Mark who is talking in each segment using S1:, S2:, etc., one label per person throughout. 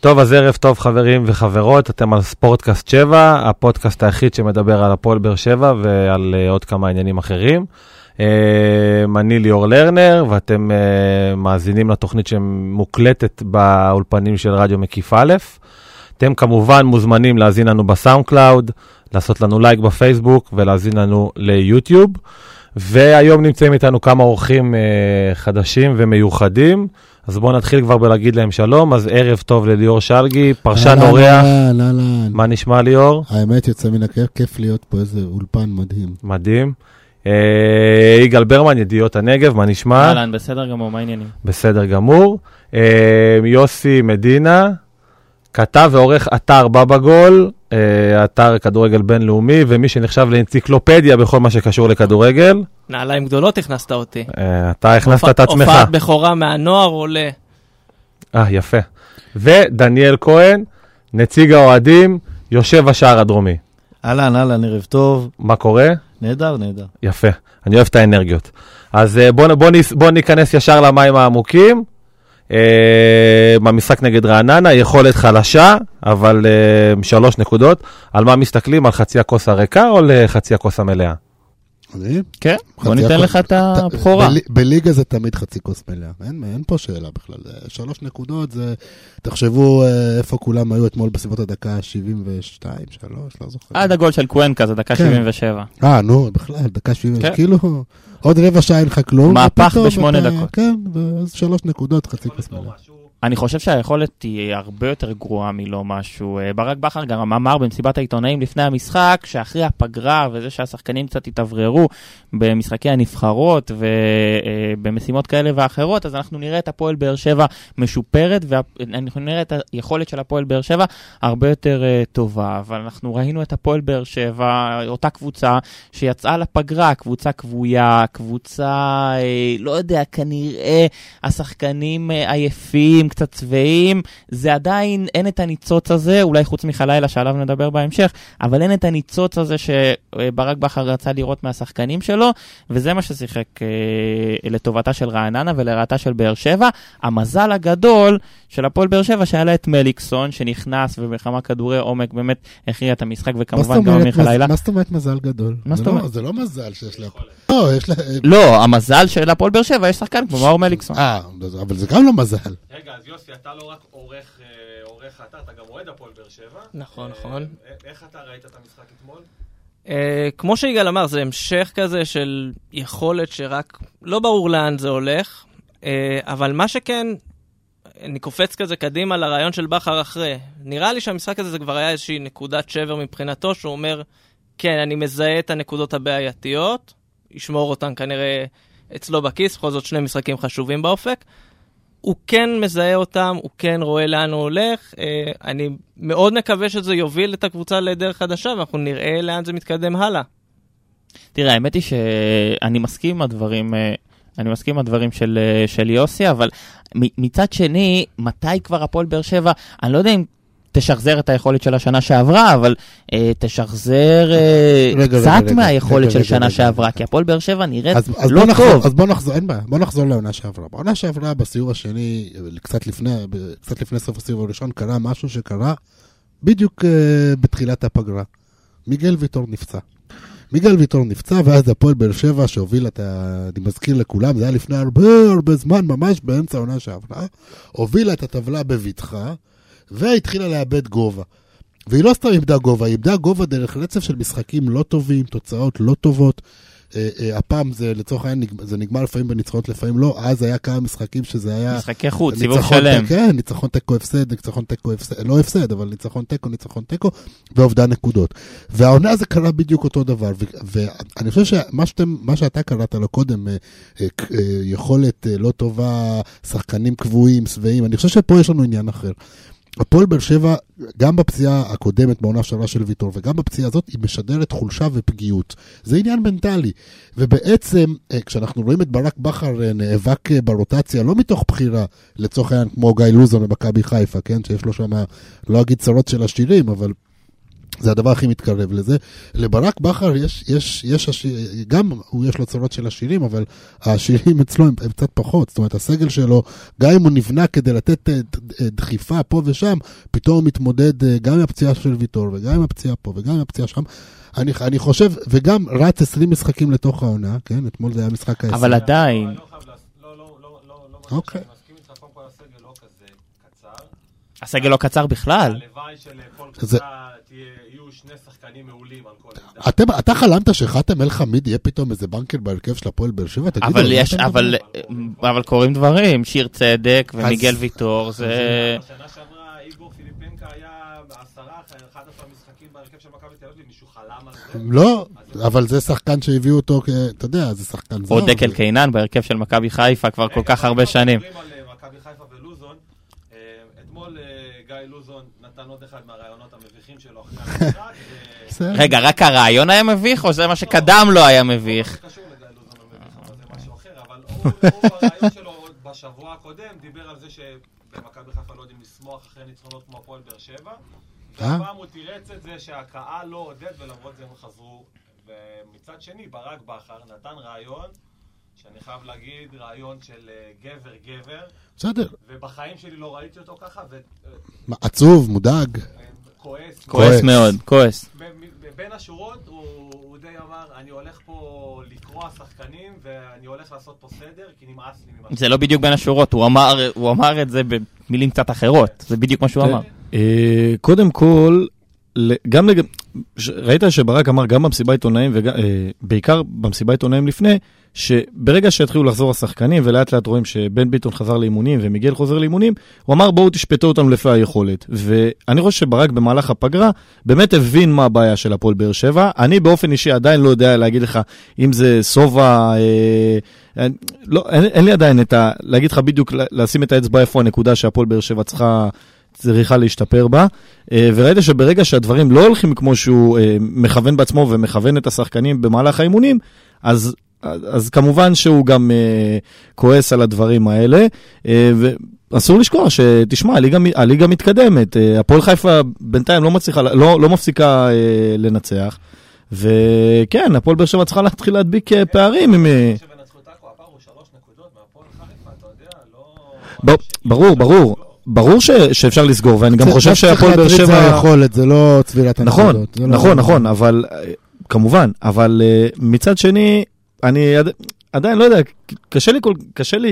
S1: טוב, אז ערב טוב חברים וחברות, אתם על ספורטקאסט 7, הפודקאסט היחיד שמדבר על הפועל באר שבע ועל אה, עוד כמה עניינים אחרים. אה, אני ליאור לרנר, ואתם אה, מאזינים לתוכנית שמוקלטת באולפנים של רדיו מקיף א'. אתם כמובן מוזמנים להאזין לנו בסאונד קלאוד, לעשות לנו לייק בפייסבוק ולהאזין לנו ליוטיוב. והיום נמצאים איתנו כמה אורחים אה, חדשים ומיוחדים. אז בואו נתחיל כבר בלהגיד להם שלום. אז ערב טוב לליאור שלגי, פרשן
S2: אהלן,
S1: אורח.
S2: אהלן, אהלן.
S1: מה נשמע ליאור?
S2: האמת יוצא מן הכיף, כיף להיות פה איזה אולפן מדהים.
S1: מדהים. אה, יגאל ברמן, ידיעות הנגב, מה נשמע?
S3: אהלן, בסדר גמור, מה העניינים?
S1: בסדר גמור. אה, יוסי מדינה, כתב ועורך אתר בבא גול, אה, אתר כדורגל בינלאומי, ומי שנחשב לאנציקלופדיה בכל מה שקשור לכדורגל.
S4: נעליים גדולות הכנסת אותי.
S1: אה, אתה הכנסת
S4: הופע-
S1: את עצמך.
S4: הופעת בכורה מהנוער עולה.
S1: אה, יפה. ודניאל כהן, נציג האוהדים, יושב השער הדרומי.
S5: אהלן, אהלן, ערב טוב.
S1: מה קורה?
S5: נהדר, נהדר.
S1: יפה, אני אוהב את האנרגיות. אז אה, בוא, בוא, ניס- בוא ניכנס ישר למים העמוקים. אה, במשחק נגד רעננה, יכולת חלשה, אבל אה, שלוש נקודות. על מה מסתכלים? על חצי הכוס הריקה או לחצי הכוס המלאה?
S2: אני?
S3: כן, בוא
S2: חצי
S3: ניתן
S2: אחוז.
S3: לך את
S2: ת-
S3: הבכורה.
S2: בלי- בליגה זה תמיד חצי כוס מלאה, אין, אין פה שאלה בכלל. זה שלוש נקודות זה... תחשבו אה, איפה כולם היו אתמול בסביבות הדקה 72, 3, לא זוכר.
S3: עד הגול של קוונקה, זה אה, דקה
S2: כן.
S3: 77.
S2: אה, נו, בכלל, דקה 70,
S3: כן.
S2: כאילו, עוד רבע שעה אין לך כלום.
S3: מהפך
S2: ופתאום
S3: בשמונה
S2: אתה-
S3: דקות.
S2: כן, ואז שלוש נקודות, חצי כוס מלאה.
S3: אני חושב שהיכולת היא הרבה יותר גרועה מלא משהו. אה, ברק בכר גם אמר במסיבת העיתונאים לפני המשחק, שאחרי הפגרה וזה שהשחקנים קצת התאווררו במשחקי הנבחרות ובמשימות כאלה ואחרות, אז אנחנו נראה את הפועל באר שבע משופרת, ואנחנו נראה את היכולת של הפועל באר שבע הרבה יותר אה, טובה. אבל אנחנו ראינו את הפועל באר שבע, אותה קבוצה שיצאה לפגרה, קבוצה כבויה, קבוצה, אה, לא יודע, כנראה השחקנים אה, עייפים, קצת צבעים, זה עדיין, אין את הניצוץ הזה, אולי חוץ מחלילה שעליו נדבר בהמשך, אבל אין את הניצוץ הזה שברק בכר רצה לראות מהשחקנים שלו, וזה מה ששיחק אה, לטובתה של רעננה ולרעתה של באר שבע. המזל הגדול של הפועל באר שבע שהיה לה את מליקסון, שנכנס ובכמה כדורי עומק באמת הכריע את המשחק,
S2: מה
S3: וכמובן
S2: זאת
S3: גם
S2: אומרת
S3: אמיר
S2: מז-
S3: חלילה.
S2: מה זאת אומרת מזל גדול?
S3: מה
S2: זה
S3: זאת
S2: לא-
S3: אומרת?
S2: זה לא מזל שיש לה... לא, יש לה...
S3: לא, המזל של הפועל באר שבע, יש שחקן כמו מאור מליקסון.
S2: אה, אבל זה גם לא מזל.
S1: רגע, אז יוסי, אתה לא רק עורך האתר, אתה גם אוהד הפועל באר שבע. אה,
S4: נכון, נכון.
S1: איך אתה ראית את המשחק אתמול?
S4: אה, כמו שיגאל אמר, זה המשך כזה של יכולת שרק לא ברור לאן זה הולך, אה, אבל מה שכן, אני קופץ כזה קדימה לרעיון של בכר אחרי. נראה לי שהמשחק הזה זה כבר היה איזושהי נקודת שבר מבחינתו, שהוא אומר, כן, אני מזהה את הנקודות הבעייתיות, ישמור אותן כנראה אצלו בכיס, בכל זאת שני משחקים חשובים באופק. הוא כן מזהה אותם, הוא כן רואה לאן הוא הולך. אה, אני מאוד מקווה שזה יוביל את הקבוצה לדרך חדשה, ואנחנו נראה לאן זה מתקדם הלאה.
S3: תראה, האמת היא שאני מסכים עם הדברים, אה, אני מסכים עם הדברים של, אה, של יוסי, אבל מ- מצד שני, מתי כבר הפועל באר שבע, אני לא יודע אם תשחזר את היכולת של השנה שעברה, אבל אה, תשחזר אה,
S2: רגע,
S3: קצת
S2: רגע, רגע,
S3: מהיכולת
S2: רגע,
S3: של
S2: רגע,
S3: שנה
S2: רגע,
S3: שעברה,
S2: רגע.
S3: כי הפועל באר שבע נראית
S2: אז, אז
S3: לא
S2: בוא נחזור,
S3: טוב.
S2: אז בוא נחזור, אין בעיה, בוא נחזור לעונה שעברה. בעונה שעברה, בסיור השני, קצת לפני, ב- קצת לפני סוף הסיבוב הראשון, קרה משהו שקרה בדיוק uh, בתחילת הפגרה. מיגל ויטור נפצע. מיגל ויטור נפצע, ואז הפועל באר שבע שהובילה את ה... אני מזכיר לכולם, זה היה לפני הרבה הרבה זמן, ממש באמצע העונה שעברה, הובילה את הטבלה בבטחה, והתחילה לאבד גובה. והיא לא סתם איבדה גובה, היא איבדה גובה דרך רצף של משחקים לא טובים, תוצאות לא טובות. אה, אה, הפעם זה לצורך העניין, נגמ- זה נגמר לפעמים בניצחונות, לפעמים לא, אז היה כמה משחקים שזה היה...
S3: משחקי חוץ, סיבוב
S2: ניצחון
S3: שלם.
S2: תיקו, כן, ניצחון תיקו הפסד, ניצחון תיקו הפסד, לא הפסד, אבל ניצחון תיקו, ניצחון תיקו, ואובדן נקודות. והעונה זה קרה בדיוק אותו דבר, ו- ואני חושב שמה שאתם, מה שאתה קראת לו קודם, אה, אה, ק- אה, יכולת אה, לא טובה, שחקנים קבועים, שבעים, אני חושב שפה יש לנו עניין אחר. הפועל באר שבע, גם בפציעה הקודמת בעונה שעברה של ויטור, וגם בפציעה הזאת, היא משדרת חולשה ופגיעות. זה עניין מנטלי. ובעצם, אה, כשאנחנו רואים את ברק בכר אה, נאבק אה, ברוטציה, לא מתוך בחירה, לצורך העניין, כמו גיא לוזון במכבי חיפה, כן? שיש לו שם, לא אגיד צרות של עשירים, אבל זה הדבר הכי מתקרב לזה. לברק בכר יש, יש, יש, השיר, גם הוא יש לו צרות של עשירים, אבל העשירים אצלו הם, הם קצת פחות. זאת אומרת, הסגל שלו, גם אם הוא נבנה כדי לתת אה, ד- אה, דחיפה פה ושם, פתאום הוא מתמודד אה, גם עם הפציעה של ויטור, וגם עם הפציעה פה, וגם עם הפציעה שם. אני, אני חושב, וגם רץ 20 משחקים לתוך העונה, כן? אתמול זה היה משחק ה-20.
S3: אבל עדיין,
S6: לא,
S2: אוקיי.
S3: הסגל לא קצר בכלל.
S6: הלוואי שלכל
S2: זה-
S6: קבוצה תהיה- יהיו שני שחקנים מעולים על כל עמדה.
S2: אתם, אתה חלמת שחתם אל חמיד יהיה פתאום איזה בנקר בהרכב של הפועל באר שבע? לא, תגידו, על
S3: אבל
S2: מה
S3: יש,
S2: אתם
S3: אבל, אה, אבל קורים דברים, שיר צדק ומיגל ויטור, זה...
S6: בשנה שעברה איגור פיליפנקה היה בעשרה, 11 משחקים בהרכב של מכבי תל אביב, מישהו חלם על זה?
S2: לא, אבל זה שחקן שהביאו אותו, כ- אתה יודע, זה שחקן זר.
S3: או דקל
S2: אבל-
S3: קינן בהרכב של מכבי חיפה כבר כל כך הרבה שנים.
S6: אה, אנחנו מדברים על אה, מכבי חיפה ולוזון. אה, אתמול אה, גיא לוזון נתן עוד אחד מהרעיונות המביכים שלו אחרי המשחק.
S5: כן.
S6: אה,
S2: בסדר.
S3: רגע, רק הרעיון היה מביך, או זה מה שקדם לו היה מביך?
S6: זה קשור לגיא לוזון המביך, אבל זה משהו אחר. אבל הוא, הוא, הרעיון שלו עוד בשבוע הקודם דיבר על זה שבמכבי חיפה לא יודעים לשמוח אחרי ניצחונות כמו הפועל באר שבע. והפעם הוא תירץ את זה שהקהל לא עודד ולמרות זה הם חזרו. ומצד שני, ברק בכר נתן רעיון, שאני חייב להגיד, רעיון של אה, גבר-גבר,
S2: בסדר.
S6: ובחיים שלי לא ראיתי אותו ככה,
S2: מה, עצוב, מודאג.
S6: וכועס.
S3: כועס מאוד, כועס.
S6: בין השורות הוא, הוא די אמר, אני הולך פה לקרוע שחקנים ואני הולך לעשות פה סדר, כי נמאס לי ממה ש...
S3: זה לא בדיוק בין השורות, הוא אמר- הוא אמר את זה במילים קצת אחרות, זה בדיוק מה שהוא
S5: כן,
S3: אמר.
S5: אה, קודם כל, ל- גם לגבי, ראית שברק אמר גם במסיבת עיתונאים, ובעיקר במסיבת עיתונאים לפני, שברגע שהתחילו לחזור השחקנים, ולאט לאט רואים שבן ביטון חזר לאימונים ומיגל חוזר לאימונים, הוא אמר בואו תשפטו אותנו לפי היכולת. ואני חושב שברק במהלך הפגרה באמת הבין מה הבעיה של הפועל באר שבע. אני באופן אישי עדיין לא יודע להגיד לך אם זה סובה, אה, אה, לא, אין, אין לי עדיין את ה... להגיד לך בדיוק, לה- לשים את האצבע איפה הנקודה שהפועל באר שבע צריכה... צריכה להשתפר בה, אה, וראית שברגע שהדברים לא הולכים כמו שהוא אה, מכוון בעצמו ומכוון את השחקנים במהלך האימונים, אז, אז, אז כמובן שהוא גם אה, כועס על הדברים האלה. אה, ו... אסור לשכוח שתשמע, הליגה, מ- הליגה מתקדמת, אה, הפועל חיפה בינתיים לא, מצליחה, לא, לא מפסיקה אה, לנצח, וכן, הפועל באר שבע צריכה להתחיל להדביק אה, פערים. עם, אה,
S6: שבנצחו טאקו הפער הוא שלוש נקודות מהפועל חיפה, אתה יודע, לא...
S5: ב- ברור, ברור, ברור ש, שאפשר לסגור, ואני גם
S2: צריך-
S5: חושב
S2: צריך
S5: שהפועל באר
S2: להטריד
S5: שבע...
S2: זה היכולת, זה לא צבירת
S5: נכון,
S2: הנקודות. זה לא-
S5: נכון, נכון, אבל אה, כמובן, אבל אה, מצד שני, אני עד- עדיין לא יודע, ק- קשה לי, כל- קשה לי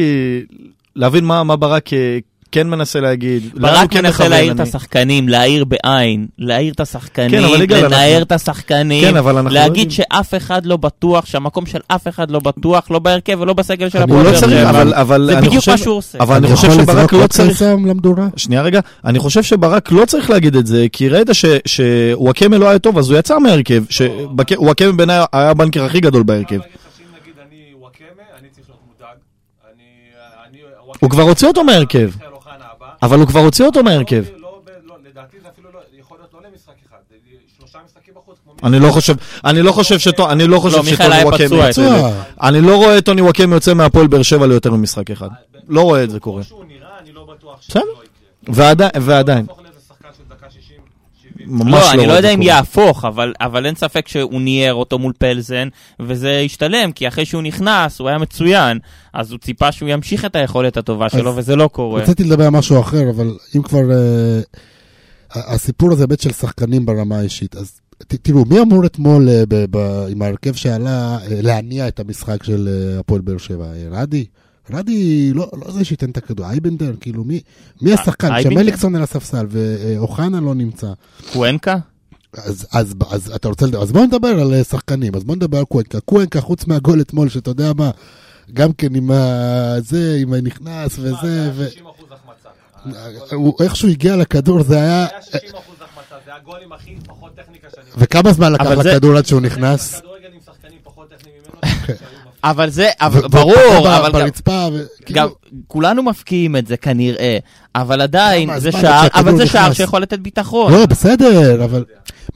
S5: להבין מה מה ברק אה, כן מנסה להגיד. לאן הוא
S3: ברק
S5: כן
S3: מנסה
S5: מכוון,
S3: להעיר את
S5: אני-
S3: השחקנים, להעיר בעין, להעיר את
S5: כן, אבל
S3: השחקנים,
S5: יגאל,
S3: לנער
S5: אנחנו-
S3: את השחקנים,
S5: כן, אבל אנחנו... לא יודעים.
S3: להגיד שאף אחד לא בטוח, שהמקום של אף אחד לא בטוח, לא בהרכב ולא בסגל של
S5: אני
S3: הפועל
S5: לא
S3: באר
S5: צריך,
S3: שבע.
S5: אבל אבל
S3: זה
S5: אני
S3: בדיוק
S5: חושב...
S3: מה שהוא עושה.
S5: אבל אני חושב
S2: יכול
S5: שברק
S2: לזרוק
S5: לא
S2: עוד
S5: צריך...
S2: חסם למדורה?
S5: שנייה רגע, אני חושב שברק לא צריך להגיד את זה, כי ראית ש- שוואקמה לא היה טוב, אז הוא יצא מההרכב. שבק- וואקמה בעיניי היה הבנקר הכי גדול בהרכב.
S6: אני חייב להגיד לך שאם נגיד אני וואקמה, אני צריך להיות מודאג. אני... אני...
S5: הוא כבר הוציא אותו מההרכב,
S6: מיכאל אוחנה הבא.
S5: אבל הוא כבר הוציא אותו מההרכב.
S6: לא- לא- לא- לדעתי זה אפילו לא... יכול להיות לא למשחק אחד. זה שלושה משחקים בחוץ, כמו
S5: אני לא חושב, אני לא חושב שטו, אני לא חושב
S3: לא, מיכאל
S5: שטוני
S3: היה
S5: וואקמה
S3: פצוע
S5: יוצא. אני לא רואה את טוני וואקמה יוצא מהפועל באר שבע ליותר ממשחק אחד. לא רואה את זה קורה.
S6: כמו שהוא נראה, אני לא בטוח שזה
S5: בסדר.
S6: לא יקרה.
S5: ועדיין, ועדיין,
S6: יהפוך לאיזה שחקן של דקה 60, 70.
S5: ממש לא
S3: לא, אני לא
S5: רואה את
S3: יודע
S5: זה
S3: אם
S5: קורה.
S3: יהפוך, אבל- אבל אין ספק שהוא ניער אותו מול פלזן, וזה השתלם, כי אחרי שהוא נכנס, הוא היה מצוין, אז הוא ציפה שהוא ימשיך את היכולת הטובה שלו, וזה לא קורה.
S2: רציתי לדבר על משהו אחר, אבל אם כבר... אה, ה- הסיפור הזה באמת של שחקנים ברמה האישית, אז ת- תראו, מי אמור אתמול אה, ב- ב- עם ההרכב שעלה אה, להניע את המשחק של אה, הפועל באר שבע? אה, רדי? רדי לא לא זה שייתן את הכדור, אייבנדר, כאילו מי מי השחקן?
S3: אה, אייבנדר?
S2: כשמליקסון על הספסל ואוחנה לא נמצא.
S3: קוונקה?
S2: אז, אז, אז אתה רוצה לדבר, אז בוא נדבר על אה, שחקנים, אז בוא נדבר על קוונקה. קוונקה, חוץ מהגול אתמול, שאתה יודע מה, גם כן עם ה... זה, עם הנכנס
S6: אה,
S2: וזה, ו...
S6: 60% החמצה.
S2: הוא איכשהו הגיע לכדור, זה היה...
S6: היה 60% החמצה, זה הגולים הכי פחות טכניקה שאני...
S2: וכמה זמן לקח
S3: אבל זה-
S2: לכדור עד שהוא נכנס?
S6: כדורגל עם שחקנים פחות טכניים ממנו, שהיו מפ-
S3: אבל זה,
S2: ו- והוא
S3: ברור,
S2: פגע
S3: אבל גם...
S2: ברצפה, ו-
S3: גם,
S2: כאילו,
S3: כולנו מפקיעים את זה כנראה, אבל עדיין,
S2: כמה
S3: זה
S2: זמן
S3: שער,
S2: עד שהכדור
S3: אבל זה שער
S2: נכנס?
S3: שיכול לתת ביטחון.
S2: לא, בסדר, אבל...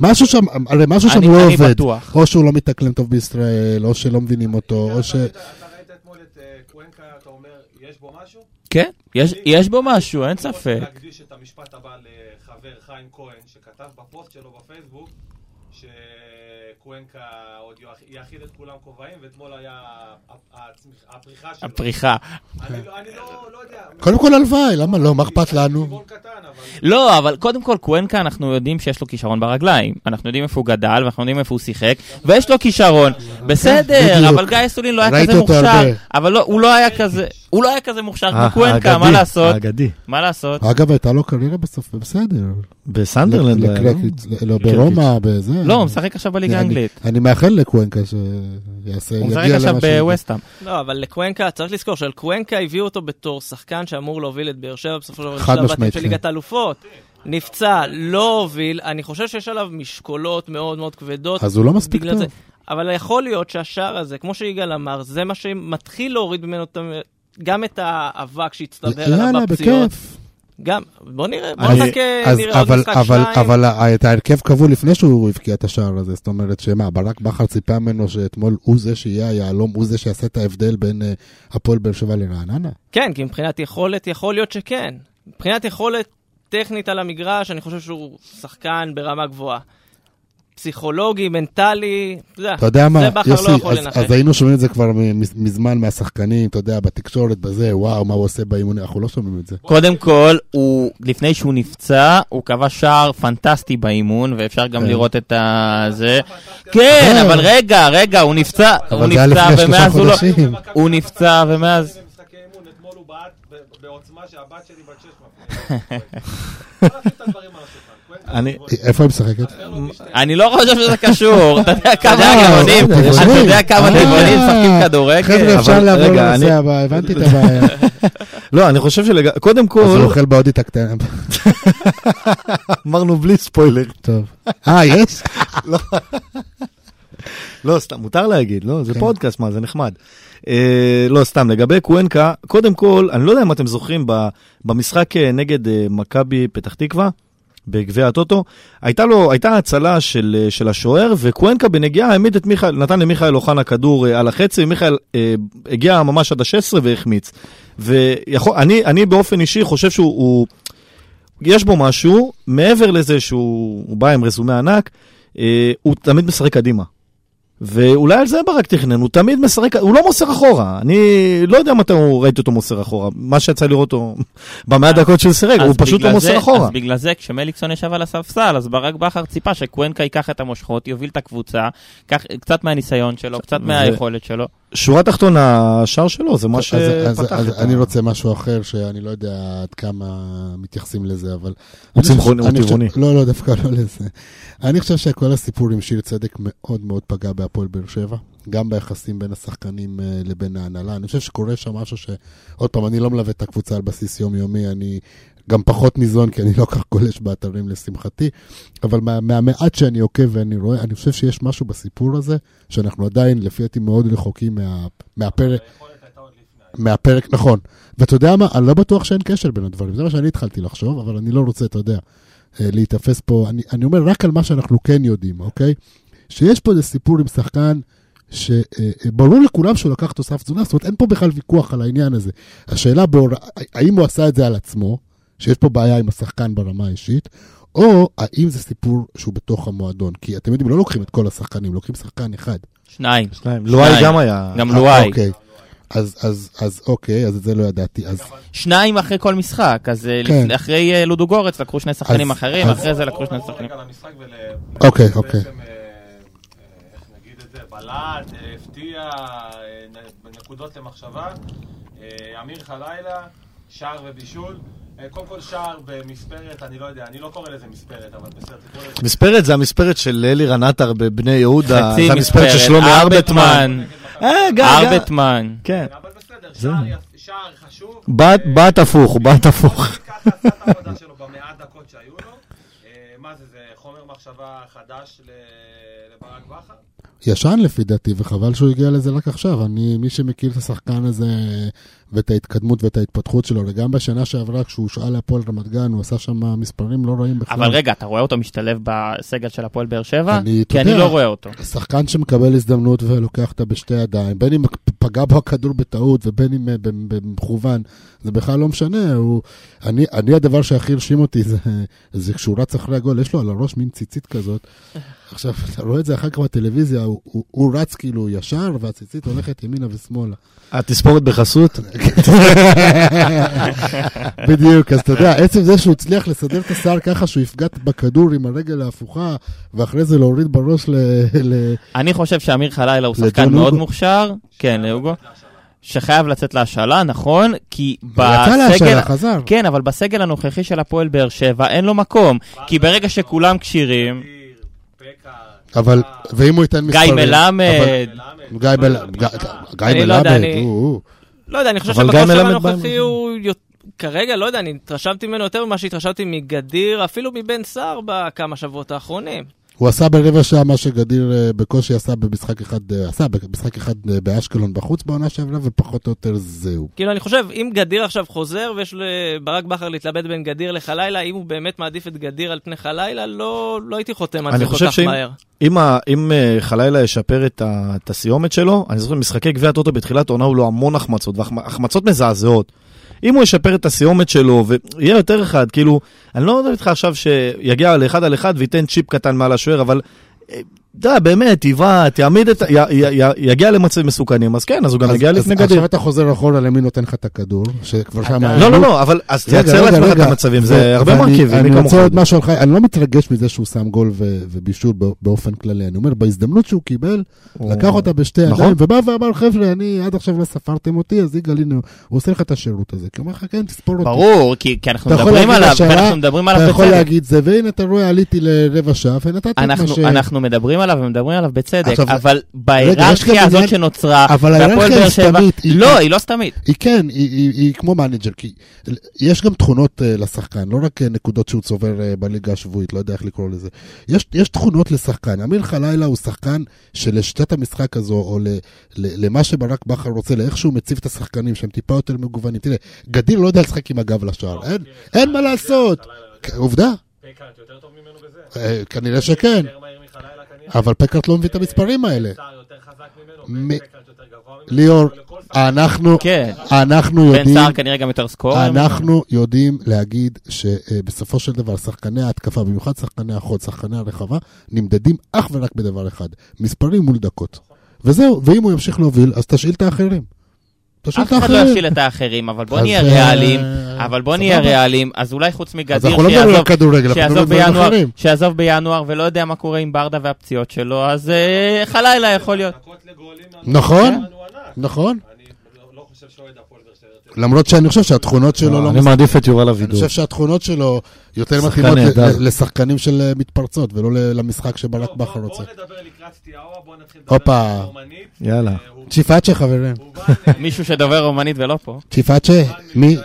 S2: משהו שם, הרי משהו שם
S3: אני-
S2: לא
S3: אני
S2: עובד.
S3: בטוח.
S2: או שהוא לא מתאקלם טוב בישראל, או שלא מבינים אותו, או ש...
S6: אתה ראית- אתה ראית אתמול את אה, קוונקה, אתה אומר, יש בו משהו?
S3: כן, יש- יש בו משהו, אין
S6: אני רוצה
S3: ספק.
S6: להקדיש את המשפט הבא לחבר חיים כהן, שכתב בפוסט שלו בפייסבוק, שקוונקה עוד יאכיל את כולם כובעים, ואתמול היה הפ- הצמיח- הפריחה שלו.
S3: הפריחה.
S6: אני לא- אני לא לא יודע.
S2: קודם כל הלוואי, למה לא? מה אכפת לנו?
S6: טבעון קטן, אבל...
S3: לא, אבל קודם כל, קוונקה, אנחנו יודעים שיש לו כישרון ברגליים. אנחנו יודעים איפה הוא גדל, ואנחנו יודעים איפה הוא שיחק, ויש לו כישרון. בסדר,
S2: בדיוק.
S3: אבל גיא סולין לא היה
S2: ראיתי
S3: כזה
S2: אותו
S3: מוכשר.
S2: הרבה.
S3: אבל לא, הוא לא היה כזה, הוא לא היה כזה מוכשר כמו
S5: אה,
S3: קוונקה, מה
S5: האגדי,
S3: לעשות?
S5: האגדי.
S3: מה לעשות?
S2: אגב, הייתה לו קריירה בסוף, בסדר.
S5: בסנדרלנד. היה, לא?
S2: לקרקיץ, לא, ברומא, בזה.
S3: לא, הוא משחק עכשיו
S2: אני-
S3: בליגה האנגלית.
S2: אני מאחל לקוונקה שיעשה,
S3: הוא משחק
S2: יגיע
S3: עכשיו
S2: למשהו.
S3: בווסטהאם.
S4: לא, אבל לקוונקה, צריך לזכור שעל קוונקה הביאו אותו בתור שחקן שאמור להוביל את באר שבע בסופו של דבר
S2: חד
S4: לשלב
S2: משמעית,
S4: בתים של
S2: כן.
S4: ליגת האלופות. נפצע, לא הוביל, אני חושב שיש עליו משקולות מאוד מאוד כבדות.
S2: אז הוא לא מספיק
S4: בגלל
S2: טוב.
S4: זה. אבל יכול להיות שהשער הזה, כמו שיגאל אמר, זה מה שמתחיל להוריד ממנו את ה- גם את האבק שהצטבר עליו
S2: יאללה,
S4: בפציעות.
S2: בכיף.
S4: גם, בוא נראה, בוא
S5: אני-
S4: נחכה,
S2: אז
S4: נראה עוד
S2: אבל,
S4: משחק
S2: אבל,
S4: שניים.
S2: אבל ה- את ההרכב קבעו לפני שהוא הבקיע את השער הזה, זאת אומרת שמה, ברק בכר ציפה ממנו שאתמול הוא זה שיהיה היהלום, הוא זה שיעשה את ההבדל בין אה, הפועל באר שבע לרעננה?
S4: כן, כי מבחינת יכולת, יכול להיות שכן. מבחינת יכולת טכנית על המגרש, אני חושב שהוא שחקן ברמה גבוהה. פסיכולוגי, מנטלי, אתה יודע,
S2: אתה יודע מה,
S4: זה בכר
S2: יוסי,
S4: לא יכול
S2: אז,
S4: לנחש.
S2: אז היינו שומעים את זה כבר מ- מזמן מהשחקנים, אתה יודע, בתקשורת, בזה, וואו, מה הוא עושה באימונים, אנחנו לא שומעים את זה.
S3: קודם כל, הוא, לפני שהוא נפצע, הוא קבע שער פנטסטי באימון, ואפשר גם
S2: כן. אה.
S3: לראות את ה... זה. כן, אבל רגע, רגע, הוא נפצע, הוא
S2: אבל זה היה
S3: נפצע,
S2: לפני שלושה
S3: ומאז הוא לא...
S2: חודשים.
S3: הוא נפצע, ומאז...
S6: במשחקי אימון, אתמול הוא בעט ב- בעוצמה שהבת שלי בת שש מפריעה. בוא נשים את הדברים על השולחן. קוונקה,
S5: אני-
S6: בוא,
S2: איפה היא משחקת?
S6: תן לו משתי-
S3: אני לא חושב שזה קשור, אתה יודע כמה
S2: אה,
S3: גאונים,
S2: בסדר,
S3: אתה
S2: בסדר.
S3: יודע כמה
S2: אה,
S3: טבעונים משחקים כדורגל.
S2: חבר'ה, אפשר
S5: אבל-
S2: לעבור
S5: רגע, אני-
S2: לנושא הבא, הבנתי את הבעיה. אז
S5: לא, אני חושב שלג... קודם
S2: הוא
S5: כל,
S2: אוכל בהודית הקטנה.
S5: אמרנו בלי ספוילר.
S2: טוב. אה, יש?
S5: לא, סתם, מותר להגיד, לא? זה
S2: כן.
S5: פודקאסט, מה, זה נחמד. אה, לא, סתם, לגבי קוונקה, קודם כל, אני לא יודע אם אתם זוכרים, ב- במשחק אה, נגד אה, מכבי פתח תקווה, בגביע הטוטו, הייתה לו, הייתה הצלה של, אה, של השוער, וקוונקה בנגיעה העמיד את מיכאל, נתן למיכאל אוחנה כדור אה, על החצי, ומיכאל אה, הגיע ממש עד ה-16 והחמיץ. ואני אני באופן אישי חושב שהוא, הוא, יש בו משהו, מעבר לזה שהוא הוא בא עם רזומה ענק, אה, הוא תמיד משחק קדימה. ואולי על זה ברק תכנן, הוא תמיד משחק, הוא לא מוסר אחורה. אני לא יודע מתי הוא- ראיתי אותו מוסר אחורה. מה שיצא לי לראות אותו במאה דקות שהוא שיחק, הוא
S3: אז
S5: פשוט
S3: בגלל
S5: לא מוסר
S3: זה-
S5: אחורה.
S3: אז בגלל זה, כשמליקסון ישב על הספסל, אז ברק בכר ציפה שקוונקה ייקח את המושכות, יוביל את הקבוצה, קח- קצת מהניסיון שלו, קצת מהיכולת שלו.
S5: שורה תחתונה, השער שלו, זה מה
S2: אז- אז-
S5: שפתח
S2: אז
S5: את ה...
S2: אני רוצה משהו אחר, שאני לא יודע עד כמה מתייחסים לזה, אבל...
S5: הוא
S2: אני חושב-
S5: צמחוני, הוא
S2: אני חושב-
S5: טבעוני.
S2: לא, לא, דווקא לא לזה. אני חושב שכל הסיפור עם שיר צדק מאוד מאוד פגע בהפועל באר שבע, גם ביחסים בין השחקנים אה, לבין ההנהלה. אני חושב שקורה שם משהו ש... עוד פעם, אני לא מלווה את הקבוצה על בסיס יומיומי, אני גם פחות ניזון, כי אני לא כך גולש באתרים לשמחתי, אבל מה- מהמעט שאני עוקב ואני רואה, אני חושב שיש משהו בסיפור הזה, שאנחנו עדיין, לפי דעתי, מאוד רחוקים מה- מהפרק. מהפרק, נכון. ואתה יודע מה, אני לא בטוח שאין קשר בין הדברים, זה מה שאני התחלתי לחשוב, אבל אני לא רוצה, אתה יודע, אה, להיתפס פה, אני, אני אומר רק על מה שאנחנו כן יודעים, אוקיי? שיש פה איזה סיפור עם שחקן, שברור לכולם שהוא לקח תוסף תזונה, זאת אומרת, אין פה בכלל ויכוח על העניין הזה. השאלה, בהור... האם הוא עשה את זה על עצמו, שיש פה בעיה עם השחקן ברמה האישית, או האם זה סיפור שהוא בתוך המועדון? כי אתם יודעים, לא לוקחים את כל השחקנים, לוקחים שחקן אחד.
S3: שניים,
S5: שניים. לואי
S3: שניים.
S5: גם היה.
S3: גם
S2: אה,
S3: לואי.
S2: אוקיי. אז, אז, אז אוקיי, אז את זה לא ידעתי. אז
S3: שניים אחרי כל משחק, אז אה,
S2: כן.
S3: לפ- אחרי אה, לודו גורץ לקחו שני שחקנים
S2: אז-
S3: אחרים,
S2: אז-
S3: אחרי זה
S6: בואו
S3: לקחו שני
S6: נעבור
S3: שחקנים.
S6: רגע למשחק ול...
S2: אוקיי, אוקיי.
S6: בעצם, אה, אה, איך נגיד את זה? בלט, אה, הפתיע, אה, נ- נקודות למחשבה. אה, אמיר חלילה, שער ובישול. אה, קודם כל שער במספרת, אני לא יודע, אני לא קורא לזה מספרת, אבל בסדר, תקראו לזה
S5: מספרת זה המספרת של אלירן עטר בבני יהודה,
S3: חצי
S5: אה, זה המספרת של שלומי
S3: מספרת,
S5: ארבטמן.
S3: ארבטמן,
S5: אה, גם, גם.
S3: ארבטמן.
S5: כן.
S6: אבל בסדר, שער, יפ- שער חשוב.
S5: בעט-
S6: אה,
S5: בעט הפוך, הוא בעט הפוך.
S6: ככה עשה את העבודה שלו במאה דקות שהיו לו. אה, מה זה, זה חומר מחשבה חדש ל- לברק בכר?
S2: ישן לפי דעתי, וחבל שהוא הגיע לזה רק עכשיו. אני, מי שמכיר את השחקן הזה ואת ההתקדמות ואת ההתפתחות שלו. וגם בשנה שעברה, כשהוא הושאל להפועל רמת גן, הוא עשה שם מספרים לא רעים בכלל.
S3: אבל רגע, אתה רואה אותו משתלב בסגל של הפועל באר שבע?
S2: אני- אתה
S3: כי אני
S2: יודע,
S3: לא רואה אותו.
S2: שחקן שמקבל הזדמנות ולוקח אותה בשתי ידיים, בין אם פגע בו הכדור בטעות ובין אם אה, במ- במכוון, זה בכלל לא משנה. הוא... אני, אני הדבר שהכי הרשים אותי זה, זה כשהוא רץ אחרי הגול, יש לו על הראש מין ציצית כזאת. עכשיו, אתה רואה את זה אחר כך בטלוויזיה, הוא, הוא, הוא רץ כאילו ישר והציצית הולכת ימינה ושמאלה.
S5: התספורת בחסות?
S2: בדיוק, אז אתה יודע, עצם זה שהוא הצליח לסדר את השיער ככה שהוא יפגע בכדור עם הרגל ההפוכה, ואחרי זה להוריד בראש ל... ל...
S3: אני חושב שאמיר חלילה הוא
S2: לדון
S3: שחקן
S2: הוגו.
S3: מאוד מוכשר. כן, להוגו. שחייב לצאת להשאלה, נכון? כי
S2: יצא
S3: בסגל...
S2: להשאלה, נכון. חזר.
S3: כן, אבל בסגל הנוכחי של הפועל באר שבע אין לו מקום. כי ברגע שכולם כשירים,
S6: ניר, פקע,
S2: אבל, ואם הוא ייתן
S3: גיא
S2: מספרים... אבל-
S3: מלמד,
S6: מלמד.
S2: גיא מלמד, גיא
S4: אני לא
S2: מלמד,
S4: יודע, אני-
S2: הוא- הוא.
S4: לא יודע, אני חושב
S5: אבל
S4: שבכושר
S5: גם מלמד
S4: הנוכחי
S5: בהם.
S4: הוא... יות- כרגע, לא יודע, אני התרשמתי ממנו יותר ממה שהתרשמתי מגדיר, אפילו מבן סער בכמה שבועות האחרונים.
S2: הוא עשה ברבע שעה מה שגדיר אה, בקושי עשה במשחק אחד, אה, עשה במשחק אחד אה, באשקלון בחוץ בעונה שעברה, ופחות או יותר זהו.
S4: כאילו, אני חושב, אם גדיר עכשיו חוזר ויש לברק בכר להתלבט בין גדיר לחלילה, אם הוא באמת מעדיף את גדיר על פני חלילה, לא, לא הייתי חותם על
S5: אני
S4: זה כל
S5: חושב
S4: כך
S5: שאם-
S4: מהר.
S5: אם, ה, אם אה, חלילה ישפר את, ה, את הסיומת שלו, אני זוכר משחקי גביע הטוטו בתחילת העונה, הוא לו המון החמצות, והחמצות מזעזעות. אם הוא ישפר את הסיומת שלו ויהיה יותר אחד, כאילו, אני לא מדבר איתך עכשיו שיגיע לאחד על אחד וייתן צ'יפ קטן מעל השוער, אבל אה, אתה יודע, באמת, יבעט, יעמיד את, ה- י, י, י, יגיע למצבים מסוכנים, אז כן, אז הוא גם
S2: אז-
S5: יגיע
S2: אז
S5: לפני
S2: עכשיו
S5: גדיר.
S2: אתה חוזר אחורה למי נותן לך את הכדור, שכבר שם...
S5: לא, לא, לא, אבל אז
S2: רגע,
S5: תייצר
S2: רגע,
S5: לעצמך את
S2: רגע.
S5: המצבים,
S2: ו-
S5: זה הרבה
S2: ואני-
S5: מרכיבים, מי
S2: אני
S5: כמוך.
S2: רוצה עוד משהו על חי... אני לא מתרגש מזה שהוא שם גול ו- ובישול בא- באופן כללי. אני אומר, בהזדמנות שהוא קיבל,
S5: הוא-
S2: לקח אותה בשתי
S5: נכון.
S2: ידיים, ובא ואמר, חבר'ה, אני עד עכשיו לא ספרתם אותי, אז יגאל, הנה, הוא עושה לך את השירות הזה. כי הוא אומר לך, כן, תספור אותי.
S3: ברור, כי כי אנחנו
S2: אתה יכול
S3: מדברים
S2: להגיד
S3: עליו,
S2: השאלה,
S3: ואנחנו מדברים
S2: אתה
S3: עליו
S2: יכול
S3: בצדק.
S2: להגיד זה, והנה, אתה רואה, עליתי לרבע שעה, ונתתי את מה ש...
S3: אנחנו, אנחנו מדברים עליו ומדברים עליו בצדק,
S2: עכשיו,
S3: אבל
S2: יש גם
S3: בהיררכיה הזאת
S2: עניין-
S3: שנוצרה,
S2: אבל
S3: והפועל
S2: ההיררכיה
S3: באר
S2: היא
S3: שבע-
S2: סתמית, היא-
S3: לא, היא לא סתמית.
S2: היא כן, היא, היא, היא כמו מנג'ר, כי יש גם תכונות אה, לשחקן, לא רק אה, נקודות שהוא צובר אה, בליגה השבועית, לא יודע איך לקרוא לזה. יש, יש תכונות לשחקן. אמיר חלילה הוא שחקן שלשיטת המשחק הזו, או ל, ל, למה שברק בכר רוצה, לאיך שהוא מציב את השחקנים, שהם טיפה יותר מגוונים. תראה, גדיר לא יודע לשחק עם הגב לשער, אין, אין מה לעשות. כ- עובדה,
S6: פקע, אתה יותר טוב ממנו בזה?
S2: אה, כנראה שכן,
S6: יותר מהיר מחלילה כנראה?
S2: אבל פקארט לא מבין את המספרים האלה.
S6: סער יותר חזק ממנו,
S2: מ-
S6: ופקע יותר גבוה ממנו.
S2: ליאור,
S6: ולכל שחקן
S2: אנחנו,
S3: כן.
S2: אנחנו
S3: בן
S2: יודעים...
S3: סער כנראה גם יותר סקורר.
S2: אנחנו יודעים להגיד שבסופו של דבר שחקני ההתקפה, במיוחד שחקני החוד, שחקני הרחבה, נמדדים אך ורק בדבר אחד, מספרים מול דקות. וזהו, ואם הוא ימשיך להוביל, אז תשאיל את האחרים. תשאיל את
S3: אף אחד לא
S2: האחרים.
S3: יפשיל את האחרים, אבל בוא
S2: אז,
S3: נהיה
S2: אה,
S3: ריאליים, אבל בוא נהיה
S2: סבבה.
S3: ריאליים, אז אולי חוץ
S2: אז
S3: מגדיר
S2: אנחנו לא מדברים על
S3: שיעזוב-
S2: כדורגל, אנחנו מדברים
S3: שיעזוב
S2: על דברים
S3: בינואר,
S2: אחרים.
S3: שיעזוב בינואר ולא יודע מה קורה עם ברדה והפציעות שלו, אז אה, חלילה יכול להיות.
S6: מכות לגולים
S2: נכון,
S6: מהמקום הוא ענק.
S2: נכון.
S6: אני לא- לא חושב שאוהד הפועל באר שבע יותר.
S2: למרות שאני חושב שהתכונות שלו לא...
S5: אני מעדיף את יובל
S2: אני
S5: אבידור.
S2: חושב שהתכונות שלו יותר
S5: שחקן
S2: מתאימות ל-
S5: נהדר.
S2: ל- לשחקנים של אה, מתפרצות, ולא ל- למשחק שברק
S6: טוב, לא, בוא-
S2: בכר רוצה.
S6: בואו נדבר לקראת סטיאאווה, בואו נתחיל לדבר
S2: הופה.
S6: על אה, רומנית.
S5: יאללה.
S2: צ'יפאצ'ה חברים,
S3: מישהו שדובר רומנית ולא פה.
S2: צ'יפאצ'ה, מי?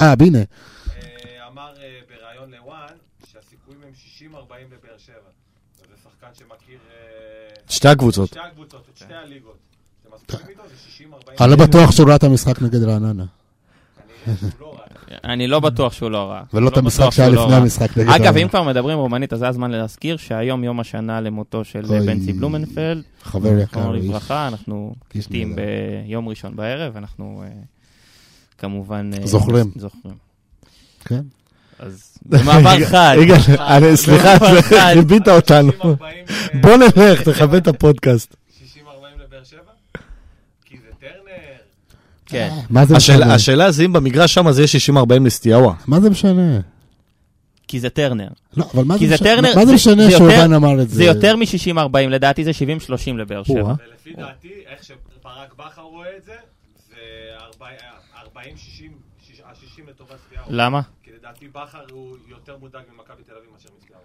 S2: אה, בינה.
S6: אמר אה, בריאיון לוואן שהסיכויים הם 60-40 לבאר שבע. זה שחקן שמכיר אה,
S5: שתי הקבוצות.
S6: שתי הקבוצות, את שתי הליגות. אתם מסכימים איתו? זה 60-40.
S2: אני לא בטוח שהוא ראה את המשחק נגד רעננה.
S6: כנראה שהוא לא רע.
S3: אני לא בטוח שהוא לא רע.
S2: ולא את
S3: לא
S2: המשחק
S3: בטוח
S2: שהיה
S3: שהוא לא
S2: לפני
S3: רע.
S2: המשחק נגד
S3: אגב,
S2: רעננה.
S3: אם כבר מדברים רומנית, אז זה הזמן להזכיר שהיום יום השנה למותו של אה,
S2: אוי.
S3: בנצי בלומנפלד.
S2: חבר יקר,
S3: זכרונו
S2: איש.
S3: לברכה, אנחנו
S2: איש
S3: קליטים
S2: נהדר.
S3: ביום ראשון בערב, אנחנו אה, כמובן... אה,
S2: זוכרים.
S3: זוכרים.
S2: כן.
S3: אז במעבר חד.
S5: יגאל, אני- סליחה,
S3: במעבר חד.
S5: ריבית אותנו.
S6: 60-40, אה,
S5: בוא נלך, תכבד את הפודקאסט.
S6: 60-40 לבאר שבע? כי זה טרנר.
S3: כן.
S2: מה זה משנה?
S5: השאלה זה אם במגרש שם זה יהיה 60-40 לסטיאבה.
S2: מה זה משנה?
S3: כי זה טרנר.
S2: לא, אבל מה זה
S3: כי זה
S2: משנה-
S3: טרנר,
S2: מה זה משנה
S3: יותר-
S2: שאובן אמר את זה?
S3: זה יותר מ-60-40, לדעתי זה 70-30 לבאר שבע.
S5: או-אה.
S6: ולפי דעתי, איך שברק בכר רואה את זה, זה אה, 40-60, ה-60 אה, לטובת סטיארו.
S3: למה?
S6: כי לדעתי בכר הוא יותר מודאג ממכבי תל אביב מאשר מסטיארו.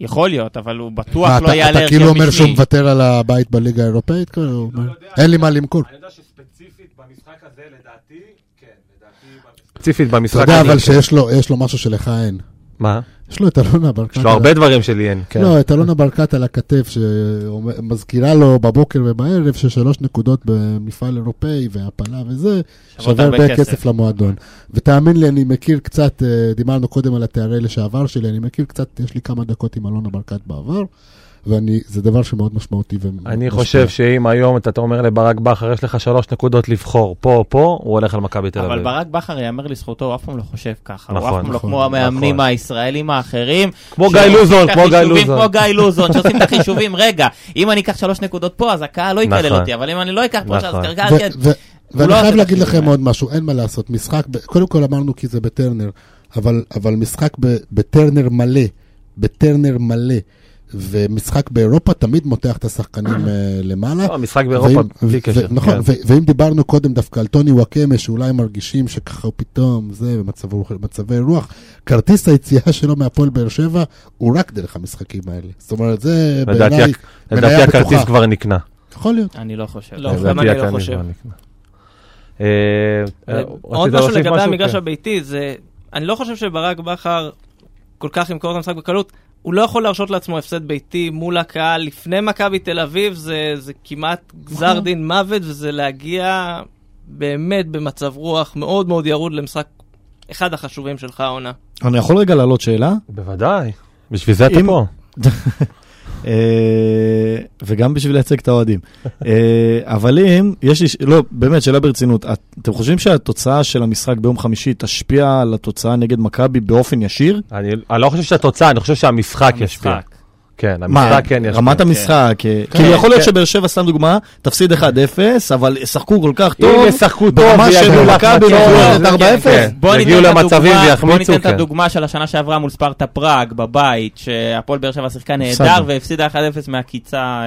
S3: יכול להיות, אבל הוא בטוח
S2: מה,
S3: לא
S2: אתה-
S3: יעלה
S2: אתה
S3: הרכב
S2: כאילו אומר שהוא
S3: משני.
S2: מוותר על הבית בליגה האירופאית? כאילו, הוא אומר,
S1: לא
S6: יודע.
S2: אין לי מה למכור.
S6: אני יודע שספציפית במשחק הזה, לדעתי, כן, לדעתי...
S1: ספציפית
S2: אתה
S1: במשחק.
S2: יודע
S1: אני-
S2: אבל שיש לו- יש לו משהו שלך אין.
S1: מה?
S2: יש לו את אלונה ברקת.
S1: יש לו הרבה דברים שלי אין.
S2: כן. לא, את אלונה ברקת על הכתף, שמזכירה לו בבוקר ובערב ששלוש נקודות במפעל אירופאי והפלה וזה, שווה הרבה כסף. כסף למועדון. ותאמין לי, אני מכיר קצת, אה, דיברנו קודם על התארי לשעבר שלי, אני מכיר קצת, יש לי כמה דקות עם אלונה ברקת בעבר, וזה דבר שמאוד משמעותי. ומאוד
S1: אני
S2: משפיע.
S1: חושב שאם היום אתה אתה אומר לברק בכר, יש לך שלוש נקודות לבחור, פה או פה, הוא הולך על מכבי תל
S3: אבל
S1: אביב.
S3: ברק בכר, יאמר לזכותו, הוא אף פעם לא חושב ככה. הוא
S1: נכון,
S3: אף פעם לא
S2: נכון,
S3: כמו המאמנים
S1: נכון.
S3: הישראלים האחרים.
S1: כמו
S3: שעושים
S1: גיא לוזון,
S3: את
S1: כמו גיא
S3: החישובים,
S1: לוזון.
S3: כמו גיא לוזון, שעושים את החישובים, רגע, אם אני אקח שלוש נקודות פה, אז הקהל לא יקלל
S1: נכון.
S3: אותי, אבל אם אני לא אקח פה, אז
S1: נכון.
S3: קרקע...
S2: ו- ו-
S3: הוא לא
S2: ואני
S3: עושה
S2: חייב
S3: את
S2: להגיד
S3: החישובים
S2: לכם עוד משהו, אין מה לעשות, משחק, ב- קודם כל אמרנו כי זה בטרנר, אבל, אבל משחק ב- בטרנר מלא, בטרנר מלא, ומשחק באירופה תמיד מותח את השחקנים אה, למעלה.
S1: לא, המשחק באירופה,
S2: ואם-
S1: בלי
S2: ו-
S1: קשר.
S2: ו- נכון,
S1: כן.
S2: ו- ואם דיברנו קודם דווקא על טוני וואקמה, שאולי מרגישים שככה הוא פתאום, זה, במצב רוח- במצבי רוח, כרטיס היציאה שלו מהפועל באר שבע הוא רק דרך המשחקים האלה. זאת אומרת, זה
S1: לדעתי
S2: בעיניי
S1: הכ- לדעתי
S2: מניה
S1: הכרטיס
S2: בטוחה.
S1: כבר נקנה.
S2: יכול להיות.
S3: אני לא חושב.
S4: לא,
S1: לדעתי
S4: גם אני לא
S1: הכרטיס
S4: חושב.
S1: כבר נקנה. אה, רצית
S4: עוד משהו
S1: להוסיף
S4: לגבי המגרש
S1: כן.
S4: הביתי, זה... אני לא חושב שברק בכר כל כך ימכור את המשחק בקלות. הוא לא יכול להרשות לעצמו הפסד ביתי מול הקהל לפני מכבי תל אביב, זה, זה כמעט גזר
S3: נכון.
S4: דין מוות, וזה להגיע באמת במצב רוח מאוד מאוד ירוד למשחק אחד החשובים שלך העונה.
S5: אני יכול רגע להעלות שאלה?
S1: בוודאי, בשביל זה אתה
S5: אם-
S1: פה.
S5: אה, וגם בשביל לייצג את האוהדים. אה, אבל אם, יש לי, ש- לא, באמת, שאלה ברצינות. את- אתם חושבים שהתוצאה של המשחק ביום חמישי תשפיע על התוצאה נגד מכבי באופן ישיר?
S1: אני אני לא חושב שהתוצאה, אני חושב שהמשחק ישפיע.
S3: המשחק.
S1: כן, המשחק כן ישפיע.
S5: רמת המשחק, אה, כאילו יכול להיות שבאר שבע, סתם דוגמה, תפסיד 1-0, אבל ישחקו כל כך טוב.
S1: אם ישחקו טוב,
S5: ברמה של
S1: ויגיעו
S5: מכבי
S1: להחמצות,
S5: מחויבת
S1: כן,
S5: 4-0.
S1: כן.
S3: בוא ניתן
S1: יגיעו
S3: את הדוגמה-
S1: למצבים
S3: בוא
S1: ויחמיצו,
S3: ניתן את
S1: כן.
S3: הדוגמה של השנה שעברה מול ספרטה פראג בבית, שהפועל באר שבע שיחקה נהדר
S5: הפסדנו.
S3: והפסידה 1-0 מהקיצה אה,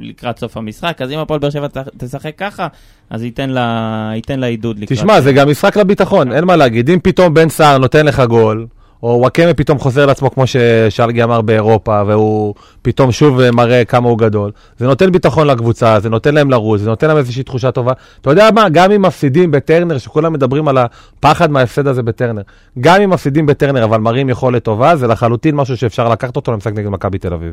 S3: לקראת סוף המשחק, אז אם הפועל באר שבע ת- תשחק ככה, אז ייתן לה ייתן לה עידוד לקראת.
S1: תשמע, זה גם משחק לביטחון, אין מה להגיד. אם פתאום בן סער נותן לך גול, או וואקמה פתאום חוזר לעצמו, כמו ששלגי אמר באירופה, והוא פתאום שוב אה, מראה כמה הוא גדול, זה נותן ביטחון לקבוצה, זה נותן להם לרוץ, זה נותן להם איזושהי תחושה טובה. אתה יודע מה, גם אם מפסידים בטרנר, שכולם מדברים על הפחד מההפסד הזה בטרנר, גם אם מפסידים בטרנר, אבל מראים יכולת טובה, זה לחלוטין משהו שאפשר לקחת אותו למשחק נגד מכבי תל אביב.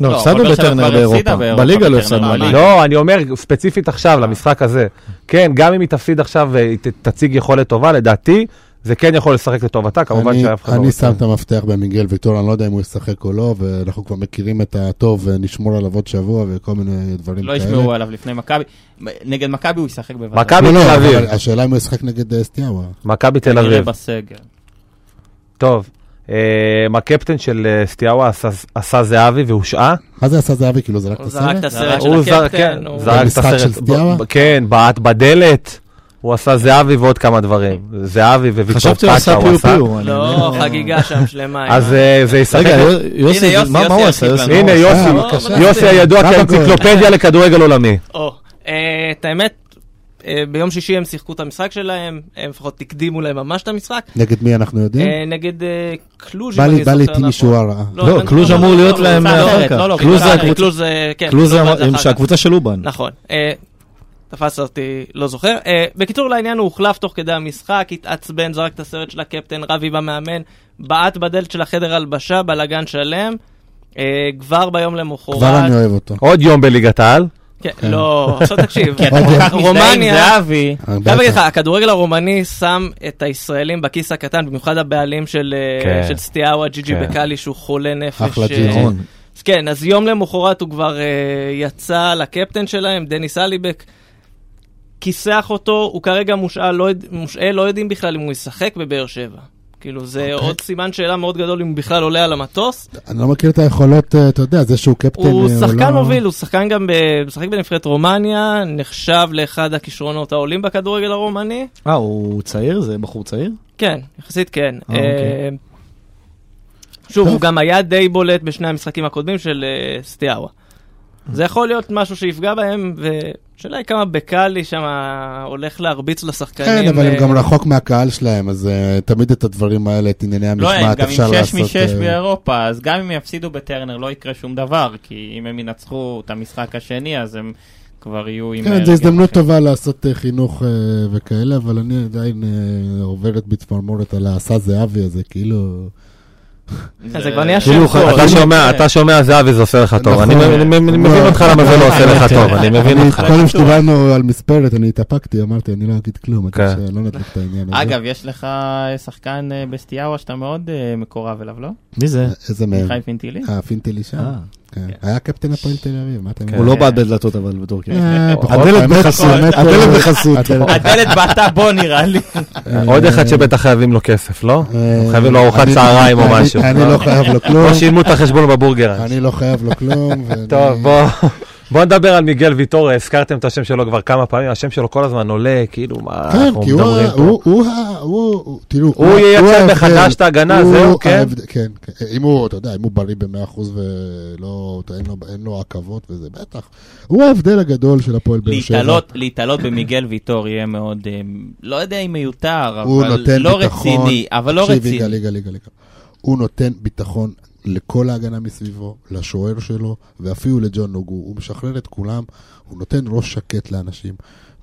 S5: לא,
S3: לא,
S5: הפסדנו
S3: אבל באר שבע
S5: בטרנר
S3: כבר הפסידה
S5: באירופה.
S3: באירופה
S5: בליגה
S3: בטרנר,
S5: לא הפסדנו.
S3: אבל-
S5: בליגה.
S1: לא, אני אומר ספציפית עכשיו, למשחק הזה. כן, גם אם היא תפסיד עכשיו ותציג יכולת טובה, לדעתי, זה כן יכול לשחק לטובתה, כמובן
S2: אני-
S1: שאף אחד לא
S2: אני
S1: רוצה.
S2: שם את המפתח במיגל ויטור, אני לא יודע אם הוא ישחק או לא, ואנחנו כבר מכירים את הטוב, ונשמור עליו עוד שבוע וכל מיני דברים
S3: לא
S2: כאלה.
S3: ישמעו עליו לפני מכבי, נגד מכבי הוא ישחק בוודאי.
S1: מכבי
S2: לא,
S1: תל
S2: לא, אבל
S1: אביב,
S2: השאלה אם הוא ישחק נגד אה, סטיאבה.
S1: מכבי תל
S3: כנראה
S1: אביב.
S3: בסגל.
S1: טוב, אה, הקפטן של אה, סטיאבה עשה- עשה זהבי והושעה.
S2: מה זה עשה זהבי? כאילו זרק את
S4: הוא זרק את
S2: הסרט?
S4: הסרט
S1: הוא
S4: אה, של
S1: זרק, כן,
S4: הקפטן, הוא-
S1: זרק את
S2: במשחק
S1: הסרט.
S2: של סטיאבה?
S1: ב- כן, בעט בדלת. הוא עשה זהבי ועוד כמה דברים. זהבי וויקטור
S5: חשבתי הוא
S1: פאקה
S5: עשה
S1: הוא
S5: פיו
S1: עשה.
S5: פיו. אני-
S4: לא, חגיגה שם שלמה.
S1: אז אה, זה ישחק.
S5: רגע, יוסי,
S4: הנה,
S5: מה
S4: יוסי,
S5: מה הוא
S4: יוסי
S5: עשה?
S4: ירחיב
S5: יוסי?
S4: לנו.
S1: הנה
S5: מה הוא
S1: יוסי,
S4: אה, בבקשה.
S1: יוסי הידוע
S2: כמה גול?
S1: כאנציקלופדיה לכדורגל עולמי.
S4: או, אה, את האמת, אה, ביום שישי הם שיחקו את המשחק שלהם, הם לפחות הקדימו להם ממש את המשחק.
S2: נגד מי אנחנו יודעים?
S4: אה, נגד אה, קלוז'
S2: בא
S4: אם
S2: לי-
S4: אני
S2: בא לי
S4: זוכר נכון.
S2: מישהו הרע.
S5: לא, קלוז' אמור להיות להם
S4: לא,
S5: אחר
S4: לא,
S5: כך.
S4: לא, לא,
S5: קלוז' זה
S4: אה,
S5: הקבוצה-
S4: קלוז' זה, כן,
S5: קלוז
S4: קלוז' זה
S5: זה
S4: אחר כך.
S5: שהקבוצה של אובן.
S4: נכון. אה, תפס אותי, לא זוכר. אה, בקיצור, לעניין הוא הוחלף תוך כדי המשחק, התעצבן, זרק את הסרט של הקפטן, רב עם המאמן, בעט בדלת של החדר הלבשה, בלאגן שלם. אה, כבר ביום למחרת.
S2: כבר אני אוהב אותו.
S1: עוד יום בליגת העל.
S4: כן, לא, עכשיו תקשיב.
S2: אתה כל כך
S3: מזדהה עם אה?
S4: רומניה,
S3: זהבי.
S4: חייב להגיד לך, הכדורגל הרומני שם את הישראלים בכיס הקטן, במיוחד הבעלים של, אה,
S1: כן.
S4: של סטיאאווה, ג'יג'י
S1: כן.
S4: בקאלי, שהוא חולה נפש.
S2: אחלה
S4: אה,
S2: ג'יג'י.
S5: נכון.
S4: אז כן, אז יום למחרת הוא כבר אה, יצא לקפטן שלהם, דניס אליבק, כיסח אותו, הוא כרגע מושאל, לא, יודע- מושאל, לא יודעים בכלל אם הוא ישחק בבאר שבע. כאילו, זה
S2: אוקיי.
S4: עוד סימן שאלה מאוד גדול אם הוא בכלל עולה על המטוס.
S2: אני לא מכיר את היכולות, אה, אתה יודע, זה שהוא קפטן.
S4: הוא
S2: אה,
S4: שחקן
S2: לא-
S4: מוביל, הוא שחקן גם, ב... משחק בנבחרת רומניה, נחשב לאחד הכישרונות העולים בכדורגל הרומני.
S5: אה, הוא צעיר? זה בחור צעיר?
S4: כן, יחסית כן.
S5: אה, אוקיי.
S4: אה, שוב,
S2: טוב.
S4: הוא גם היה די בולט בשני המשחקים הקודמים של אה, סטיאבה.
S2: אה.
S4: זה יכול להיות משהו שיפגע בהם, והשאלה היא כמה בקאלי שם הולך להרביץ לשחקנים.
S2: כן, אבל
S4: אה,
S2: הם גם רחוק מהקהל שלהם, אז אה, תמיד את הדברים האלה, את ענייני
S3: לא, הם
S2: המשמעת,
S3: גם
S2: אפשר
S3: עם 6
S2: לעשות...
S3: מ-6
S2: אה,
S3: באירופה, אז גם אם יפסידו בטרנר לא יקרה שום דבר, כי אם הם ינצחו את המשחק השני, אז הם כבר יהיו עם... אה,
S2: כן,
S3: הרכב
S2: זו הזדמנות
S3: אחר.
S2: טובה לעשות אה, חינוך אה, וכאלה, אבל אני עדיין אה, עוברת בצמרמורת על העשה זהבי הזה, כאילו...
S4: זה כבר נהיה
S1: כאילו,
S4: שם טוב.
S1: אתה שומע,
S3: כן.
S1: אתה שומע זהבי זה עושה לך טוב.
S2: נכון.
S1: אני אני- אני- אני מבין אותך למה זה לא עושה לך טוב, אני מבין
S2: אני-
S1: אותך.
S2: קודם שדיברנו על מספרת, אני התאפקתי, אמרתי, אני לא אגיד כלום, עד
S1: כן.
S2: שלא נדליק את העניין הזה.
S3: אגב, יש לך שחקן אה, בסטיאבה שאתה מאוד אה, מקורב אליו, לא?
S5: מי זה?
S2: אה, איזה מהם?
S3: חיים פינטילי?
S2: אה, פינטלי שם? כן. היה קפטן הפועל תל אביב, מה אתה
S5: הוא לא בעד בדלתות אבל בתור כאילו.
S2: אה, פחות,
S5: הדלת
S2: האמת,
S5: בחסות,
S2: האמת,
S5: הדלת
S2: אה,
S5: בחסות.
S2: הדלת-
S3: הדלת בעטה בו נראה לי.
S1: עוד אחד שבטח חייבים לו כסף, לא?
S2: אה,
S1: חייבים לו ארוחת
S2: אני-
S1: צהריים או
S2: אני-
S1: משהו.
S2: אני לא חייב לו כלום,
S1: לא שילמו את החשבון בבורגר.
S2: אני לא חייב לו כלום. ואני-
S1: טוב, בוא. בוא נדבר על מיגל ויטור, הזכרתם את השם שלו כבר כמה פעמים, השם שלו כל הזמן עולה, כאילו, מה
S2: כן,
S1: אנחנו
S2: כי הוא,
S1: מדברים
S2: ה-
S1: פה?
S2: הוא, הוא, ה- הוא, הוא, תראו,
S1: הוא ייצר
S2: ההבדל.
S1: מחדש את ההגנה,
S2: הוא
S1: זהו, כן?
S2: ההבד- כן, כן. אם הוא, אתה יודע, אם הוא בריא ב-100% ולא, אין לו, אין לו עכבות וזה, בטח. הוא ההבדל הגדול של הפועל באר שבע.
S3: להתעלות, להתעלות במיגל ויטור יהיה מאוד, אה, לא יודע אם מיותר,
S2: הוא
S3: אבל
S2: נותן
S3: לא
S2: ביטחון.
S3: רציני, אבל לא
S2: תקשיב,
S3: רציני.
S2: יגאל, יגאל, יגאל, יגאל. הוא נותן ביטחון לכל ההגנה מסביבו, לשוער שלו, ואפילו לג'ון נוגו. הוא משחרר את כולם, הוא נותן ראש שקט לאנשים.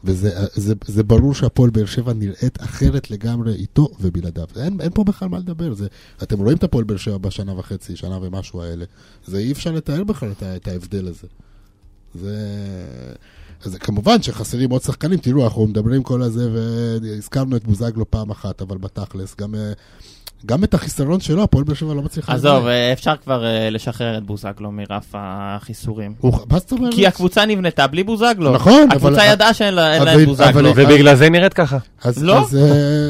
S2: וזה זה, זה ברור שהפועל באר שבע נראית אחרת לגמרי איתו ובלעדיו. אין, אין פה בכלל מה לדבר. זה, אתם רואים את הפועל באר שבע בשנה וחצי, שנה ומשהו האלה. זה אי אפשר לתאר בכלל את, ה- את ההבדל הזה. זה... אז כמובן שחסרים עוד שחקנים, תראו, אנחנו מדברים כל הזה והזכרנו את בוזגלו פעם אחת, אבל בתכלס, גם, אה, גם את החיסרון שלו, הפועל באר שבע לא מצליחה...
S3: עזוב,
S2: לנהל.
S3: אה, אפשר כבר אה, לשחרר את בוזגלו מרף החיסורים.
S2: הוא... מה זאת אומרת?
S3: אה, כי הקבוצה נבנתה בלי בוזגלו.
S2: נכון, אבל-
S3: הקבוצה ידעה שאין לה אין לה
S2: אבל-
S3: את בוזגלו.
S2: אבל-
S1: כן? ובגלל זה היא נראית ככה.
S2: אז,
S3: לא?
S2: אז, אה,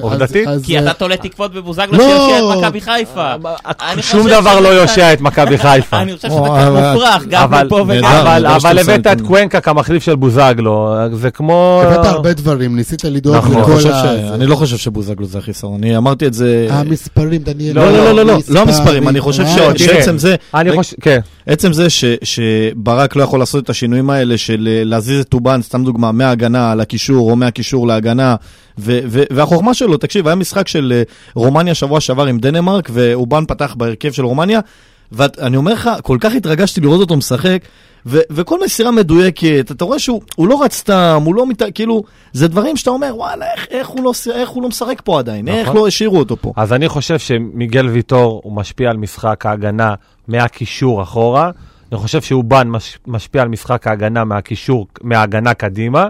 S1: עובדתית?
S2: אז, אז,
S3: כי
S2: אה,
S3: אתה תולה תקוות בבוזגלו
S2: לא.
S3: שיושיע את מכבי חיפה. אני
S1: שום
S3: חושב
S1: דבר
S3: שזה
S1: לא
S3: קצת-
S1: יושיע את מכבי חיפה.
S3: אני חושב שזה
S5: או,
S3: קצת
S5: אבל-
S3: מופרך, גם
S1: אבל-
S3: מפה וגם...
S5: נהדר,
S1: אבל
S5: נהדר שאתה
S1: אבל
S5: עושה
S1: הבאת
S5: את
S1: את
S5: זה.
S1: קוונקה כמחליף של בוזגלו, זה כמו...
S2: הבאת הרבה דברים, ניסית לדאוג
S1: נכון,
S5: אני
S1: אני
S2: לכל
S5: חושב
S2: ה...
S5: ש-
S2: זה.
S5: אני לא חושב שבוזגלו זה החיסרון, אני אמרתי את זה...
S2: המספרים, דניאל.
S5: לא, לא, לא, לא, לא, לא המספרים, אני חושב
S2: אה,
S5: ש-
S1: לא, תראה.
S5: שעצם זה,
S1: אני חושב, כן.
S5: עצם זה ש, שברק לא יכול לעשות את השינויים האלה של אה, להזיז את טובן, סתם דוגמה, מההגנה לקישור או מהקישור להגנה, ו, ו, והחוכמה שלו, תקשיב, היה משחק של אה, רומניה שבוע שעבר עם דנמרק, ואובן פתח בהרכב של רומניה, ואני אומר לך, כל כך התרגשתי לראות אותו משחק, ו, וכל מסירה מדויקת, אתה רואה שהוא הוא לא רץ סתם, הוא לא מת... כאילו, זה דברים שאתה אומר, וואלה, איך, איך, הוא, לא, ש- איך הוא לא משחק פה עדיין, נכון. איך
S1: נכון.
S5: לא השאירו אותו פה.
S1: אז אני חושב שמיגל ויטור הוא משפיע על משחק ההגנה מהקישור אחורה. אני חושב שאובן מש, משפיע על משחק ההגנה מהקישור, מההגנה קדימה,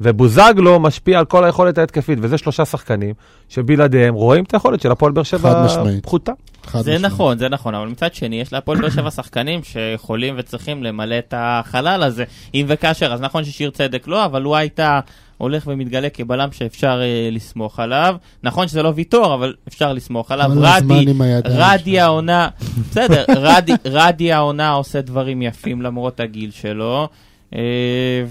S1: ובוזגלו משפיע על כל היכולת ההתקפית, וזה שלושה שחקנים שבלעדיהם רואים את היכולת של הפועל באר שבע
S2: חד משמעית.
S1: פחותה.
S3: זה נכון, זה נכון, אבל מצד שני, יש להפועל באר שבע שחקנים שיכולים וצריכים למלא את החלל הזה, אם וכאשר. אז נכון ששיר צדק לא, אבל הוא הייתה הולך ומתגלה כבלם שאפשר אה, לסמוך עליו. נכון שזה לא ויטור, אבל אפשר לסמוך עליו.
S2: כל הזמן
S3: רדי,
S2: לא עם הידיים
S3: רדי
S2: שלו.
S3: העונה, בסדר, רדי, רדי העונה עושה דברים יפים למרות הגיל שלו. אה,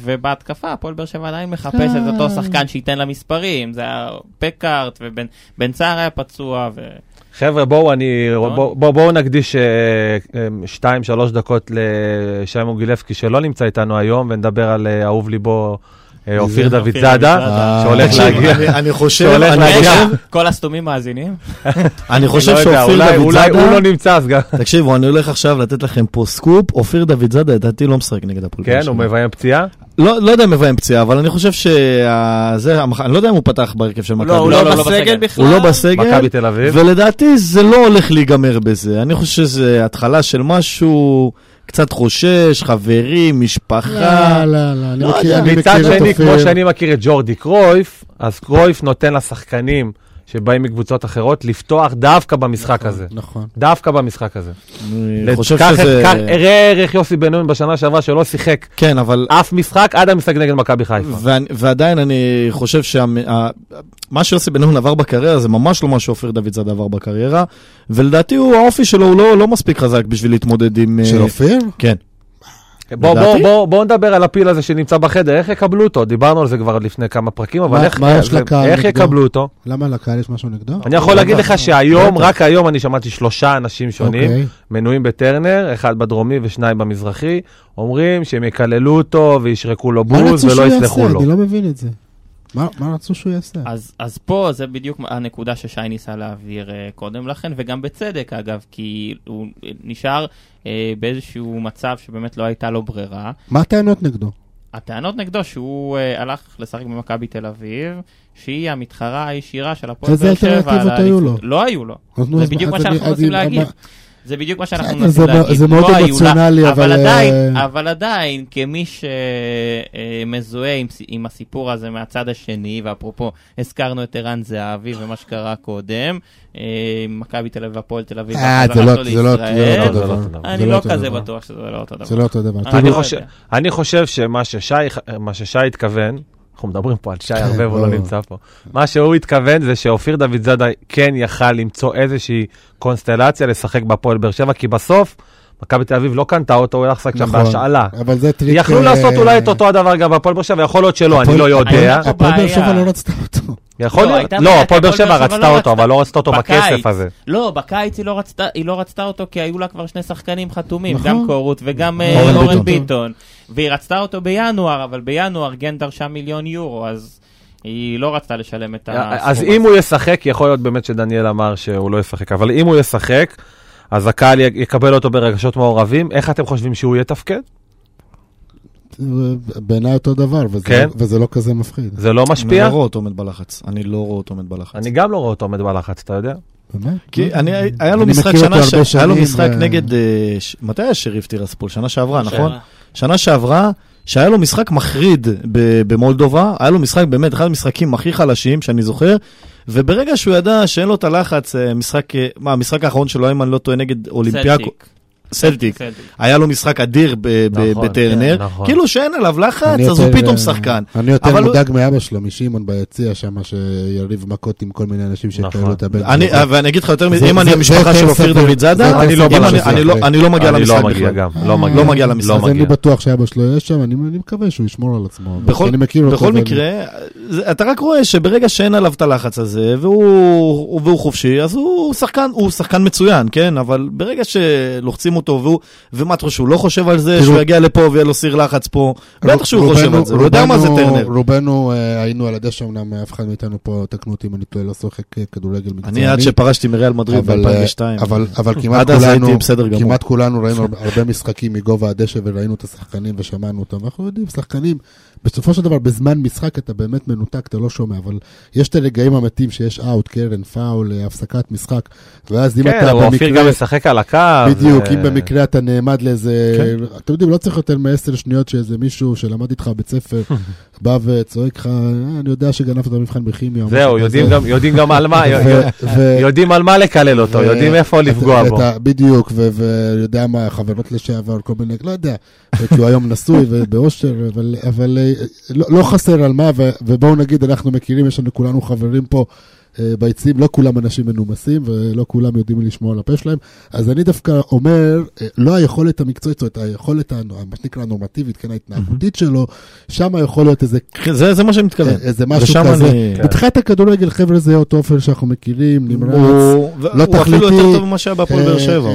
S3: ובהתקפה, הפועל באר שבע עדיין מחפש את אותו
S2: כן.
S3: שחקן שייתן לה מספרים, זה היה פקארט, ובן בן צער היה פצוע, ו...
S1: חבר'ה, בואו אני,
S3: נכון.
S1: בואו בוא, בוא נקדיש אה, 2-3 דקות לשי מוגילבסקי שלא נמצא איתנו היום, ונדבר על אה, אהוב ליבו אה, אופיר דוד זאדה, שהולך
S5: תקשיב,
S1: להגיע.
S5: אה, אני- אני חושב,
S1: שהולך
S5: אני
S1: להגיע.
S5: חושב-
S3: כל הסתומים מאזינים?
S5: אני חושב
S1: לא יודע,
S5: שאופיר
S1: אולי-
S5: דוד
S1: אולי
S5: זאדה...
S1: הוא לא נמצא אז גם.
S5: תקשיבו, אני הולך עכשיו לתת לכם פה סקופ, אופיר דוד זאדה לדעתי לא משחק נגד הפועל.
S1: כן,
S5: באר שבע.
S1: הוא מביים פציעה.
S5: לא, לא יודע אם מביים פציעה, אבל אני חושב שזה, אני לא יודע אם הוא פתח בהרכב של מכבי.
S4: לא, הוא לא
S3: לא, לא
S4: בסגל
S3: בסגל.
S4: בכלל.
S5: הוא לא בסגל,
S1: מכבי תל אביב.
S5: ולדעתי זה לא הולך להיגמר בזה. אני חושב שזה התחלה של משהו, קצת חושש, חברים, משפחה.
S1: אה,
S2: לא, לא, לא, אני
S5: לא
S2: מכיר
S5: יודע.
S2: אני
S1: מצד
S2: מכיר את
S1: שני, כמו
S2: אופיר.
S1: שאני מכיר את ג'ורדי קרויף, אז קרויף נותן לשחקנים שבאים מקבוצות אחרות לפתוח דווקא במשחק הזה.
S2: נכון.
S1: דווקא במשחק הזה.
S5: אני חושב
S1: קח את-
S5: שזה...
S1: קח- ראה איך יוסי בן נון בשנה שעברה שלא שיחק
S5: כן, אבל
S1: אף משחק עד המשחק נגד מכבי חיפה.
S5: ואני- ועדיין אני חושב שמה שיוסי בן נון עבר בקריירה זה ממש לא מה שאופיר דוד זאדה עבר בקריירה, ולדעתי הוא, האופי שלו הוא לא, לא מספיק חזק בשביל להתמודד עם... אה,
S2: של אופיר?
S5: כן.
S2: אה,
S1: בואו
S5: לדעתי-
S1: נדבר על הפיל הזה שנמצא בחדר, איך יקבלו אותו? דיברנו על זה כבר עוד לפני כמה פרקים, אבל
S2: מה-
S1: איך-
S2: מה יש לקהל
S1: איך
S2: נגדו?
S1: יקבלו אותו?
S2: למה לקהל יש משהו נגדו?
S1: אני יכול להגיד לך שהיום,
S5: בטח.
S1: רק היום, אני שמעתי שלושה אנשים שונים,
S2: אוקיי.
S1: מנויים בטרנר, אחד בדרומי ושניים במזרחי, אומרים שהם יקללו אותו וישרקו לו
S2: מה
S1: בוז
S2: רצו שהוא
S1: ולא
S2: יעשה?
S1: יסלחו לו.
S2: אני לא מבין את זה. מה מה רצו שהוא יעשה?
S3: אז, אז פה זה בדיוק הנקודה ששי ניסה להעביר uh, קודם לכן, וגם בצדק אגב, כי הוא אה, נשאר uh, באיזשהו מצב שבאמת לא הייתה לו ברירה.
S2: מה הטענות נגדו?
S3: הטענות נגדו שהוא אה, הלך לשחק במכבי תל אביב, שהיא המתחרה הישירה של הפועל
S2: איזה
S3: באר שבע. על
S2: אלטרנטיבות היו
S3: האליפות.
S2: לו?
S3: לא היו לו.
S2: אז נו,
S3: זה
S2: אז
S3: בדיוק מה
S2: אז
S3: שאנחנו
S2: אני- אז
S3: רוצים
S2: היא-
S3: להגיד.
S2: אבל-
S3: זה בדיוק מה שאנחנו
S2: בסדר,
S3: מנסים
S2: זה-
S3: להגיד.
S2: זה מאוד
S3: לא היו לה-
S2: אמוציונלי, אבל,
S3: אבל... עדיין,
S2: אה,
S3: אבל עדיין, כמי שמזוהה עם, סי- עם הסיפור הזה מהצד השני, ואפרופו, הזכרנו את ערן זהבי ומה שקרה קודם, אה, מכבי תל אביב והפועל תל אביב,
S2: אה, זה לא-
S3: והחזרתו
S2: זה לא- זה לא
S3: לישראל,
S1: אותו
S2: אותו
S1: דבר.
S2: דבר.
S3: אני
S2: זה
S3: לא
S2: אותו
S3: כזה
S2: דבר.
S3: בטוח שזה לא אותו דבר.
S2: זה לא אותו דבר.
S3: אני
S1: אה, אני
S3: לא
S1: חושב-
S3: יודע.
S1: אני חושב שמה ששי, מה ששי התכוון, אנחנו מדברים פה על שי הרבה והוא לא
S2: ברור.
S1: נמצא פה, מה שהוא התכוון זה שאופיר דוד זאדה כן יכל למצוא איזושהי קונסטלציה לשחק בהפועל באר שבע, כי בסוף מכבי תל אביב לא קנתה אותו, הוא הלך לשחק שם
S2: נכון.
S1: בהשאלה.
S2: אבל זה טריק...
S1: יכלו
S2: אה,
S1: לעשות אולי את אותו הדבר גם בהפועל באר שבע, יכול להיות שלא, אני לא יודע.
S3: היה-
S2: הפועל באר שבע
S3: בעיה.
S2: לא רצתה אותו.
S1: יכול
S3: לא,
S1: להיות,
S3: הייתה
S1: לא,
S3: בעיה,
S1: הפועל באר
S3: הפועל
S1: שבע
S3: באר שבע
S1: רצתה
S3: לא
S1: אותו,
S3: רצתה.
S1: אבל לא רצתה אותו
S3: בקיץ.
S1: בכסף הזה.
S3: לא, בקיץ היא לא רצתה, היא לא רצתה אותו כי היו לה כבר שני שחקנים חתומים,
S2: נכון.
S3: גם קורות וגם אה,
S2: אורן
S3: אורן
S2: ביטון.
S3: ביטון. והיא רצתה אותו בינואר, אבל בינואר גן דרשה מיליון יורו, אז היא לא רצתה לשלם את הסכום.
S1: אז
S3: הזה.
S1: אם הוא ישחק, יכול להיות באמת שדניאל אמר שהוא לא ישחק, אבל אם הוא ישחק, אז הקהל י- יקבל אותו ברגשות מעורבים. איך אתם חושבים שהוא יתפקד?
S2: בעיניי אותו דבר, וזה-
S1: כן.
S2: וזה לא כזה מפחיד.
S1: זה לא
S5: אני
S1: משפיע?
S5: לא רואה אותו עומד בלחץ. אני לא רואה אותו עומד בלחץ.
S1: אני גם לא רואה אותו עומד בלחץ, אתה
S2: לא
S1: יודע?
S2: באמת?
S5: כי אני, היה לו
S2: אני
S5: משחק
S2: מכיר אותו
S5: שנה, ש...
S2: הרבה
S5: היה לו
S2: שנים,
S5: משחק
S2: ו-
S5: נגד, אה, ש... מתי היה שריף טירספול? שנה
S2: אה,
S5: שעברה, נכון?
S3: לא-
S4: שעברה.
S5: שנה שעברה, שהיה לו משחק מחריד ב- במולדובה, היה לו משחק באמת, אחד המשחקים הכי חלשים שאני זוכר, וברגע שהוא ידע שאין לו את הלחץ, אה, משחק, אה, מה, המשחק האחרון שלו, אם אני לא טועה, נגד אולימפיאקו,
S3: סלטיק.
S5: סלטיק,
S3: סלטיק.
S5: היה לו משחק אדיר ב- ב-
S1: נכון,
S5: בטרנר,
S1: כן, נכון.
S5: כאילו שאין עליו לחץ,
S2: אני
S5: אז הוא
S2: יותר,
S5: פתאום
S2: אה,
S5: שחקן.
S2: אני יותר
S5: אבל הוא-
S2: מודאג מאבא שלו, משמעון ביציע שם, שיריב מכות עם כל מיני אנשים
S1: נכון.
S2: שיקראו לו את הבן.
S5: אני, אה,
S2: שלו.
S5: ואני אגיד לך יותר מזה,
S2: זה-
S5: אם
S2: זה-
S5: אני
S2: זה
S5: המשפחה
S2: יותר
S5: של אופיר
S2: סביר.
S5: דוד זאדה,
S2: זה כן
S1: אני לא
S5: אם
S1: בא
S5: אני-
S1: למשחק.
S5: אני לא- אני לא מגיע
S1: אני
S5: למשחק
S1: לא מגיע
S5: בכלל.
S1: גם, לא מגיע.
S5: לא מגיע למשחק.
S1: לא
S2: אז אני
S1: מגיע.
S2: בטוח שאבא שלו יהיה שם, אני אני מקווה שהוא ישמור על עצמו. אבל
S5: בכל-
S2: אני מכיר אותו
S5: בכל
S2: ואני-
S5: מקרה, זה- אתה רק רואה שברגע שאין עליו את הלחץ הזה, והוא והוא חופשי, אז הוא שחקן, הוא שחקן מצוין, כן? אבל ברגע שלוחצים אותו, והוא, ומה אתה חושב, שהוא לא חושב על זה,
S2: תראו-
S5: שהוא יגיע לפה ויהיה לו סיר לחץ פה, בטח שהוא
S2: רובנו-
S5: חושב על זה, הוא יודע מה זה
S2: רובנו-
S5: טרנר.
S2: רובנו אה, היינו על הדשא, אמנם אף אחד מאיתנו פה, תקנו אותי אם אני טועה, לא שוחק אה, כדורגל מקצועני.
S5: אני עד שפרשתי מריאל מדריד
S2: אבל, אה,
S5: ב-2002.
S2: אבל, אבל כמעט
S5: עד אז
S2: כולנו,
S5: הייתי בסדר גמור.
S2: כמעט כולנו ראינו הרבה- הרבה משחקים מגובה הדשא וראינו את השחקנים ושמענו אותם. אנחנו יודעים, שחקנים, בסופו של דבר בזמן משחק אתה באמת מנותק, אתה לא שומע, אבל יש את הרגעים המתים שיש אאוט, קרן, פאול, אה, הפסקת משחק, ואז אם
S1: כן,
S2: אתה
S1: אבל אופיר
S2: במקרה...
S1: גם משחק על הקו.
S2: בדיוק,
S1: אה, כן.
S2: אם במקרה אתה נעמד לאיזה... אתם יודעים, לא צריך יותר מעשר שניות שאיזה מישהו שלמד איתך בבית ספר בא וצועק לך, "אה, אני יודע שגנבת את המבחן בכימיה. או משהו
S1: זהו, יודעים
S2: כזה."
S1: גם- יודעים גם על מה,
S2: ו- ו-
S1: יודעים על מה לקלל אותו,
S2: ו-
S1: יודעים איפה
S2: אה, אתה-
S1: לפגוע בו.
S2: אתה- בדיוק, ו- ויודע מה, חברות לשעבר, כל מיני, לא יודע, כי הוא היום נשוי ובאושר, אבל- אבל אה, לא לא חסר על מה, ו- ובואו נגיד, אנחנו מכירים, יש לנו כולנו חברים פה. אה, ביציעים, לא כולם אנשים מנומסים ולא כולם יודעים לשמוע על הפה שלהם. אז אני דווקא אומר, אה, לא היכולת המקצועית, זאת אומרת, היכולת, הנו- מה שנקרא, הנורמטיבית, כן, ההתנהגותית שלו, שם יכול להיות איזה
S1: כן.
S5: כן, זה זה מה שאני מתכוון.
S2: איזה אה, משהו
S5: ושם
S2: כזה. כן.
S5: אני-
S2: בתחילת הכדורגל, חבר'ה, זה אותו אופן שאנחנו מכירים, נמרץ.
S5: הוא
S2: לא
S5: הוא אפילו
S2: תכליתי.
S5: יותר טוב ממה שהיה בהפועל באר שבע.
S2: אה,
S5: הוא-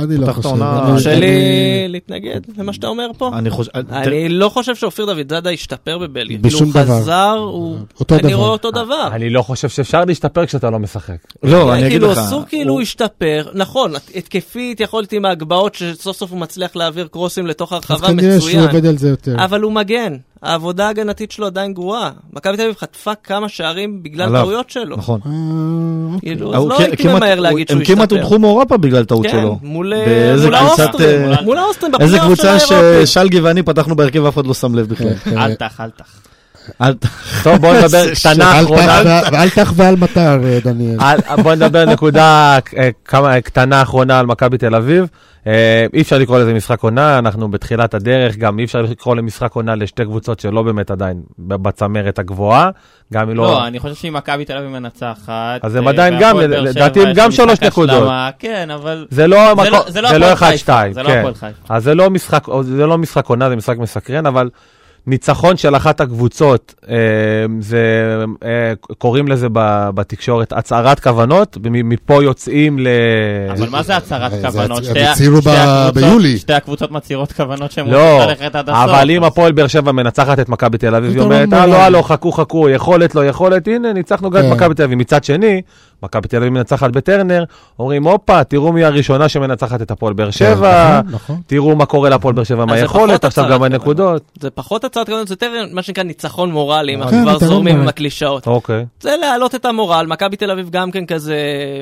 S2: אה, אני לא
S5: פתח את
S2: חושב.
S5: העונה-
S2: אני-
S4: שלי
S2: אני-
S4: להתנגד למה שאתה אומר פה?
S2: אה,
S5: אני חושב...
S4: אני לא חושב שאופיר דוד זאדה השתפר בבלגיה.
S2: בשום
S4: כאילו,
S2: דבר.
S4: הוא חזר, הוא...
S2: אותו
S4: אני
S2: דבר.
S4: רואה אותו דבר.
S1: אני לא חושב שאפשר להשתפר כשאתה לא משחק.
S5: לא, אני אגיד
S4: כאילו,
S5: לך.
S4: אסור כאילו הוא השתפר, נכון, הת- התקפית יכולתי מהגבהות שסוף סוף הוא מצליח להעביר קרוסים לתוך
S2: אז
S5: כן,
S4: הרחבה
S2: כנראה שהוא
S4: מצוין, אה,
S2: עובד על זה יותר.
S4: אבל הוא מגן, העבודה ההגנתית שלו עדיין גרועה. מכבי תל אביב חטפה כמה שערים בגלל
S5: עליו.
S4: טעויות שלו.
S5: נכון.
S2: אה, אוקיי.
S4: כאילו, אז
S5: הוא
S4: לא
S5: כן-
S4: הייתי
S5: כמעט-
S4: ממהר
S5: הוא-
S4: להגיד שהוא
S5: הם כמעט
S4: השתפר.
S5: הודחו מאירופה בגלל טעות
S4: כן,
S5: שלו.
S4: מול
S5: באיזה
S4: מול
S5: קבוצת,
S4: האוסטרים,
S5: אה,
S4: מול האוסטרים
S5: איזה
S4: בפלייאוף של
S5: קבוצה
S4: האירופי.
S5: ששלגי ואני פתחנו בהרכב ואף אחד לא שם לב
S2: כן,
S5: בכלל.
S4: כן.
S3: אל תח, אל תח.
S5: אל-
S1: טוב, בוא נדבר
S5: זה
S1: קטנה
S2: אל
S1: אחרונה.
S2: תח ו- ואל תח ואל מטר, אה, דניאל.
S1: על- בוא נדבר נקודה אה, כמה- קטנה אחרונה על מכבי תל אביב. אה, אי אפשר לקרוא לזה משחק עונה, אנחנו בתחילת הדרך, גם אי אפשר לקרוא למשחק עונה לשתי קבוצות שלא באמת עדיין ב- בצמרת הגבוהה, גם אם לא...
S3: לא, אני חושב שאם מכבי תל אביב מנצחת...
S1: אז הם
S3: אה,
S1: עדיין גם,
S3: והפועל באר
S1: לדעתי
S3: שבע
S1: הם גם
S3: יש להם
S1: שלוש
S3: משחק
S1: נקודות.
S3: השלמה, כן, אבל...
S1: זה לא
S3: זה
S1: המקום-
S3: לא- זה לא הפועל חיפה,
S1: 1-2,
S3: זה לא
S1: כן.
S3: הפועל חיפה.
S1: אז זה לא משחק, זה לא משחק עונה, זה משחק מסקרן, אבל ניצחון של אחת הקבוצות, אה, זה, אה, קוראים לזה ב- בתקשורת הצהרת כוונות, מ- מפה יוצאים ל...
S3: אבל מה זה הצהרת
S2: אה, זה
S3: כוונות?
S2: הצ-
S3: שתי
S2: הם
S3: ה-
S2: הצהירו
S3: שתי
S2: ב-
S3: הקבוצות-
S2: ביולי.
S3: שתי הקבוצות מצהירות כוונות שהן
S1: לא,
S3: רוצות ללכת עד הסוף.
S1: אבל אם
S3: אז-
S1: הפועל באר שבע מנצחת את מכבי תל אביב, היא
S2: פתרון
S1: אומרת, הלו,
S2: מלא.
S1: הלו, חכו, חכו, יכולת, לא יכולת, הנה, ניצחנו גם את
S2: כן.
S1: מכבי תל אביב. מצד שני, מכבי תל אביב מנצחת בטרנר, אומרים, הופה, תראו מי הראשונה שמנצחת את הפועל באר שבע,
S5: אה,
S2: נכון, נכון.
S1: תראו מה קורה להפועל באר שבע, מה
S3: אה,
S4: אז זה
S1: היכולת,
S4: פחות
S1: עכשיו
S4: הצהרת
S1: גם הנקודות.
S4: זה פחות הצעד קודם, זה יותר מה שנקרא ניצחון מורלי, אם
S2: כן,
S4: אנחנו כבר
S2: אתה לא
S4: זורמים עם
S2: באמת.
S4: הקלישאות.
S1: אוקיי.
S4: זה להעלות את המורל, מכבי תל אביב גם כן כזה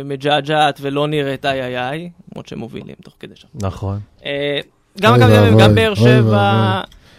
S4: מג'עג'עת ולא נראית איי איי איי, למרות שהם מובילים תוך כדי שם.
S1: נכון.
S4: אה, גם
S2: אוי
S4: מכבי תל אביב,
S2: ואבוי,
S4: גם באר
S2: אוי
S4: שבע,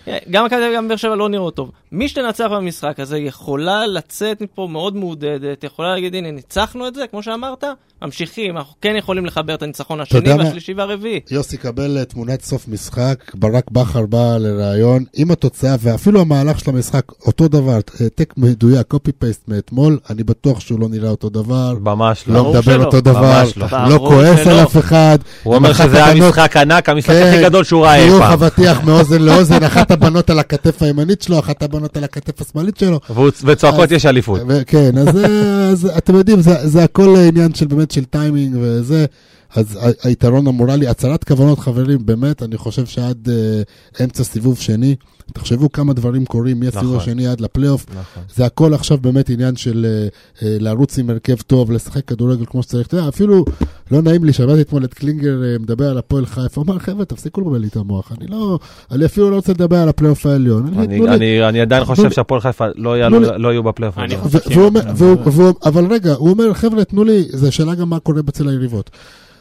S4: אה, גם מכבי תל אביב, גם באר שבע לא נראות טוב. מי שתנצח במשחק הזה יכולה לצאת מפה מאוד מעודדת, יכולה להגיד, הנה, ניצחנו את זה, כמו שאמרת, ממשיכים, אנחנו כן יכולים לחבר את הניצחון השני
S2: יודע מה?
S4: והשלישי והרביעי.
S2: יוסי קבל אה, תמונת סוף משחק, ברק בכר בא לראיון עם התוצאה ואפילו המהלך של המשחק אותו דבר, העתק מדויק, קופי פייסט מאתמול, אני בטוח שהוא לא נראה אותו דבר,
S1: ממש לא.
S2: לא
S4: ברור
S2: מדבר
S4: שלא,
S2: אותו דבר,
S1: ממש לא.
S2: לא
S4: ברור
S2: כועס
S4: שלא.
S2: על אף אחד.
S1: הוא אומר
S2: אחת
S1: שזה היה
S2: הבנות-
S1: משחק ענק, המשחק
S2: לא, כן,
S1: הכי גדול שהוא ראה אי
S2: חיוך
S1: פעם.
S2: אבטיח מאוזן לאוזן, אחת הבנות על הכתף הימנית שלו, אחת הבנות על הכתף השמאלית שלו.
S1: והוא- וצועקות יש אליפות.
S2: ו- כן, אז, אה, אז אתם יודעים, זה, זה הכל עניין של באמת של טיימינג וזה. אז ה- היתרון המורלי, הצהרת כוונות חברים, באמת, אני חושב שעד אה, אמצע סיבוב שני, תחשבו כמה דברים קורים מהסיבוב
S1: נכון.
S2: השני עד לפלייאוף.
S1: נכון.
S2: זה הכל עכשיו באמת עניין של אה, אה, לרוץ עם הרכב טוב, לשחק כדורגל כמו שצריך. אתה יודע, אפילו לא נעים לי, שמעתי אתמול את קלינגר אה, מדבר על הפועל חיפה, הוא אמר, חבר'ה, תפסיקו לבלבל לי את המוח, אני לא, אני אפילו לא רוצה לדבר על הפלייאוף העליון. אני-
S1: אני-
S2: אה, תנו לי-
S1: אני- אני עדיין חושב
S2: לי-
S1: שהפועל חיפה לא
S2: תנו
S1: יעלו-
S2: לי-
S1: לא יהיו בפלייאוף.
S3: אני
S1: הזה.
S3: חושב-
S2: ו- והוא אומר- והוא- והוא- אבל רגע, הוא אומר, חבר'ה, תנו לי, זו שאלה גם מה קורה בצל היריבות.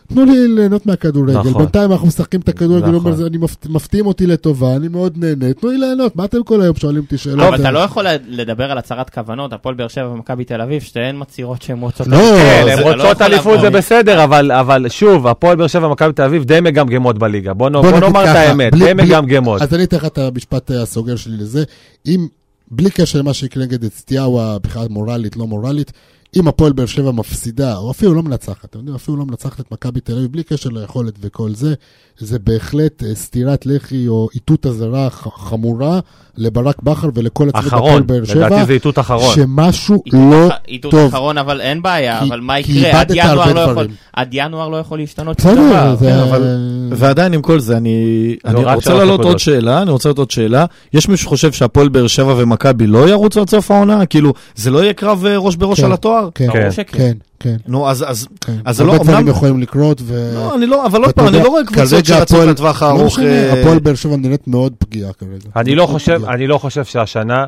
S2: תנו לי ליהנות מהכדורגל,
S1: נכון.
S2: בינתיים אנחנו משחקים את הכדורגל, הוא אומר,
S1: נכון.
S2: "זה- אני מפת- מפתיעים אותי לטובה, אני מאוד נהנה, תנו לי ליהנות, מה אתם כל היום שואלים אותי שאלות?
S3: אבל אתה לא יכול לדבר על הצהרת כוונות, הפועל באר שבע ומכבי תל אביב, שתיהן מצהירות שהן רוצות...
S2: לא,
S3: אליפות.
S1: כן,
S3: אתה
S1: הן
S3: לא
S1: רוצות
S3: יכול
S1: אליפות זה
S3: לעבור.
S1: בסדר, אבל- אבל שוב, הפועל באר שבע ומכבי תל אביב די מגמגמות בליגה. בוא נו-
S2: בוא
S1: לא, בוא
S2: נגיד
S1: נאמר את
S2: ככה,
S1: האמת,
S2: בלי-
S1: די
S2: בלי-
S1: מגמגמות.
S2: אז אני אתן לך את המשפט אה, הסוגר שלי לזה. אם, בלי קשר למה שיקרה נגד אצטיהו, הבחירה מורלית, לא מורלית, אם הפועל באר שבע מפסידה, או אפילו לא מנצחת, אתם יודעים, אפילו לא מנצחת את מכבי תל אביב, בלי קשר ליכולת וכל זה, זה בהחלט אה, סטירת לחי או איתות אזהרה ח- חמורה לברק בכר ולכל הצוות הפועל
S1: אחרון,
S2: באר שבע,
S1: לדעתי זה איתות אחרון.
S2: שמשהו
S3: עיתות
S2: לא
S3: אח- עיתות
S2: טוב.
S3: אחרון, אבל אין בעיה,
S2: כי-
S3: אבל מה
S2: כי
S3: יקרה? עד
S2: איבדת
S3: ינואר
S2: הרבה
S3: לא יכול...
S2: דברים.
S3: עד ינואר לא יכול להשתנות שום דבר.
S2: בסדר, זה...
S5: כן, אבל- ועדיין עם כל זה, אני,
S1: לא,
S5: אני
S1: רק
S5: רוצה
S1: שלוש
S5: להעלות
S1: נקודות.
S5: עוד שאלה, אני רוצה להעלות עוד שאלה. יש מישהו שחושב שהפועל באר שבע ומכבי לא ירוצו עד סוף העונה? כאילו, זה לא יהיה קרב אה, ראש בראש
S2: כן.
S5: על התואר?
S2: כן,
S1: ברור
S3: שכן.
S2: כן, כן.
S5: נו, אז, אז,
S2: כן.
S5: אז זה לא,
S2: הרבה דברים
S5: אמנם...
S2: יכולים לקרות, ו...
S5: לא, אני לא, אבל עוד
S2: אה, אתה
S5: פעם, אני
S2: יודע,
S5: לא רואה קבוצות
S2: כרגע
S5: שרצות
S2: הפועל-
S5: לטווח
S2: לא
S5: הארוך.
S2: משנה,
S5: אה,
S2: הפועל באר שבע נראית מאוד פגיעה כרגע.
S1: אני לא
S2: מאוד
S1: חושב,
S2: פגיעה.
S1: אני לא חושב שהשנה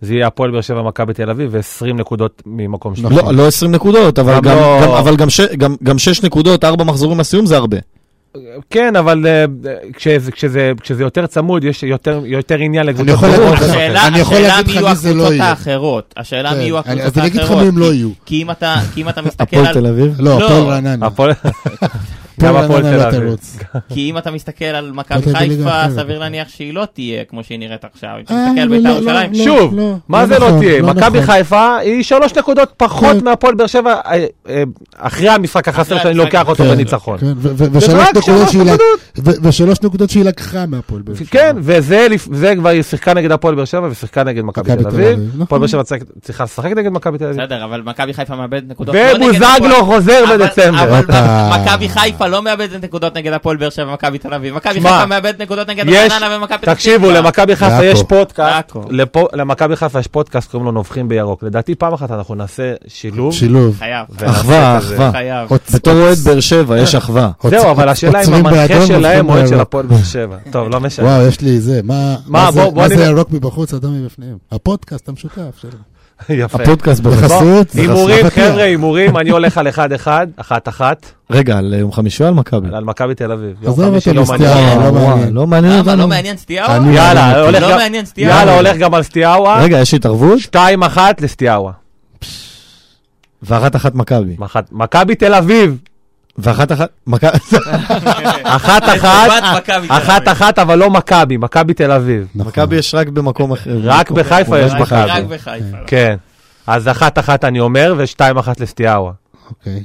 S1: זה יהיה הפועל באר שבע מכבי תל אביב ו-20 נקודות ממקום שני.
S5: לא, לא 20 נקודות, אבל
S1: גם
S5: גם-
S1: לא-
S5: גם- אבל גם ש- גם- גם 6 נקודות, 4 מחזורים לסיום זה הרבה.
S1: כן, אבל אה, כשזה- כשזה כשזה יותר צמוד, יש יותר יותר עניין לקבוצות.
S2: יכול
S1: אחרות.
S2: להגיד לך-
S3: השאלה
S2: אני יכול
S3: השאלה
S2: להגיד
S3: מי
S2: לך
S3: יהיו
S2: מי זה לא
S3: הקבוצות
S2: יהיה.
S3: האחרות. השאלה מי
S2: כן,
S3: יהיו
S2: אני-
S3: הקבוצות
S2: אז אני אגיד לך
S3: האחרות.
S2: מי הם לא יהיו.
S3: כי אם אתה, כי אם אתה מסתכל
S4: כן,
S5: הפועל
S3: על,
S5: תל אביב?
S2: לא,
S3: לא.
S2: הפועל רעננה.
S1: הפועל- גם
S2: הפועל
S1: הפועל
S2: רעננה
S1: תל
S2: לא
S1: אביב.
S2: תרוץ.
S3: כי אם אתה מסתכל על
S2: לא
S3: מכבי
S2: תהיה בליגה
S3: חיפה,
S2: אחרת.
S3: סביר להניח שהיא לא תהיה כמו שהיא נראית עכשיו. אם אתה
S2: אה,
S3: מסתכל על
S2: לא,
S3: בית"ר
S2: לא,
S3: ירושלים,
S2: לא,
S1: כן, שוב,
S2: לא,
S1: מה
S2: לא
S1: זה לא
S2: נכון,
S1: תהיה?
S2: לא
S1: מכבי
S2: נכון.
S1: חיפה היא שלוש נקודות פחות
S2: כן.
S1: מהפועל באר שבע אה, אה, אחרי המשחק החסר
S3: אחרי
S1: שאני
S3: המשחק.
S1: לוקח אותו
S2: כן,
S1: בניצחון.
S2: כן, ו- ו-
S1: זה
S2: ושלוש
S1: רק
S2: נקודות
S1: שלוש
S2: שהיא
S1: נקודות.
S2: לק- ו- ושלוש נקודות שהיא לקחה מהפועל באר שבע.
S1: כן, וזה לפ- זה כבר היא שיחקה נגד הפועל באר שבע ושיחקה נגד מכבי תל אביב. הפועל
S2: נכון.
S1: באר שבע צריך- צריכה לשחק נגד מכבי תל אביב.
S3: בסדר, אבל מכבי חיפה מאבדת נקודות. לא נגד הפועל-
S1: ובוזגלו חוזר
S3: אבל-
S1: בדצמבר.
S3: אבל
S2: הופה.
S3: מכבי חיפה לא מאבדת נקודות נגד הפועל באר שבע ומכבי תל אביב. מכבי
S1: שמע,
S3: חיפה מאבדת נקודות נגד
S1: יש-
S3: רעננה ומכבי לא. פתח
S1: תקשיבו,
S3: תקווה.
S1: למכבי חיפה
S2: לעכו.
S1: יש פודקאסט,
S3: לעכו.
S1: לפו- למכבי חיפה יש פודקאסט, קוראים לו נובחים בירוק. לדעתי פעם אחת אנחנו נעשה שילוב.
S2: שילוב.
S3: חייב,
S1: ונעשה
S5: אחווה,
S1: את זה.
S5: אחווה.
S3: חייב.
S2: עוצ-
S5: בתור
S2: עוצ-
S5: אוהד באר שבע יש אחווה.
S1: זהו,
S2: עוצ-
S1: אבל
S2: עוצ-
S1: השאלה אם
S2: עוצרים
S1: המנחה
S2: באדום,
S1: שלהם
S2: הופכים
S1: הוא אוהד של
S2: לירוק.
S1: הפועל באר שבע. טוב, לא משנה.
S2: וואו, יש לי זה, מה
S1: מה,
S2: מה זה-
S1: בוא- בוא
S2: מה זה
S1: נראה.
S2: ירוק מבחוץ, אדום מבפנים? הפודקאסט המשותף שלנו.
S1: יפה.
S5: הפודקאסט בחסות.
S2: בחסות?
S1: הימורים,
S2: בחסות
S1: חבר'ה,
S2: הפתיח.
S1: הימורים, אני הולך על 1-1, 1-1,
S5: רגע, על אה, יום חמישי או על מכבי?
S1: על מכבי תל אביב. יום
S2: עזוב
S1: חמישי
S2: אותו,
S1: לא
S2: מסתער.
S1: מעניין.
S5: אה,
S2: לא
S5: וואי,
S2: מעניין.
S5: לא מעניין
S3: למה,
S5: אותנו.
S3: לא מעניין סטיהו?
S5: אני-
S1: יאללה,
S5: לא
S1: הולך
S3: לא
S1: גם-
S3: מעניין סטיהו.
S1: יאללה, הולך גם על סטיאאווה,
S5: רגע, יש התערבות?
S1: 2-1 לסטיאאווה.
S5: ואחת אחת מכבי.
S1: מחת- מכבי תל אביב,
S5: ואחת אחת... מכבי-
S1: 1-1,
S3: לטובת מכבי תל אביב.
S1: 1-1, אבל לא מכבי, מכבי תל אביב.
S2: נכון.
S5: מכבי יש רק במקום אחר.
S1: רק בחיפה יש
S5: רק
S1: מכבי.
S3: רק בחיפה.
S1: כן. אז אחת אחת אני אומר, ושתיים אחת לסטיאאווה.
S2: אוקיי.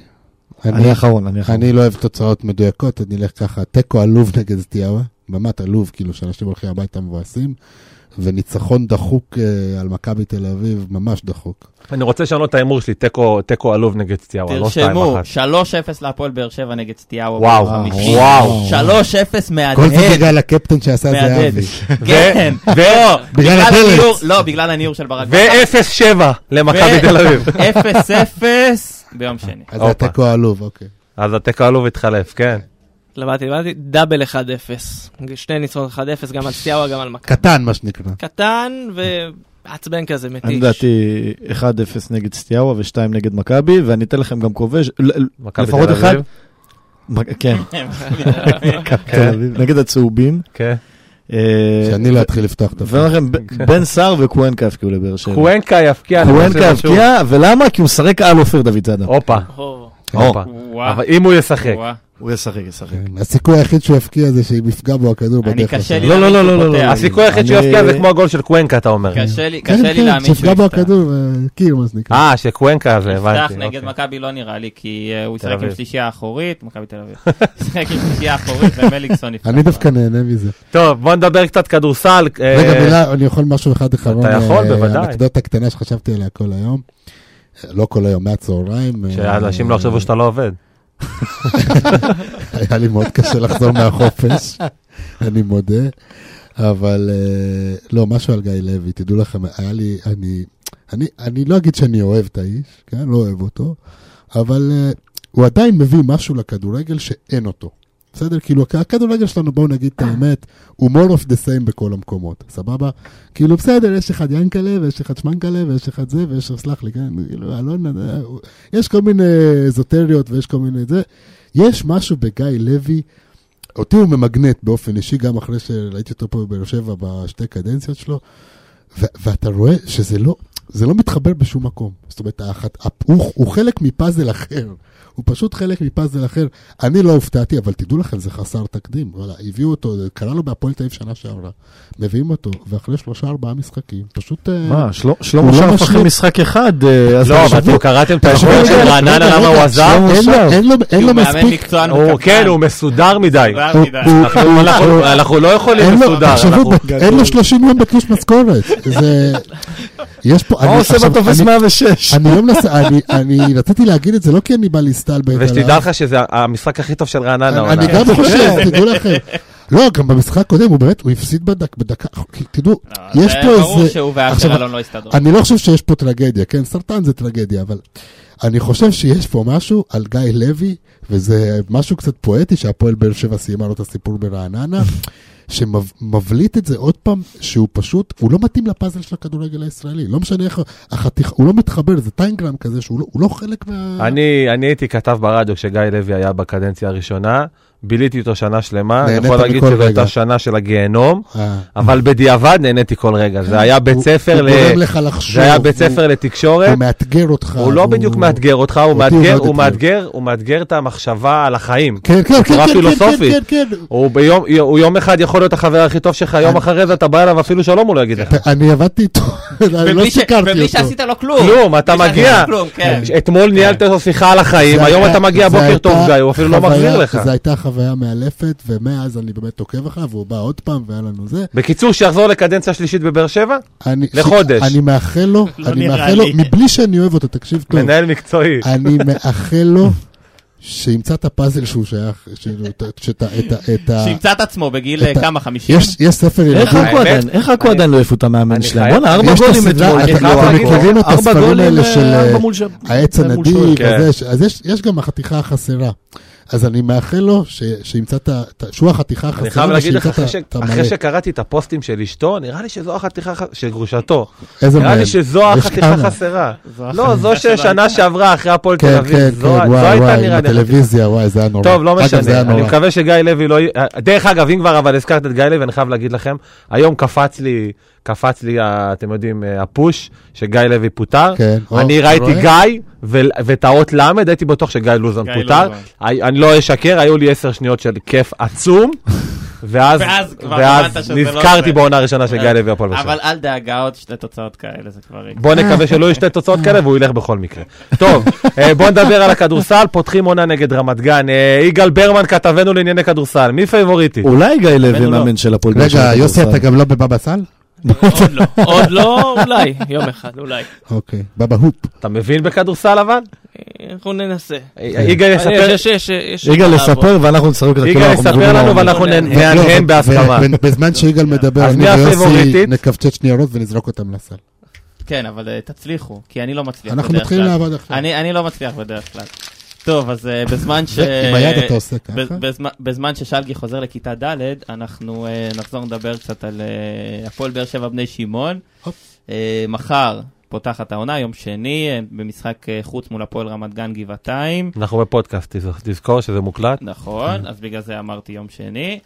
S5: אני האחרון, אני האחרון.
S2: אני לא אוהב תוצאות מדויקות, אני אלך ככה, תיקו עלוב נגד סטיאבה, באמת עלוב, כאילו שאנשים הולכים הביתה מבואסים, וניצחון דחוק אה, על מכבי תל אביב, ממש דחוק.
S1: אני רוצה לשנות את ההימור שלי, תיקו- תיקו עלוב נגד סטיאאווה, לא שתיים
S3: תרשמו,
S1: אחת.
S3: 3-0 להפועל באר שבע נגד סטיהו.
S1: וואו,
S3: בחמישי.
S1: וואו.
S3: 3-0
S2: כל זה
S3: מהדהד.
S2: בגלל הקפטן שעשה את זה
S3: מהדהד.
S2: אבי.
S3: כן.
S1: ו-
S3: לא,
S2: בגלל הדלת.
S3: הניור- לא, בגלל הניור של ברק.
S1: ו-0-7 למכבי תל אביב.
S3: 0-0 ביום שני.
S2: אז זה
S1: הופה.
S2: התיקו העלוב, אוקיי.
S1: אז התיקו עלוב התחלף, כן.
S4: לבדתי, לבדתי, דאבל 1-0. שני ניצחונות 1-0, גם על סטיאבה, גם על מכבי.
S2: קטן, מה שנקרא.
S4: קטן ועצבן כזה, מתיש.
S5: אני לדעתי 1-0 נגד סטיאבה ו-2 נגד מכבי, ואני אתן לכם גם כובש, ל- ל-
S1: מכבי
S5: לפחות
S1: תל אביב.
S5: אחד. מ- כן,
S2: תל אביב.
S5: נגד הצהובים.
S1: כן.
S5: אה,
S2: שאני לא אתחיל לפתוח את
S5: ואומר
S2: הפרק.
S5: לכם, ב- בן סער וקוונקה הפקיעו לבאר שבע.
S1: קוונקה יפקיע. כן, אני
S5: קוונקה
S1: חושב שהוא-
S5: הבקיע, ולמה? כי הוא משחק על אופיר דוד זאדה.
S1: הופה,
S4: או,
S1: הופה.
S3: וואו.
S1: אבל אם הוא ישחק.
S3: וואו.
S5: הוא ישחק, ישחק.
S2: כן, הסיכוי היחיד שהוא יפקיע זה שאם יפגע בו הכדור
S3: אני
S2: בדרך
S3: קשה
S2: לשם.
S3: לי
S5: לא, לא, לא, לא, לא, לא.
S1: הסיכוי היחיד שהוא
S5: אני-
S1: יפקיע זה כמו הגול של קוונקה, אתה אומר.
S3: קשה לי,
S2: כן,
S3: קשה לי
S2: כן,
S3: להאמין שהוא
S2: שיפגע בו
S3: יפתח.
S2: הכדור, אה, קיר, מה שנקרא.
S1: אה, שקוונקה זה,
S3: יפתח
S1: הבנתי.
S3: נגד
S1: אוקיי.
S3: מכבי לא נראה לי, כי אה, הוא
S1: תל
S3: ישחק עם
S1: אביב.
S3: שלישייה אחורית, מכבי תל אביב. ישחק עם שלישייה אחורית ומליקסון יפתח.
S2: אני דווקא נהנה מזה.
S1: טוב, בוא נדבר קצת כדורסל. אה,
S2: רגע, מילה, אני יכול משהו אחד אחרון.
S1: אתה יכול,
S2: אה,
S1: בוודאי.
S2: אנקדוטה קטנה שחשבתי עליה כל היום. אה, לא כל היום, מהצהריים. אה,
S1: שאנשים לא יחשבו שאתה לא עובד.
S2: היה לי מאוד קשה לחזור מהחופש, אני מודה. אבל אה, לא, משהו על גיא לוי, תדעו לכם, היה לי, אני, אני, אני לא אגיד שאני אוהב את האיש, כן, לא אוהב אותו, אבל אה, הוא עדיין מביא משהו לכדורגל שאין אותו. בסדר? כאילו, הכ- הכדורגל שלנו, בואו נגיד את האמת, הוא more of the same בכל המקומות, סבבה? כאילו, בסדר, יש אחד ינקלה, ויש אחד שמנקלה, ויש אחד זה, ויש, סלח לי, כן, כאילו, אלון, אה, הוא- יש כל מיני אזוטריות, ויש כל מיני זה. יש משהו בגיא לוי, אותי הוא ממגנט באופן אישי, גם אחרי שראיתי אותו פה בבאר שבע בשתי קדנציות שלו, ו- ואתה רואה שזה לא, זה לא מתחבר בשום מקום. זאת אומרת, האחת, הפ- הוא, הוא חלק מפאזל אחר. הוא פשוט חלק מפאזל אחר. אני לא הופתעתי, אבל תדעו לכם, זה חסר תקדים. וואלה, הביאו אותו, זה קרה לו בהפועל תל אביב שנה שעברה. מביאים אותו, ואחרי שלושה ארבעה משחקים, פשוט... אה,
S5: מה, של-
S2: הוא
S5: שלמה
S2: לא
S5: שרף
S2: משלים.
S5: אחרי משחק אחד, אה, אז
S1: לא, אבל
S5: תחשבו.
S1: אתם קראתם את החוק
S2: תחשבו,
S1: של
S2: רגע,
S1: רעננה,
S2: רגע,
S1: למה הוא
S2: רגע,
S1: עזב?
S2: אין לו- אין לו- לא כן, אין
S3: כי
S2: לו
S3: הוא מאמן
S2: מספיק...
S3: מקצוען
S1: הוא-
S3: וקפדן.
S1: כן, הוא מסודר מדי.
S3: מסודר
S2: הוא-
S3: מדי.
S2: הוא-
S1: אנחנו- אנחנו- אנחנו לא יכולים
S2: אה, אין לו,
S1: מסודר.
S2: תחשבו,
S1: אנחנו-
S2: אין לו 30 יום בתלוש משכורת. זה... יש פה...
S5: מה
S2: אני-
S5: הוא עושה
S2: עכשיו,
S5: בטופס
S2: אני-
S5: 106?
S2: אני לא מנסה, אני- אני רציתי להגיד את זה לא כי אני בא להסתלבט עליו.
S1: ושתדע לך נכון. שזה המשחק הכי טוב של רעננה.
S2: אני-
S1: העונה.
S2: אני גם חושב, תדעו לכם. לא, גם במשחק הקודם הוא באמת, הוא הפסיד בדק- בדקה, תדעו,
S3: לא,
S2: יש
S3: זה
S2: פה
S3: ברור
S2: איזה...
S3: שהוא ואשר
S2: עכשיו,
S3: אלון לא הסתדרו.
S2: אני לא חושב שיש פה טרגדיה, כן? סרטן זה טרגדיה, אבל אני חושב שיש פה משהו על גיא לוי, וזה משהו קצת פואטי שהפועל באר שבע סיימה לו את הסיפור ברעננה, שמבליט את זה עוד פעם, שהוא פשוט, הוא לא מתאים לפאזל של הכדורגל הישראלי, לא משנה איך, החתיך, הוא לא מתחבר, זה טיינגרם כזה שהוא לא, הוא לא חלק מה...
S1: אני, אני הייתי כתב ברדיו כשגיא לוי היה בקדנציה הראשונה, ביליתי איתו שנה שלמה, אני
S2: נהנית
S1: יכול להגיד
S2: מכל
S1: שזו
S2: רגע.
S1: הייתה שנה של הגיהנום,
S2: אה,
S1: אבל בדיעבד נהניתי כל רגע. זה היה בית
S2: הוא-
S1: ספר,
S2: הוא
S1: ל-
S2: גורם לך לחשוב,
S1: זה היה בית
S2: הוא-
S1: ספר לתקשורת,
S2: הוא מאתגר אותך.
S1: הוא לא בדיוק מאתגר אותך, הוא
S2: אותי לא
S1: מאתגר,
S2: הוא מאוד
S1: הוא
S2: אתגר.
S1: מאתגר, הוא מאתגר את המחשבה על החיים.
S2: כן, כן, כן,
S1: בצורה
S2: כן, כן, כן,
S1: פילוסופית.
S2: כן, כן.
S1: הוא ביום, הוא יום אחד יכול להיות החבר הכי טוב שלך, יום
S2: אני-
S1: אחרי זה אתה בא אליו אפילו שלום הוא לא יגיד לך.
S2: אני עבדתי איתו, אני לא
S3: ובלי ש-
S2: שיקרתי
S3: ובלי
S2: אותו.
S3: שעשית לו כלום.
S1: כלום, אתה
S3: בלי שעשית
S1: מגיע. אה,
S3: לו כלום, כן.
S1: אתמול ניהלת איתו שיחה על החיים,
S2: זה
S1: היום
S2: היה-
S1: אתה מגיע
S2: זה
S1: בוקר
S2: הייתה
S1: טוב גיא, הוא אפילו לא
S2: חוויה-
S1: מחזיר לך.
S2: זו הייתה חוויה מאלפת, ומאז אני באמת עוקב אחריו, והוא בא עוד פעם, והיה לנו זה.
S1: בקיצור, שיחזור לקדנציה שלישית בבאר שבע,
S2: אני-
S1: לחודש.
S2: אני מאחל לו,
S3: לא
S2: אני
S3: נראה
S2: מאחל לו,
S3: לי.
S2: מבלי שאני אוהב אותו, תקשיב טוב,
S1: מנהל מקצועי.
S2: אני מאחל לו שימצא את הפאזל שהוא שייך, כאילו, את ה- שאת ה- את ה- את ה...
S3: שימצא את עצמו בגיל אה,
S2: אתה-
S3: כמה, חמישים?
S2: יש יש ספר ילדים.
S5: איך עכו
S1: האמת-
S5: עדיין- איך עכו עדיין לא העיפו את המאמן
S1: אני
S5: שלהם?
S1: חייב-
S5: בואנה, ארבע
S2: יש את
S5: גולים
S2: הסדרה,
S5: אתמול.
S2: אתם-
S5: כאילו,
S1: אתם
S5: ארבע
S2: מכירים את
S5: ארבע
S2: הספרים
S5: גולים,
S2: האלה
S5: אה,
S2: של,
S5: ארבע
S2: אה,
S5: מול שבע.
S2: העץ
S5: זה מול
S2: הנדיב,
S1: שוער.
S2: וזה, ש- אז יש- יש גם החתיכה החסרה. אז אני מאחל לו ש- שימצא את ה... את ה- שהוא החתיכה
S1: אני חייב
S2: החסרה,
S1: להגיד לך,
S2: ושימצא
S1: אחרי ש-
S2: את המלא.
S1: אחרי שקראתי את הפוסטים של אשתו, נראה לי שזו החתיכה הח- של גרושתו.
S2: איזה
S1: נראה לי
S2: מהם?
S1: שזו
S2: כן. יש
S1: החתיכה
S2: כמה.
S1: חסרה.
S3: זו
S6: נכון.
S1: לא, זו
S3: החתיכה
S1: ששנה שעברה אחרי הפועל תל
S2: כן, כן,
S1: אביב,
S2: כן,
S1: זו זו
S2: וואי,
S1: הייתה
S2: וואי, עם
S1: נראה לי.
S2: הטלוויזיה, וואי, זה היה נורא.
S1: טוב, לא
S2: אגב, זה
S1: משנה,
S2: היה
S1: אני
S2: נורא.
S1: מקווה שגיא לוי לא... י- דרך אגב, אם כבר אבל הזכרת את גיא לוי, אני חייב להגיד לכם, היום קפץ לי, קפץ לי, ה- אתם יודעים, אה, הפוש, שגיא לוי פוטר.
S2: כן. או,
S1: אני
S2: אתה
S1: ראיתי
S2: רואה?
S1: גיא ו- ואת האות ל', הייתי בטוח שגיא לוזון
S3: גיא
S1: פוטר.
S3: לוזון.
S1: הי- אני לא אשקר, היו לי עשר שניות של כיף עצום, ואז
S3: ואז כבר
S1: ואז
S3: הבנת שזה לא
S1: נזכרתי
S3: זה.
S1: בעונה הראשונה של גיא לוי
S2: לא,
S1: הפועל באר שבע.
S3: אבל אל דאגה עוד שתי תוצאות כאלה, זה כבר... יקרה.
S1: בוא נקווה שלא יהיו שתי תוצאות כאלה והוא ילך בכל מקרה. טוב, אה, בוא נדבר על הכדורסל, פותחים עונה נגד רמת גן. אה, יגאל ברמן, כתבנו לענייני כדורסל, מי פייבוריטי?
S5: אולי גיא לוי
S3: לא.
S5: מאמן של הפועל באר שבע.
S2: רגע, יוסי,
S5: בכדורסל.
S2: אתה גם לא בבבא סאל?
S4: עוד לא, עוד לא, אולי, יום אחד, אולי.
S2: אוקיי, בבא הופ.
S1: אתה מבין בכדורסל אבל?
S4: אנחנו ננסה.
S1: אה, יגאל יספר-
S4: יש, יש, יש.
S5: יגאל יספר ואנחנו נשחק אותה.
S1: יגאל יספר לנו ואנחנו
S4: לא,
S1: נ-
S4: לא,
S2: לא,
S1: נהנהן
S2: ו-
S1: כן, בהסכמה. כן.
S2: ו- בזמן שיגאל מדבר,
S1: אז
S2: אני
S1: מי
S2: ויוסי
S1: הפייבוריטית?
S2: נקפצץ שניירות ונזרוק אותם לסל.
S3: כן, אבל אה, תתצליחו, כי אני לא מצליח
S2: אנחנו
S3: בדרך
S2: מתחילים
S3: כלל.
S2: לעבוד עכשיו.
S3: אני אני לא מצליח בדרך כלל. טוב, אז אה, בזמן ש...
S2: זה, עם היד אתה עושה ככה?
S3: ב- בזמן- בזמן ששלגי חוזר לכיתה ד', אנחנו אה, נחזור לדבר קצת על אה, הפועל באר שבע בני שמעון.
S2: הופ.
S3: אה, מחר פותחת העונה, יום שני, אה, במשחק אה, חוץ מול הפועל רמת גן גבעתיים.
S1: אנחנו בפודקאסט, תז- תזכור שזה מוקלט.
S2: כן.
S3: נכון, אז בגלל זה אמרתי יום שני.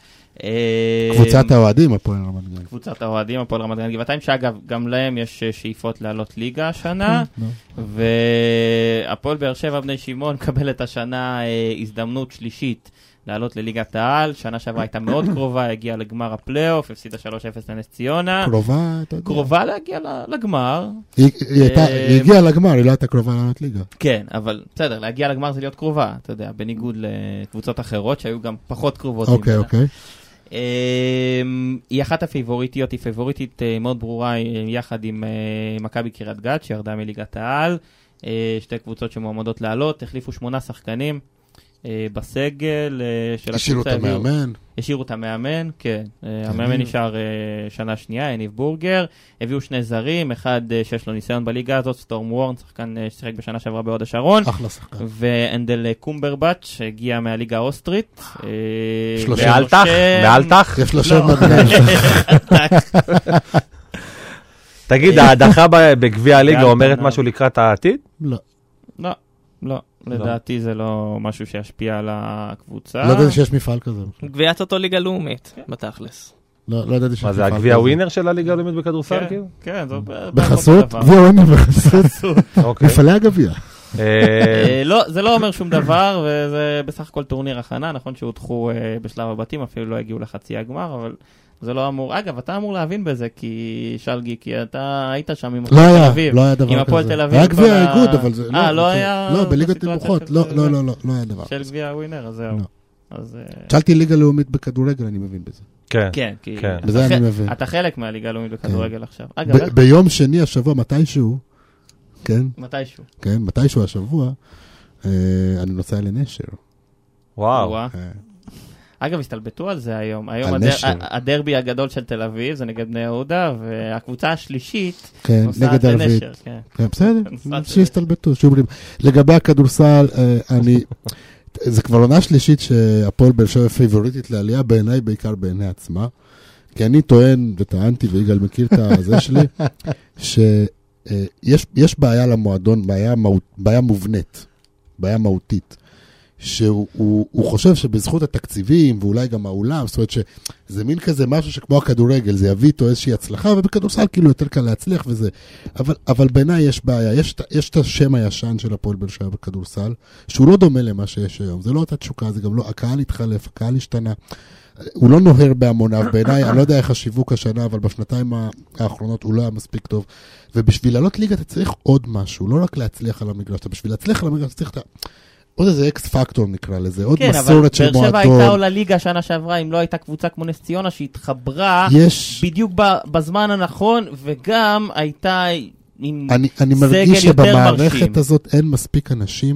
S3: אה,
S2: קבוצת האוהדים, הפועל רמת גן.
S3: קבוצת האוהדים, הפועל רמת גן גבעתיים, שאגב, גם להם יש אה, שאיפות לעלות ליגה השנה.
S2: נו.
S3: והפועל באר שבע בני שמעון מקבלת השנה אה, הזדמנות שלישית לעלות לליגת העל. שנה שעברה הייתה מאוד קרובה, הגיעה לגמר הפלייאוף, הפסידה 3-0 לנס ציונה.
S2: קרובה, אתה יודע.
S3: קרובה להגיע ל- לגמר,
S2: היא היא הייתה-
S3: אה,
S2: היא הגיעה לגמר, היא לא הייתה קרובה לעלות ליגה.
S3: כן, אבל בסדר, להגיע לגמר זה להיות קרובה, אתה יודע, בניגוד לקבוצות אחרות שהיו גם פחות קרובות.
S2: אוקיי,
S3: ממנה.
S2: אוקיי.
S3: אמ, היא אחת הפייבוריטיות, היא פייבוריטית אה, מאוד ברורה אה, יחד עם אה, מכבי קריית גת שירדה מליגת העל. אה, שתי קבוצות שמועמדות לעלות, החליפו שמונה שחקנים אה, בסגל אה, של
S2: השאירו את
S3: הקבוצה, הביאו-
S2: המאמן.
S3: השאירו את המאמן, כן. אה,
S2: אני-
S3: המאמן נשאר אה, שנה שנייה, יניב בורגר. הביאו שני זרים, אחד אה, שיש לו ניסיון בליגה הזאת, סטורם וורן, שחקן אה, ששיחק בשנה שעברה בהוד השרון.
S2: אחלה שחקן.
S3: ואנדל קומברבץ' שהגיע מהליגה האוסטרית. אה,
S2: שלושה.
S1: מאלתח,
S3: והשם-
S1: מאלתח.
S2: יש לו שם
S3: לא.
S2: מדהים.
S1: תגיד, ההדחה ב- בגביע הליגה
S3: מאלתח,
S1: אומרת
S3: לא.
S1: משהו לקראת העתיד?
S2: לא,
S3: לא, לא. לדעתי זה לא משהו שישפיע על הקבוצה.
S2: לא ידעתי שיש מפעל כזה.
S4: גביית אותו ליגה לאומית, בתכלס.
S2: לא לא ידעתי שיש
S1: מה
S2: מפעל כזה.
S1: זה, הגביע ווינר של הליגה הלאומית בכדורסל?
S3: כן,
S1: כאילו?
S3: כן, זו... בערך אותו
S2: בחסות?
S3: דבר.
S2: גביע ווינר בחסות.
S1: אוקיי.
S2: מפעלי הגביע.
S1: אה,
S3: אה, לא, זה לא אומר שום דבר, וזה בסך הכל טורניר הכנה, נכון שהודחו אה, בשלב הבתים, אפילו לא הגיעו לחצי הגמר, אבל זה לא אמור... אגב, אתה אמור להבין בזה, כי שלגי, כי אתה היית שם עם
S2: לא
S3: הפועל תל
S2: היה,
S3: אביב.
S2: לא היה דבר כזה.
S3: עם הפועל תל אביב
S2: היה
S3: כל
S2: גביע
S3: ה-
S2: האיגוד, אבל זה...
S3: אה, לא
S2: זה-
S3: היה
S2: לא, בליגת
S3: בסיטואציה
S2: נמוכות.
S3: של-
S2: לא, לא, לא, לא, לא היה דבר.
S3: של גביע הווינר, אז זהו.
S2: לא.
S3: אז... אה,
S2: שאלתי ליגה לאומית בכדורגל, אני מבין בזה.
S1: כן.
S3: כן, כי...
S1: כן.
S3: אתה
S2: בזה אני
S3: חלק-
S2: מבין.
S3: אתה חלק מהליגה הלאומית בכדורגל עכשיו. אגב,
S2: ב- ביום שני השבוע, מתישהו, כן,
S3: מתישהו.
S2: כן, מתישהו השבוע, אה, אני נוסע לנשר.
S1: וואו.
S3: וואה.
S2: אה,
S3: אגב, הסתלבטו על זה היום. היום
S2: על
S3: הדר-
S2: נשר.
S3: ה- הדרבי הגדול של תל אביב זה נגד בני יהודה, והקבוצה השלישית
S2: כן,
S3: נוסעת
S2: נגד ערבית.
S3: לנשר. כן.
S2: כן, בסדר,
S3: נוסעת
S2: שיסתלבטו, שאומרים. לגבי הכדורסל, אה, אני... זה כבר עונה שלישית שהפועל באר שבע פייבוריטית לעלייה, בעיניי, בעיקר בעיני עצמה. כי אני טוען, וטענתי, ויגאל מכיר את הזה שלי, שיש יש בעיה למועדון, בעיה, מהות, בעיה מובנית, בעיה מהותית. שהוא הוא, הוא חושב שבזכות התקציבים ואולי גם האולם, זאת אומרת שזה מין כזה משהו שכמו הכדורגל, זה יביא איתו איזושהי הצלחה, ובכדורסל כאילו יותר קל להצליח וזה. אבל, אבל בעיניי יש בעיה, יש, את- יש את השם הישן של הפועל באר שבע בכדורסל, שהוא לא דומה למה שיש היום, זה לא אותה תשוקה, זה גם לא, הקהל התחלף, הקהל השתנה. הוא לא נוהר בהמוניו, בעיניי, אני לא יודע איך השיווק השנה, אבל בשנתיים ה- האחרונות הוא לא היה מספיק טוב. ובשביל לעלות ליגה אתה צריך עוד משהו, לא רק להצליח על המגרש, אתה בשביל להצליח על המגרש אתה צריך את ה... עוד איזה אקס פקטור נקרא לזה, עוד
S3: כן, אבל
S2: מסורת של
S3: באר שבע הייתה
S2: מועדון.
S3: עולה ליגה שנה שעברה, אם לא הייתה קבוצה כמו נס ציונה שהתחברה
S2: יש,
S3: בדיוק ב- בזמן הנכון, וגם הייתה עם...
S2: אני, אני
S3: סגל
S2: מרגיש
S3: יותר
S2: שבמערכת
S3: מרשים.
S2: הזאת אין מספיק אנשים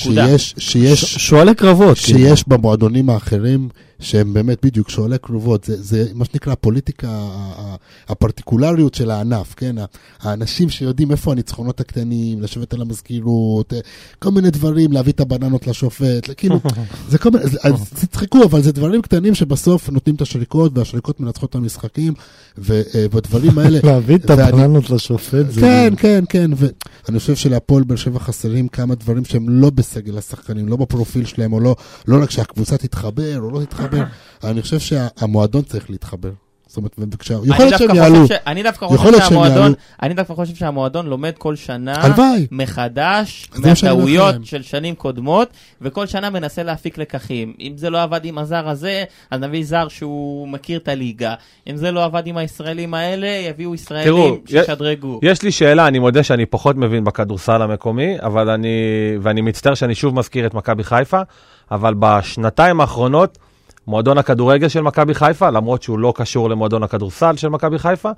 S3: נקודה.
S2: שיש, שיש,
S5: ש- שועלי קרבות. כאילו.
S2: שיש במועדונים האחרים, שהם באמת בדיוק שועלי קרובות, זה, זה מה שנקרא הפוליטיקה, ה- ה- הפרטיקולריות של הענף, כן? ה- האנשים שיודעים איפה הניצחונות הקטנים, לשבת על המזכירות, אה, כל מיני דברים, להביא את הבננות לשופט, כאילו, זה כל מיני, זה- אז תצחקו, אבל זה דברים קטנים שבסוף נותנים את השריקות, והשריקות מנצחות את המשחקים, ובדברים האלה...
S5: להביא את
S2: ואני-
S5: הבננות לשופט זה...
S2: כן, כן, כן, ואני חושב שלהפועל באר שבע חסרים כמה דברים שהם לא בסגל השחקנים, לא בפרופיל שלהם, או לא, לא רק שהקבוצה תתחבר או לא תתחבר, אני חושב שהמועדון צריך להתחבר. זאת אומרת, וכשה... יכול
S3: אני
S2: להיות שהם
S3: דווקא
S2: יעלו,
S3: חושב ש- אני דווקא
S2: יכול
S3: חושב
S2: להיות שהם
S3: שהמועדון,
S2: יעלו.
S3: אני דווקא חושב שהמועדון לומד כל שנה
S2: הלוואי.
S3: מחדש
S2: זה מה שאני אומר
S3: מהטעויות
S2: לכם.
S3: של שנים קודמות, וכל שנה מנסה להפיק לקחים. אם זה לא עבד עם הזר הזה, אז נביא זר שהוא מכיר את הליגה. אם זה לא עבד עם הישראלים האלה, יביאו
S1: תראו,
S3: ישראלים שישדרגו.
S1: יש לי שאלה, אני מודה שאני פחות מבין בכדורסל המקומי, אבל אני, ואני מצטער שאני שוב מזכיר את מכבי חיפה, אבל בשנתיים האחרונות, מועדון הכדורגל של מכבי חיפה, למרות שהוא לא קשור למועדון הכדורסל של מכבי חיפה,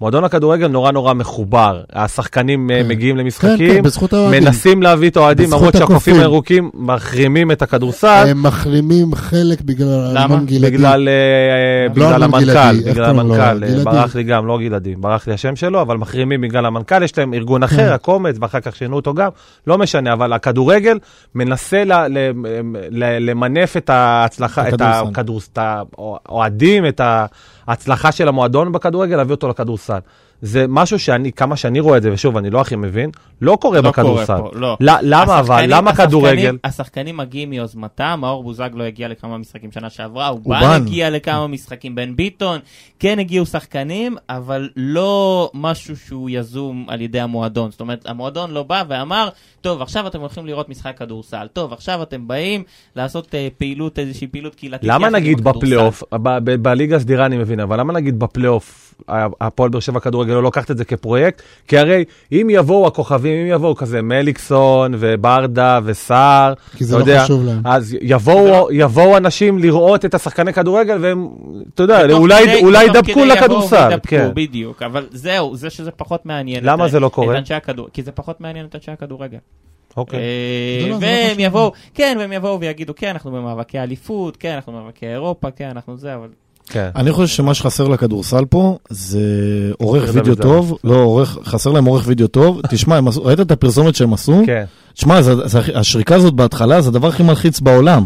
S1: מועדון הכדורגל נורא נורא מחובר. השחקנים אה,
S2: כן.
S1: מגיעים למשחקים,
S2: כן, כן, בזכות האוהדים.
S1: מנסים להביא את האוהדים,
S2: בזכות
S1: למרות שהקופים
S2: הקופים.
S1: הירוקים מחרימים את הכדורסל,
S2: הם מחרימים חלק בגלל
S3: למה?
S2: אלמון גלעדי.
S1: בגלל אה,
S2: לא
S1: בגלל
S2: אלמוג גלעדי,
S1: המנכ"ל,
S2: איך
S1: בגלל
S2: קוראים לו?
S1: המנכ"ל, אה,
S2: גלעדי.
S1: ברח לי גם, לא גלעדי, ברח לי השם שלו, אבל מחרימים בגלל המנכ"ל, יש להם ארגון
S2: כן.
S1: אחר, הקומץ, ואחר כך שינו אותו גם, לא משנה, אבל הכדורגל מנסה ל- ל- ל- למנף את ההצלחה, את
S5: הכדורסל.
S1: הכדורס- את האוהדים, את ההצלחה של המועדון בכדורגל, להביא אותו לכדורסל. זה משהו שאני, כמה שאני רואה את זה, ושוב, אני לא הכי מבין, לא קורה
S3: לא קורה
S1: בכדורסל.
S3: פה, לא.
S1: ל- למה אבל?
S3: השחקנים-
S1: למה
S3: השחקנים-
S1: כדורגל?
S3: השחקנים מגיעים מיוזמתם, מאור בוזגלו הגיע לכמה משחקים שנה שעברה,
S5: אובן.
S3: אובן הגיע לכמה משחקים, בן ביטון, כן הגיעו שחקנים, אבל לא משהו שהוא יזום על ידי המועדון. זאת אומרת, המועדון לא בא ואמר, טוב, עכשיו אתם הולכים לראות משחק כדורסל, טוב, עכשיו אתם באים לעשות אה, פעילות, איזושהי פעילות קהילתית.
S1: למה
S3: יחד עם
S1: נגיד
S3: הכדורסל?"
S1: בפלייאוף, ב- ב- בליגה הסדירה אני מבין, אבל למה נגיד בפלייאוף ה- הפועל באר שבע כדורגל לא לוקחת את זה כפרויקט? כי הרי אם יבואו הכוכבים, אם יבואו כזה מליקסון וברדה וסער,
S2: כי זה
S1: אתה
S2: לא
S1: יודע,
S2: חשוב להם.
S1: אז
S3: לא-
S1: יבואו, יבואו אנשים לראות את השחקני כדורגל והם, אתה יודע,
S3: ותוך
S1: אולי
S3: כדי-
S1: אולי
S3: ותוך
S1: ידבקו
S3: כדי יבואו
S1: לכדורסל.
S3: וידבקו,
S1: כן.
S3: בדיוק, אבל זהו, זה שזה פחות מעניין.
S1: למה
S3: את-
S1: זה לא
S3: את
S1: קורה?
S3: אנשי הכדור- כי זה פחות מעניין את אנשי הכדורגל.
S1: אוקיי.
S3: אה,
S2: זה לא- זה לא
S3: והם
S2: חשוב.
S3: יבואו, כן, והם יבואו ויגידו, כן, אנחנו במאבקי אליפות, כן, אנחנו במאבקי אירופה, כן, אנחנו זה, אבל...
S1: כן.
S5: אני חושב שמה שחסר לכדורסל פה זה עורך
S1: דוד
S5: וידאו
S1: זאן.
S5: טוב, לא עורך, חסר להם עורך וידאו טוב. תשמע, הם עשו- ראית את הפרסומת שהם עשו?
S1: כן.
S5: תשמע, זה- זה הכי- השריקה הזאת בהתחלה זה הדבר הכי מלחיץ בעולם.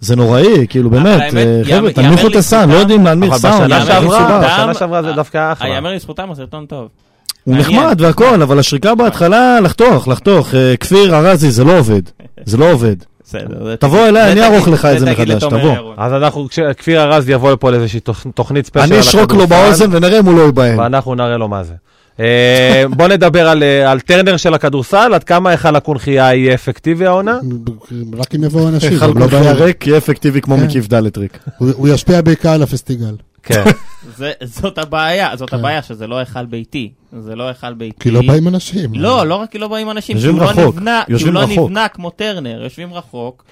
S5: זה נוראי, כאילו באמת,
S3: האמת,
S5: אה,
S3: יאמר-
S5: חבר'ה, תנמיכו
S3: יאמר
S5: את הסאונד, לא
S3: לזכותם-
S5: יודעים
S1: אבל
S5: להנמיך סאונד.
S1: בשנה
S5: זה מסודר.
S1: שעברה,
S3: מסודר.
S1: בשנה שעברה זה
S3: אה,
S1: דווקא
S4: אה,
S1: אחלה.
S3: היאמר לזכותם, הסרטון טוב.
S5: הוא
S3: מעניין.
S5: נחמד והכל, אבל השריקה בהתחלה, לחתוך, לחתוך. אה, כפיר ארזי, זה לא עובד. זה לא עובד.
S3: בסדר, זה-
S5: תבוא אליי,
S3: זה
S5: אני
S3: תגיד-
S5: אערוך לך את זה
S3: תגיד
S5: מחדש,
S3: לתומר
S5: תבוא.
S3: ירון.
S1: אז אנחנו, כשכפיר ארז יבוא לפה לאיזושהי תוכ- תוכנית ספיישל
S5: אני
S1: על
S5: אשרוק לו
S1: הכדורסל.
S5: באוזן ונראה אם הוא לא ייבהל.
S1: ואנחנו נראה לו מה זה. אה, בוא נדבר על, אה, על טרנר של הכדורסל, עד כמה היכל הקונכייה יהיה אפקטיבי
S3: אה?
S1: העונה?
S2: רק אם יבואו אנשים,
S5: חלק
S2: אבל לא
S5: מחייה
S2: בעיה.
S5: ריק יהיה אפקטיבי כמו
S2: כן.
S5: מקיף ד' ריק.
S2: הוא- הוא ישפיע בעיקר על הפסטיגל.
S1: כן.
S3: זה- זאת הבעיה, זאת
S2: כן.
S3: הבעיה שזה לא היכל ביתי. זה לא היכל ביתי.
S2: כי לא באים אנשים.
S3: לא, לא רק כי לא באים אנשים, כי
S5: יושבים
S3: הוא לא
S5: רחוק,
S3: נבנה, כי הוא
S5: יושבים
S3: לא
S5: רחוק.
S3: נבנה כמו טרנר, יושבים רחוק,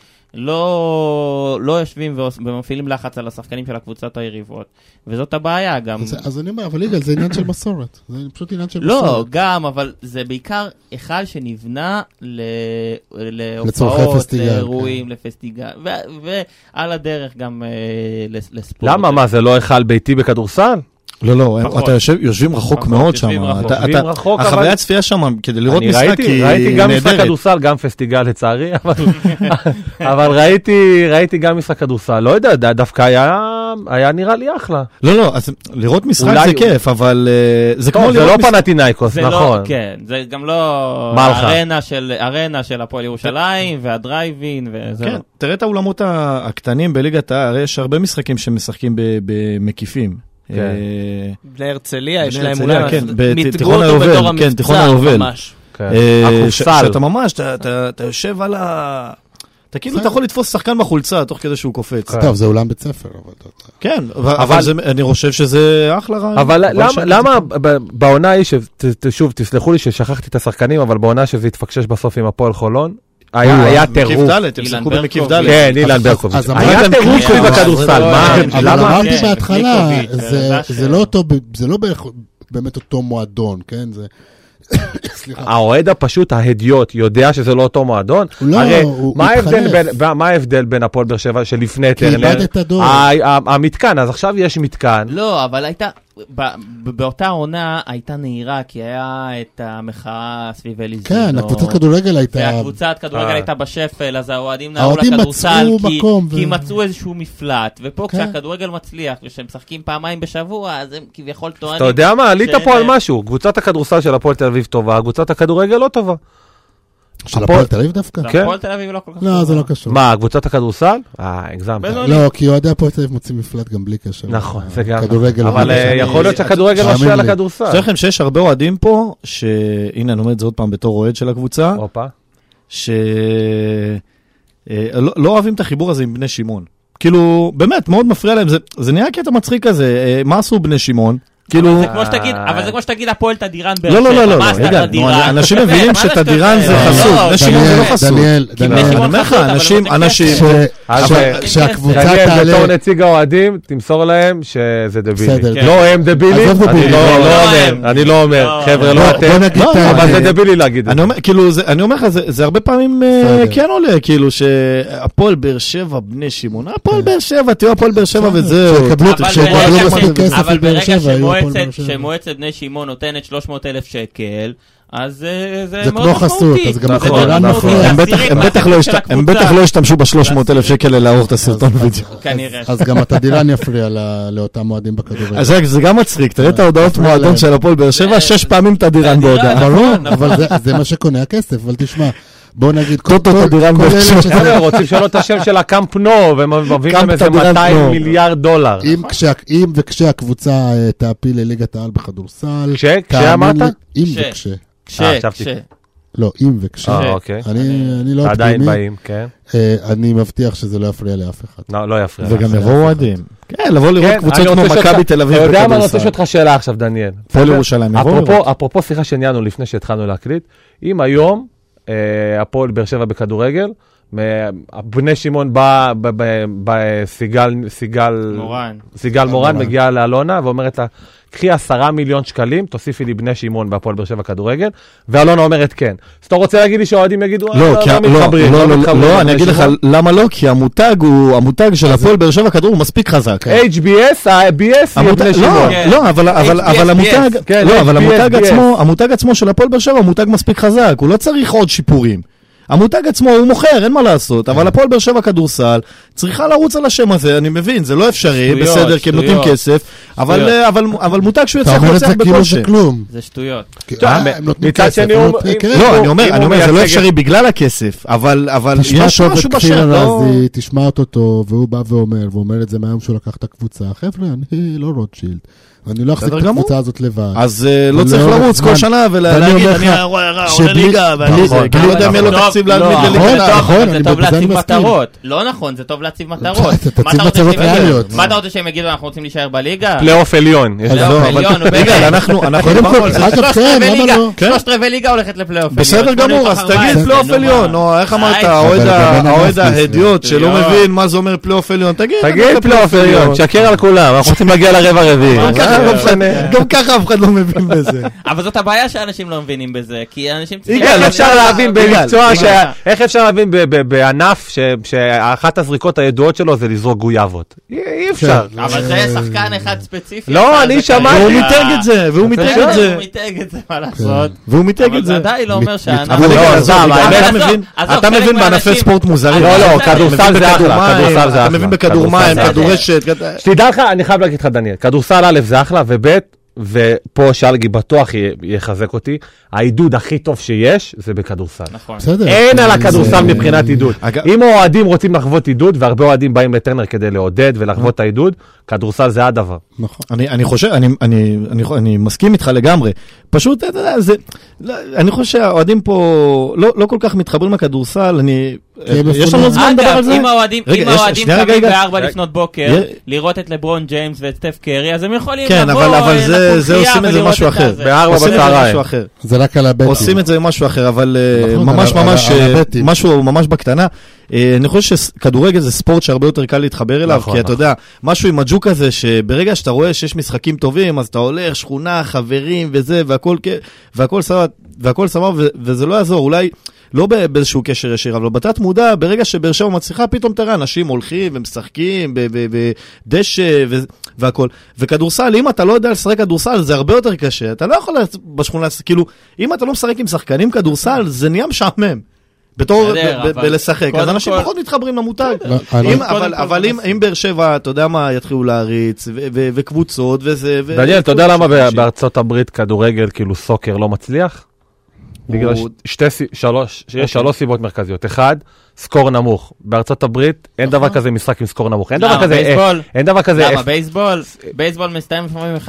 S3: לא לא יושבים ועוש- ומפעילים לחץ על השחקנים של הקבוצת היריבות, וזאת הבעיה גם.
S2: אז- אז אני אומר, אבל יגאל, זה עניין של מסורת. זה פשוט עניין של
S3: לא,
S2: מסורת.
S3: גם, אבל זה בעיקר היכל שנבנה ל-
S2: לצורכי
S3: להופעות,
S2: פסטיגל, כן.
S3: לאירועים, לפסטיגל, ו- ועל הדרך גם אה, לס- לספורט.
S1: למה? מה, זה לא היכל ביתי בכדורסל?
S5: לא, לא, הם-
S3: פחות.
S5: אתה יושב, יושבים רחוק
S3: פחות,
S5: מאוד
S3: יושבים
S5: שם.
S3: רחוק.
S5: אתה-
S1: יושבים
S5: אתה-
S1: רחוק, אבל-
S5: החוויה הצפייה שם, כדי לראות
S1: אני
S5: משחק,
S1: ראיתי,
S5: היא
S1: ראיתי גם משחק
S5: נהדרת.
S1: כדורסל, גם פסטיגל לצערי, אבל, אבל ראיתי, ראיתי גם משחק כדורסל. לא יודע, ד- דווקא היה, היה נראה לי אחלה.
S5: לא, לא, אז לראות משחק
S1: אולי
S5: זה
S1: הוא-
S5: כיף, אבל אה, זה כמו
S1: טוב, זה לא
S5: לראות משחק.
S1: פנטינאיקוס,
S3: זה לא,
S1: נכון.
S3: כן, זה גם לא
S1: מה לך?
S3: ארנה של, ארנה של הפועל ירושלים והדרייבין וזה.
S5: כן,
S3: לא.
S5: תראה את האולמות ה- הקטנים בליגת העל, הרי יש הרבה משחקים שמשחקים ב- במקיפים.
S1: כן.
S5: אה,
S4: בני הרצליה, יש
S5: בני
S4: להם
S5: הרצליה,
S4: אולי...
S5: כן,
S4: אז
S5: בת-
S4: מיתגו
S5: תיכון
S4: אותו
S5: היובל,
S4: בתור
S5: כן,
S4: המבצר,
S5: תיכון היובל.
S4: ממש.
S1: כן.
S5: אה, ש-
S1: הקופסל.
S5: שאתה ממש, אתה- אתה אתה יושב על ה... אתה כאילו, אתה יכול לתפוס שחקן בחולצה תוך כדי שהוא קופץ.
S1: כן.
S2: טוב, זה אולם בית ספר, אבל... אתה יודע.
S5: כן, אבל-
S1: אבל-
S5: אבל זה- אני חושב שזה אחלה רעיון.
S1: אבל
S5: ש-
S1: למה, למה ב- בעונה ההיא, ש- ת- ת- שוב, תסלחו לי ששכחתי את השחקנים, אבל בעונה שזה התפקשש בסוף עם הפועל חולון, היה
S5: אוי,
S1: היה
S5: מקיף
S1: טירוף.
S5: ד', הם
S3: אילן
S5: שיחקו במקיף
S3: ברקוביץ'.
S5: ד'.
S1: כן, אילן
S2: אז-
S1: ברקוביץ'.
S2: אז
S1: היה
S5: אמרת-
S1: טירוף שלי
S5: אבל-
S1: בכדורסל,
S5: אבל-
S1: מה,
S5: אבל-
S2: אבל
S1: לא, למה?
S2: אמרתי
S3: כן,
S2: בהתחלה,
S3: ניקוביץ',
S2: זה-
S3: זה דש
S2: זה לא אותו, זה לא בערך- באמת אותו מועדון, כן? זה... סליחה.
S1: האוהד הפשוט, ההדיוט, יודע שזה לא אותו מועדון?
S2: הוא לא,
S1: הרי
S2: הוא
S1: מה
S2: התחלף.
S1: ההבדל בין- כן, ב- מה ההבדל בין הפועל באר שבע שלפני
S2: כי
S1: טרנר?
S2: איבדת דור.
S1: ה- ה- המתקן, אז עכשיו יש מתקן.
S3: לא, אבל הייתה, ב, ב, באותה עונה הייתה נהירה, כי היה את המחאה סביב אליזון.
S1: לא.
S2: כן, הקבוצת כדורגל הייתה...
S3: והקבוצת כדורגל
S1: אה.
S3: הייתה בשפל, אז האוהדים נעו
S2: האוהדים
S3: לכדורסל,
S2: מצאו
S3: כי,
S2: מקום ו-
S3: כי מצאו איזשהו מפלט, ופה
S2: כן.
S3: כשהכדורגל מצליח, וכשהם משחקים פעמיים בשבוע, אז הם כביכול טוענים...
S1: אתה יודע מה, עלית
S3: שאין
S1: פה על
S3: להם-
S1: משהו. קבוצת הכדורסל של הפועל תל אביב טובה, קבוצת הכדורגל לא טובה.
S2: של
S1: הפועל-
S2: הפועל תל אביב דווקא?
S3: זה
S1: כן.
S3: הפועל תל אביב לא כל כך...
S2: לא,
S3: טובה.
S2: זה לא קשור.
S1: מה, קבוצת הכדורסל? אה, הגזמת.
S3: בזמן-
S2: לא, כי אוהדי הפועל תל אביב מוצאים מפלט גם בלי קשר.
S1: נכון, זה גם...
S2: כדורגל.
S1: אבל
S2: אני-
S1: אה, יכול להיות שהכדורגל
S2: תאמין
S1: משפיע על
S2: לי.
S1: הכדורסל.
S5: אני לכם שיש הרבה אוהדים פה, שהנה אני אומר את זה עוד פעם בתור אוהד של הקבוצה,
S1: הופה.
S5: ש... אה, לא לא אוהבים את החיבור הזה עם בני שמעון. כאילו, באמת, מאוד מפריע להם, זה- זה נהיה קטע מצחיק כזה, אה, מה עשו בני שמעון? כאילו...
S3: זה כמו שתגיד,
S2: אה.
S3: אבל זה כמו שתגיד הפועל תדירן באר שבע.
S5: לא, לא, לא, לא,
S3: מה
S5: לא,
S3: עשתה
S5: יגאל,
S3: תדירן?
S5: נו, אנשים
S3: באמת,
S5: מבינים
S3: מה זה
S5: שתדירן
S3: השטויות
S5: זה
S1: אה,
S3: האלה?
S5: חסות,
S3: לא,
S5: בני שמעון זה לא
S2: דניאל,
S5: חסות.
S2: דניאל,
S5: אני
S2: דניאל,
S5: אומר לך, אנשים, אנשים...
S1: אז,
S2: עכשיו,
S1: נכון. אה,
S2: כשהקבוצה
S1: דניאל,
S2: תעלה-
S1: בתור נציג האוהדים, תמסור להם שזה דבילי.
S2: בסדר.
S1: לא הם דבילי,
S2: עזוב
S1: אני
S2: דבילי.
S1: לא לא
S2: לא,
S4: לא
S1: אומר,
S4: הם.
S1: אני לא אומר,
S4: לא.
S1: חבר'ה, לא
S2: בוא- בוא
S1: אתם.
S2: נגיד
S5: לא,
S2: את האמת.
S1: אבל זה דבילי להגיד את
S5: אני
S1: זה.
S5: אומר, כאילו, זה- אני אומר לך, זה זה הרבה פעמים אה,
S2: בסדר.
S5: כן עולה, כאילו, שהפועל באר שבע, בני שמעון, הפועל באר שבע, תהיו הפועל באר שבע וזהו.
S2: שיקבלו
S3: אבל
S2: שיקבלו
S3: ברגע
S2: מספיק
S3: ש-
S2: כסף
S3: אבל
S2: לבאר
S3: ברגע
S2: שבע, יהיו הפועל
S3: שמועצת-
S2: באר שבע.
S3: שמועצת בני שמעון נותנת 300 אלף שקל, אז אה, זה
S2: זה
S3: מאוד
S2: כמו חסות,
S3: משמעותי.
S2: אז גם
S3: זה
S1: נכון,
S3: מאוד
S1: נכון.
S3: משמעותי,
S5: הם
S3: זה
S5: בטח-
S3: עשירית
S5: הם בטח לא
S3: מהחסות של
S5: השת- הם
S3: הקבוצה.
S5: בטח לא השתמשו ב-300 אלף שקל לערוך את הסרטון
S2: אז-
S5: וידאו.
S2: אז-
S3: כנראה.
S5: אה,
S2: אז גם התדירן יפריע ל- לאותם אוהדים בכדורגל.
S5: אז רק, זה גם מצחיק, תראה את ההודעות
S2: מפריע
S5: מועדון
S2: להם.
S5: של הפועל באר
S1: כן.
S5: שבע,
S3: זה-
S5: שש פעמים תדירן
S3: תדירן.
S1: לא
S5: בהודעה.
S2: ברור, אבל זה- זה מה שקונה הכסף, אבל תשמע, בוא נגיד, כל
S5: טוטו
S2: כל-
S5: תדירן
S2: כל
S5: באר
S2: אלה
S5: שבע.
S2: שזה-
S1: חבר'ה, רוצים לשנות את השם של הקאמפ נו, והם מביאים להם
S5: קאמפ
S1: איזה
S5: תדירן
S1: 200
S5: נו.
S1: מיליארד דולר.
S2: אם כשה- אם וכשהקבוצה אה, תעפיל לליגת העל בכדורסל,
S1: כש?
S2: תאמין
S1: כשאמרת?
S2: לי- אם
S3: כש.
S2: וכש.
S3: כש,
S1: אה, חשבתי.
S3: כש.
S2: לא, אם וכש.
S1: אה, אוקיי.
S2: אני אני לא
S1: עדיין
S2: אופטימי,
S1: באים, כן.
S2: אה, אני מבטיח שזה לא יפריע לאף אחד.
S1: לא, לא יפריע.
S5: וגם יבואו אוהדים. כן, לבוא לראות
S1: כן,
S5: קבוצות
S1: אני
S5: כמו
S1: רוצה לשאול
S5: מכבי
S1: אותך-
S5: תל אביב
S1: אתה יודע מה, אני רוצה
S5: בכדורסל.
S1: לשאול אותך שאלה עכשיו, דניאל.
S5: הפועל ירושלים, יבואו
S1: אפרופו-
S5: לראות.
S1: אפרופו שיחה שניהלנו לפני שהתחלנו להקליט, אם היום אה, הפועל באר שבע בכדורגל, מ- בני שמעון בא, ב- ב- ב- סיגל, סיגל,
S3: מורן.
S1: סיגל מורן
S2: מורן.
S1: מגיעה לאלונה ואומרת לה, קחי עשרה מיליון שקלים, תוסיפי לי בני שמעון בהפועל באר שבע כדורגל, ואלונה אומרת כן. אז אתה רוצה להגיד לי שהאוהדים יגידו, "אה,
S5: לא, כי ה- לא,
S1: מתחברים,
S5: לא, לא,
S1: מתחברים
S5: לא,
S1: לבני
S5: אני אגיד לך
S1: שמעון."
S5: למה לא, כי המותג הוא, המותג של הפועל באר שבע כדור הוא מספיק חזק.
S1: אה, HBS, ה-BS יהיה
S5: המותג-
S1: בני שמעון.
S5: לא, לא, אבל- אבל אבל המותג,
S1: כן,
S5: לא, אבל
S1: HBS,
S5: המותג
S1: BS.
S5: עצמו, המותג עצמו של הפועל באר שבע הוא מותג מספיק חזק, הוא לא צריך עוד שיפורים. המותג עצמו הוא מוכר, אין מה לעשות, אבל הפועל באר שבע כדורסל צריכה לרוץ על השם הזה, אני מבין, זה לא אפשרי,
S3: שטויות,
S5: בסדר, כי הם נותנים
S3: שטויות.
S5: כסף, אבל
S3: שטויות.
S5: אה, אבל- אבל מותג שהוא
S2: אתה
S5: יצליח
S2: אומר את
S5: לנצח
S2: זה כאילו
S5: בכושר.
S2: זה כלום.
S3: זה שטויות.
S2: כי-
S1: טוב,
S2: אה, הם נותנים
S1: מצד
S2: כסף,
S1: שני
S2: הם
S1: הוא-
S2: נותנים-
S1: אם-
S2: כן,
S5: לא,
S1: הוא-
S5: אני
S1: אם
S5: אומר, אני
S1: הוא
S5: אומר, זה לא
S1: מייצג את-
S5: אפשרי בגלל הכסף, אבל אבל
S2: תשמע
S5: יש
S2: טוב
S5: משהו
S2: את
S5: בשם,
S2: כפיר
S5: לא...
S2: ארזי, תשמע אותו טוב, והוא בא ואומר, ואומר את זה מהיום שהוא לקח את הקבוצה. חבר'ה, אני לא רוטשילד. אני לא אחזיק
S5: בסדר
S2: את
S5: גמור.
S2: הקבוצה הזאת לבד.
S5: אז אה, לא
S2: לא
S5: צריך לרוץ
S2: זמן.
S5: כל שנה
S2: ואני
S5: ולהגיד,
S2: אומר
S5: אני
S2: לך
S5: עולה
S2: שבלי-
S5: ליגה, ואני
S2: בלי-
S5: זה, כי לא יודע אם יהיה לו
S3: טוב,
S5: תקציב
S3: לא,
S5: להעמיד
S2: נכון,
S5: לליגה.
S2: נכון,
S3: זה
S2: אני
S3: טוב
S2: בזה אני
S3: להציב
S2: מסכים.
S3: מטרות. לא נכון, זה טוב להציב מטרות.
S2: אתה תציב
S3: מה רוצה
S2: מטרות
S3: שהם יגידו?
S2: ריאליות.
S3: מה אתה רוצה שהם יגידו, אנחנו רוצים להישאר בליגה?
S1: פלייאוף עליון. יש
S5: אז
S1: להם.
S5: לא, אבל-
S3: מיליון, הוא באמת.
S5: רגע, אנחנו, אנחנו
S2: קודם
S5: דיברנו
S2: כל,
S5: על זה.
S2: אגב,
S3: שלושת
S2: כן,
S3: רבעי
S2: למה
S3: ליגה,
S2: לא?
S5: כן.
S3: שלושת רבעי ליגה הולכת לפלייאוף.
S5: בסדר
S3: עליון.
S5: גמור,
S3: שמונה
S5: אז
S3: מתוך
S5: תגיד
S3: 14,
S5: פלייאוף
S3: נו, מה? אה,
S5: עליון, או
S1: אה,
S5: איך אמרת,
S3: די,
S5: האוהד
S2: אבל
S5: ה-
S2: גם אני
S5: האוהד
S2: לא מסכים.
S5: ההדיוט שלא
S3: לא.
S5: מבין מה זה אומר פלייאוף עליון, תגיד.
S1: תגיד פלייאוף עליון, שקר על כולם, אנחנו רוצים להגיע לרבע הרביעי.
S3: מה
S1: אה,
S3: קרה?
S1: לא משנה.
S5: גם ככה אף אחד לא מבין בזה.
S3: אבל זאת הבעיה שאנשים לא מבינים בזה, כי אנשים צריכים... אה,
S1: איך אפשר להבין במקצוע,
S3: יגאל,
S1: ש-
S3: יגאל.
S1: איך אפשר להבין ב- ב- בענף ש- שאחת הזריקות הידועות שלו זה לזרוק גויאבות? אי- אי אפשר.
S2: כן.
S3: אבל זה שחקן אחד ספציפי.
S1: לא,
S3: אבל
S1: אני
S3: זה
S1: שמעתי.
S5: והוא
S1: אה,
S3: כרגע-
S5: מיתג את זה, והוא
S1: אתה
S5: מיתג
S1: יודע?
S5: את זה,
S3: הוא מיתג את זה, מה לעשות?
S5: והוא מיתג
S3: אבל
S5: את
S3: זה
S5: זה.
S3: עדיין לא אומר שהענף...
S5: אבל
S1: לא,
S5: רגע,
S1: עזוב, אבל
S5: עזוב, אתה
S3: עזוב,
S5: מבין-
S3: עזוב,
S5: אתה
S3: חלק
S5: מבין בענפי
S3: מהאנשים-
S5: ספורט מוזרים.
S1: לא, לא,
S5: אתה מבין
S1: כדורסל זה אחלה,
S5: בכדורמים,
S1: כדורסל זה אחלה.
S5: אתה מבין בכדורמים,
S1: כדורסל
S3: זה
S5: כדורשת. כד-
S1: שתדע לך, אני חייב להגיד לך, דניאל, כדורסל א' זה אחלה, וב' ופה שלגי בטוח י- יחזק אותי, העידוד הכי טוב שיש זה בכדורסל.
S3: נכון.
S2: בסדר.
S1: אין על
S2: זה-
S1: הכדורסל מבחינת עידוד.
S5: אגב-
S1: אם האוהדים רוצים לחוות עידוד, והרבה אוהדים באים לטרנר כדי לעודד ולחוות את העידוד, כדורסל זה
S5: אה,
S1: הדבר.
S2: נכון.
S5: אני, אני חושב, אני, אני, אני, אני מסכים איתך לגמרי. פשוט, אתה יודע, זה, לא, אני חושב שהאוהדים פה לא, לא כל כך מתחברים לכדורסל, אני...
S2: הם
S5: יש לנו
S2: מפונים.
S5: זמן לדבר על
S3: אגב,
S5: זה?
S3: אם האוהדים
S5: רגע,
S3: אם
S5: יש-
S3: האוהדים
S5: שנייה, רגע,
S3: קמים
S5: רגע.
S3: בארבע
S1: רגע.
S3: לפנות בוקר,
S5: יה-
S3: לראות את לברון גיימס ואת סטף קרי, אז הם יכולים
S5: כן,
S3: לבוא...
S5: אבל- אבל
S3: אה,
S5: זה-
S3: לקונכייה
S5: זה עושים את זה
S3: ולראות
S5: משהו אחר.
S3: הזה.
S1: בארבע
S5: עושים את זה
S1: בצהריים.
S5: משהו אחר.
S2: זה רק על הבטן.
S5: עושים את זה משהו אחר, אבל אה,
S2: נכון,
S5: ממש
S2: על ה-
S5: ממש,
S2: על ה- על
S5: אה,
S2: הבטים.
S5: משהו ממש בקטנה. אה, אני חושב שכדורגל זה ספורט שהרבה יותר קל להתחבר אליו,
S1: נכון,
S5: כי אתה
S1: נכון.
S5: יודע, משהו עם הג'וק הזה, שברגע שאתה רואה שיש משחקים טובים, אז אתה הולך, שכונה, חברים וזה, והכל כ- והכל סבבה, והכל סבבה, ו- וזה לא יעזור, אולי... לא בא- באיזשהו קשר ישיר, אבל בתת מודע, ברגע שבאר שבע מצליחה, פתאום תראה אנשים הולכים ומשחקים ב- ב- בדשא ו- והכל. וכדורסל, אם אתה לא יודע לשחק כדורסל, זה הרבה יותר קשה. אתה לא יכול לס- בשכונה, לס- כאילו, אם אתה לא משחק עם שחקנים כדורסל, זה נהיה משעמם. בתור,
S3: בסדר,
S5: ב- ב-
S3: אבל
S5: בלשחק, אז
S3: קודם
S5: אנשים
S3: כל-
S5: פחות מתחברים למותג.
S2: לא, אני-
S5: אם-
S3: קודם
S5: אבל-
S3: כל
S5: אבל אם-
S3: זה
S5: אם באר שבע, אתה יודע מה, יתחילו להריץ, ו- ו- וקבוצות, וזה... ו-
S1: דניאל, אתה יודע
S5: וכל
S1: למה
S5: מיני
S1: ב-
S5: אנשים.
S1: בארצות הברית כדורגל, כאילו סוקר, לא מצליח? בגלל ש- שתי, סי- שלוש,
S5: אוקיי.
S1: יש שלוש סיבות מרכזיות. אחד, סקור נמוך. בארצות הברית אין
S5: נכון.
S1: דבר כזה משחק עם סקור נמוך. אין
S5: לא,
S1: דבר
S3: למה,
S1: כזה... אה,
S3: בייסבול?
S1: אין דבר כזה...
S3: למה,
S1: אפס.
S3: בייסבול? בייסבול מסתיים לפעמים 1-0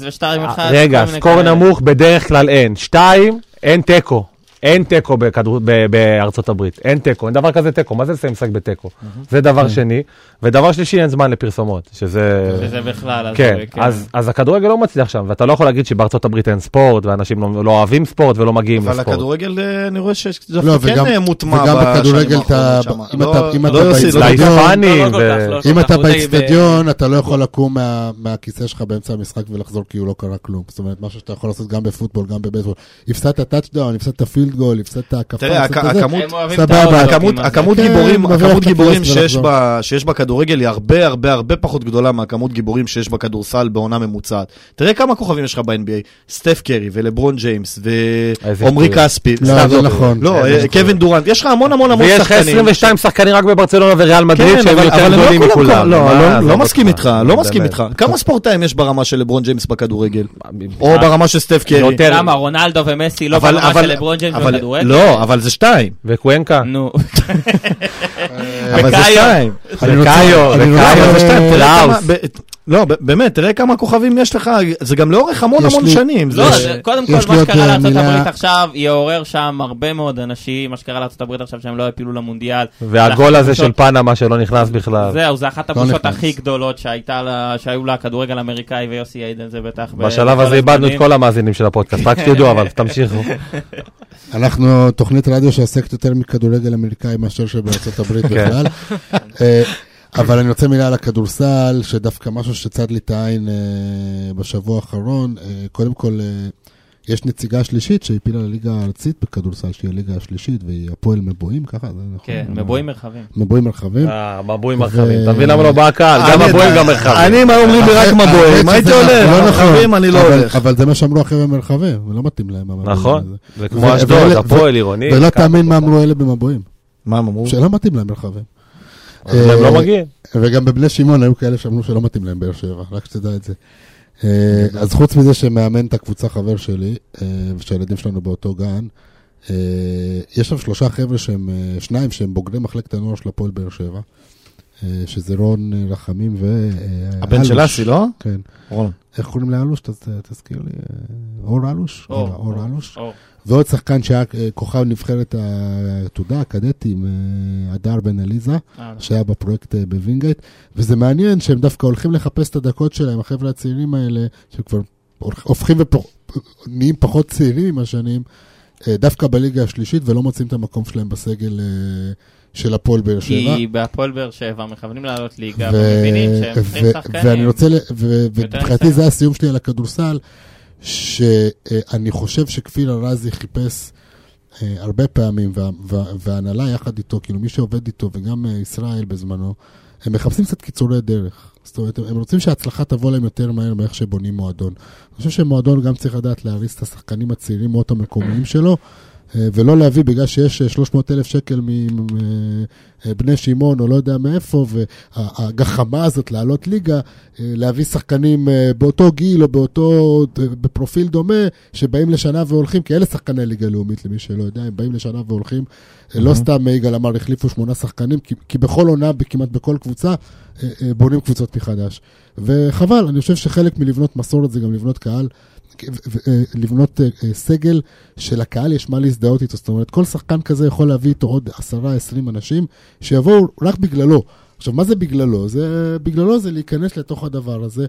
S3: ו-2-1.
S1: אה, רגע, סקור נמוך בדרך כלל אין. שתיים, אין תיקו. אין תיקו בכדור- ב- בארצות הברית, אין תיקו, אין דבר כזה תיקו, מה זה לסיים משחק בתיקו? זה דבר שני. ודבר שלישי, אין זמן לפרסומות, שזה...
S3: שזה בכלל, אז
S1: כן,
S3: זה-
S1: אז, אז הכדורגל לא מצליח שם, ואתה לא יכול להגיד שבארצות הברית אין ספורט, ואנשים לא, לא אוהבים ספורט ולא מגיעים
S5: אבל
S1: לספורט.
S5: הכדורגל, אה, אני רואה
S2: לא,
S5: שדווקא
S2: וגם-
S5: כן אה, מוטמע
S2: וגם
S5: בשנים
S2: בכדורגל
S5: האחרונות
S2: אתה-
S5: שם.
S2: אם
S5: לא-
S2: אתה- אם
S5: לא
S2: אתה
S5: יוסי,
S2: באצטדיון-
S5: לא
S1: די
S5: יוסי.
S3: כן.
S1: פאנים,
S4: לא, לא כל כך, לא.
S2: אם אתה
S4: אנחנו די ב-
S2: באצטדיון, אתה לא יכול לקום מה- מהכיסא שלך באמצע המשחק ולחזור כי הוא לא קרה כלום. זאת אומרת, משהו שאתה יכול לעשות גם בפוטבול, גם בבייסבול. הפסדת טאצ'דאון, הפסדת פילד גול, הפסדת הקפה,
S5: תראה,
S2: הפסדת
S5: הכ-
S2: זה.
S5: הכמות...
S3: הם אוהבים את
S2: סבבה,
S3: האוטו,
S5: הכמות,
S3: כי מה זה-
S5: הכמות
S2: כן,
S5: גיבורים,
S2: מבריח
S5: הכמות
S2: את הכוס
S5: גיבורים שיש,
S2: ולחזור.
S5: ב, שיש בכדורגל היא הרבה הרבה הרבה פחות גדולה מהכמות גיבורים שיש בכדורסל בעונה ממוצעת. תראה כמה כוכבים יש לך ב-NBA, סטף קרי ולברון גיימס
S1: איזה
S5: ועומרי
S1: שטויות.
S5: כספי.
S2: לא,
S5: סתם,
S2: זה נכון.
S5: לא,
S1: איזה
S5: אה,
S1: שטויות.
S5: קווין דורנט, יש לך המון המון המון
S1: ויש לך
S5: שחקנים.
S1: 22 שחקנים רק בברצלונה וריאל מדריד,
S5: כן,
S1: שהם
S5: אבל-
S1: יותר
S5: אבל הם לא
S1: גדולים
S5: כולם-
S1: מכולם.
S5: לא,
S1: מה,
S5: לא,
S1: עזוב
S5: לא מסכים
S1: אותך.
S5: איתך, לא מסכים
S1: באמת.
S5: איתך. כמה ספורטאים יש ברמה של לברון גיימס בכדורגל? או ברמה של סטף קרי?
S1: יותר.
S3: למה רונלדו ומסי לא
S5: אבל-
S3: ברמה
S5: אבל-
S3: של לברון ג'יימס
S5: אבל-
S3: בכדורגל?
S5: לא, אבל זה שתיים.
S1: וקוונקה,
S3: נו,
S5: אבל זה
S3: וקאיו.
S5: שתיים.
S2: אני רוצה-
S1: וקאיו,
S2: אני רוצה-
S1: וקאיו,
S5: אבל זה שתיים, תראה
S1: קלאוס.
S5: כמה- ב- לא, ב- באמת, תראה כמה כוכבים יש לך, זה גם לאורך המון
S2: יש
S5: המון
S2: לי-
S5: שנים. זה-
S3: לא, זה- קודם כל,
S2: יש לי
S3: מה
S2: עוד,
S3: שקרה
S2: אה,
S3: לארצות
S2: מילה-
S3: הברית עכשיו יעורר שם הרבה מאוד אנשים, מה שקרה לארצות הברית עכשיו שהם לא יפילו למונדיאל.
S1: והגול הזה
S3: זה אחת
S1: של פנמה שלא נכנס בכלל.
S3: זהו, זו אחת
S2: לא
S3: הבושות
S2: נכנס.
S3: הכי גדולות שהייתה לה- שהיו לה כדורגל אמריקאי ויוסי איידן זה בטח. ב-
S1: בשלב
S3: בכל
S1: הזה איבדנו את
S3: הזמנים.
S1: כל המאזינים של הפודקאסט, רק שתדעו, אבל תמשיכו.
S2: אנחנו תוכנית רדיו שעוסקת יותר מכדורגל אמריקאי מאשר שבארצות הברית בכלל. אה, אבל אני רוצה מילה על הכדורסל, שדווקא משהו שצד לי את העין אה, בשבוע האחרון. אה, קודם כל, אה, יש נציגה שלישית שהפילה לליגה הארצית בכדורסל, שהיא הליגה השלישית, והיא הפועל מבואים, ככה? זה נכון?
S3: כן, מבואים מרחבים.
S2: מבואים מרחבים.
S1: אה, מבואים מרחבים, אתה מבין למה לא בא הקהל? גם
S5: אני-
S1: מבואים גם מרחבים.
S5: אני, מה אומרים לי רק מבואים, הייתי הולך,
S2: אה, לא נכון.
S5: מרחבים אני לא
S2: אבל-
S5: הולך.
S2: אבל זה מה שאמרו החבר'ה מרחבים, ולא לא מתאים להם. המבואים הזה.
S1: נכון, זה
S2: ו-
S1: כמו אשדוד,
S2: ואלה-
S1: הפועל עירוני.
S2: ולא תאמין מה אמרו אלה במבואים,
S5: מה הם אמרו?
S2: שלא מתאים להם מרחבים. אה,
S1: אז הם לא מגיעים.
S2: וגם בבני שמעון היו כאלה שאמרו שלא מתאים להם באר שבע, רק שתדע את זה. אה, אז חוץ מזה שמאמן את הקבוצה חבר שלי, אה, ושהילדים שלנו באותו גן, אה, יש שם שלושה חבר'ה שהם, אה, שניים שהם בוגרי מחלקת הנוער של הפועל באר שבע, אה, שזה רון אה, רחמים ו... אה,
S5: הבן
S2: אלוש.
S5: של אסי, לא?
S2: כן.
S5: רון.
S2: איך קוראים לאלוש? תז- תזכיר לי. אה, אור אלוש?
S3: אור.
S2: אור אלוש.
S3: אור.
S2: ועוד שחקן שהיה אה, כוכב נבחרת העתודה, הקדטים, אה, הדר בן עליזה.
S3: אה, נכון.
S2: שהיה בפרויקט אה, בווינגייט, וזה מעניין שהם דווקא הולכים לחפש את הדקות שלהם, החבר'ה הצעירים האלה, שכבר הופכים ונהיים פחות צעירים עם השנים, אה, דווקא בליגה השלישית, ולא מוצאים את המקום שלהם בסגל אה, של הפועל באר שבע.
S3: כי בהפועל באר שבע מכוונים לעלות ליגה,
S2: ו-
S3: ומבינים שהם צריכים
S2: ו- ואני לא
S3: שחקנים.
S2: רוצה, ל- ו-
S3: יותר
S2: ומבחינתי
S3: ניסיון.
S2: זה הסיום שלי על הכדורסל, שאני חושב שכפיר ארזי חיפש אה, הרבה פעמים, וה- וה- וההנהלה יחד איתו, כאילו מי שעובד איתו, וגם אה, ישראל בזמנו, הם מחפשים קצת קיצורי דרך. זאת אומרת, הם- הם רוצים שההצלחה תבוא להם יותר מהר מאיך שבונים מועדון. אני חושב שמועדון גם צריך לדעת להריס את השחקנים הצעירים מאוד המקומיים שלו, אה, ולא להביא בגלל שיש 300 אלף שקל מבני שמעון או לא יודע מאיפה, והגחמה הזאת לעלות ליגה, אה, להביא שחקנים אה, באותו גיל או באותו, אה, בפרופיל דומה, שבאים לשנה והולכים, כי אלה שחקני ליגה לאומית, למי שלא יודע, הם באים לשנה והולכים. אה, לא סתם אה, יגאל אמר, החליפו שמונה שחקנים, כי- כי בכל עונה, כמעט בכל קבוצה, אה, אה, בונים קבוצות מחדש. וחבל, אני חושב שחלק מלבנות מסורת זה גם לבנות קהל, ו- ו- אה, לבנות אה, אה, סגל שלקהל יש מה להזדהות איתו. זאת אומרת, כל שחקן כזה יכול להביא איתו עוד 10-20 אנשים שיבואו רק בגללו. עכשיו, מה זה בגללו? זה, בגללו זה להיכנס לתוך הדבר הזה,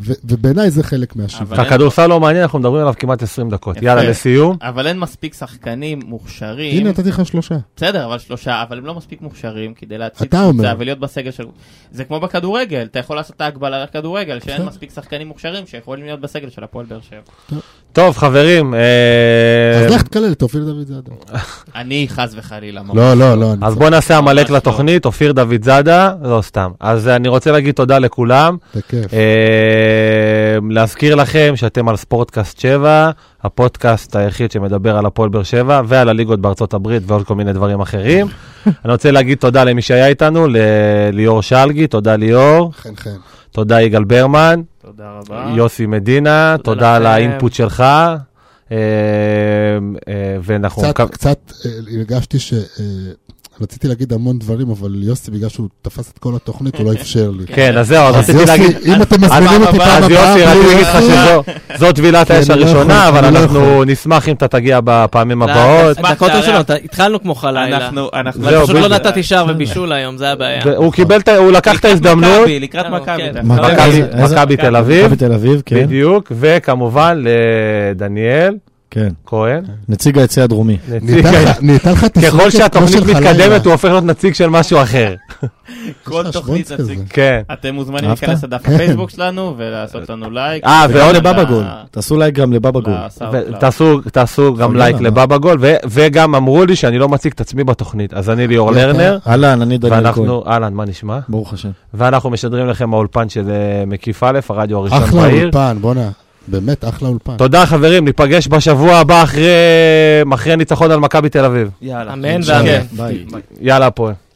S2: ו- ובעיניי זה חלק מהשוויון.
S3: אבל-
S1: הכדורסל לא מעניין, אנחנו מדברים עליו כמעט 20 דקות.
S3: יפה.
S1: יאללה, לסיום.
S3: אבל אין מספיק שחקנים מוכשרים.
S2: הנה, נתתי לך שלושה.
S3: בסדר, אבל שלושה, אבל הם לא מספיק מוכשרים כדי להציג
S2: אתה אומר.
S3: קבוצה ולהיות בסגל של... זה כמו בכדורגל, אתה יכול לעשות את ההגבלה לכדורגל, שאין
S2: בסדר.
S3: מספיק שחקנים מוכשרים שיכולים להיות בסגל של הפועל באר שבע.
S1: טוב, חברים, אה,
S2: אז לך תקלל את אופיר דוד זאדה.
S3: אני חס וחלילה. ממש.
S2: לא, לא, לא. אני
S1: אז
S2: צוחק.
S1: בואו נעשה עמלק
S3: ממש לא.
S1: לתוכנית, אופיר דוד זאדה, לא סתם. אז אני רוצה להגיד תודה לכולם.
S2: זה כיף.
S1: אה, להזכיר לכם שאתם על ספורטקאסט 7, הפודקאסט היחיד שמדבר על הפועל באר שבע ועל הליגות בארצות הברית ועוד כל מיני דברים אחרים. אני רוצה להגיד תודה למי שהיה איתנו, לליאור שלגי, תודה ליאור,
S2: חן חן.
S1: תודה יגאל ברמן,
S3: תודה רבה.
S1: יוסי מדינה,
S4: תודה
S1: תודה על
S4: לכם.
S1: האינפוט שלך. אמ, אה, אה, ואנחנו...
S2: קצת, קצת אה, הרגשתי ש... אה, רציתי להגיד המון דברים, אבל יוסי, בגלל שהוא תפס את כל התוכנית, הוא לא אפשר לי.
S1: כן, אז זהו, אז
S2: אז
S1: רציתי להגיד...
S2: יוסי, אם אתם מזמינים אותי לא פעם
S1: אז
S2: הבאה, אה,
S1: יוסי,
S2: בלי-
S1: רציתי להגיד לך שזו זו טבילת
S2: כן,
S1: האש
S2: אני לא
S1: הראשונה,
S2: יכול,
S1: אבל
S2: אני לא
S1: אנחנו נשמח אם אתה תגיע
S5: לא,
S1: בפעמים הבאות.
S4: די, דקות ראשונות, התחלנו כמו חלילה.
S3: אנחנו, אנחנו,
S1: זהו,
S4: אבל פשוט לא
S1: בדיוק.
S4: נתתי שער ובישול היום, זה הבעיה.
S1: הוא קיבל, את ה- הוא לקח את ההזדמנות,
S3: מכבי, לקראת
S4: כן,
S3: מכבי.
S4: כן.
S3: דווקא.
S5: מכבי.
S1: מכבי-
S5: איזה- איזה-
S1: מכבי תל אביב,
S5: בתל אביב, כן.
S1: בדיוק, וכמובן לדניאל
S5: כן.
S1: כהן, נציג
S5: נציג היציא הדרומי.
S1: נציג
S2: נהייתה לך- נהייתה לך תסריט
S1: ככל שהתוכנית
S2: כמו של
S1: מתקדמת,
S2: חלילה.
S1: הוא הופך להיות נציג של משהו אחר.
S2: יש
S3: כל
S2: לך
S3: תוכנית
S2: שוונץ
S3: נציג.
S2: כזה.
S1: כן.
S3: אתם מוזמנים
S5: אהבת?
S3: להיכנס לדף הפייסבוק שלנו ולעשות לנו לייק.
S1: אה, ועוד
S5: לבבא גול. תעשו לייק גם לבבא גול. לא.
S1: ו- תעשו- תעשו גם
S5: פרגן
S1: לייק
S5: לנו.
S1: לבבא גול, ו- וגם אמרו לי שאני לא מציג את עצמי בתוכנית, אז אני ליאור לרנר,
S5: אהלן, אני דניאל כהן.
S1: ואנחנו, אהלן, מה נשמע?
S5: ברוך השם.
S1: ואנחנו משדרים לכם מהאולפן של אה, מקיף א', הרדיו הראשון
S2: אחלה
S1: בעיר.
S2: אולפן, בואנה. באמת, אחלה אולפן.
S1: תודה חברים, ניפגש בשבוע הבא אחרי אחרי הניצחון על מכבי תל אביב.
S3: יאללה. כן.
S4: אמן ואמן.
S5: ביי.
S1: יאללה הפועל.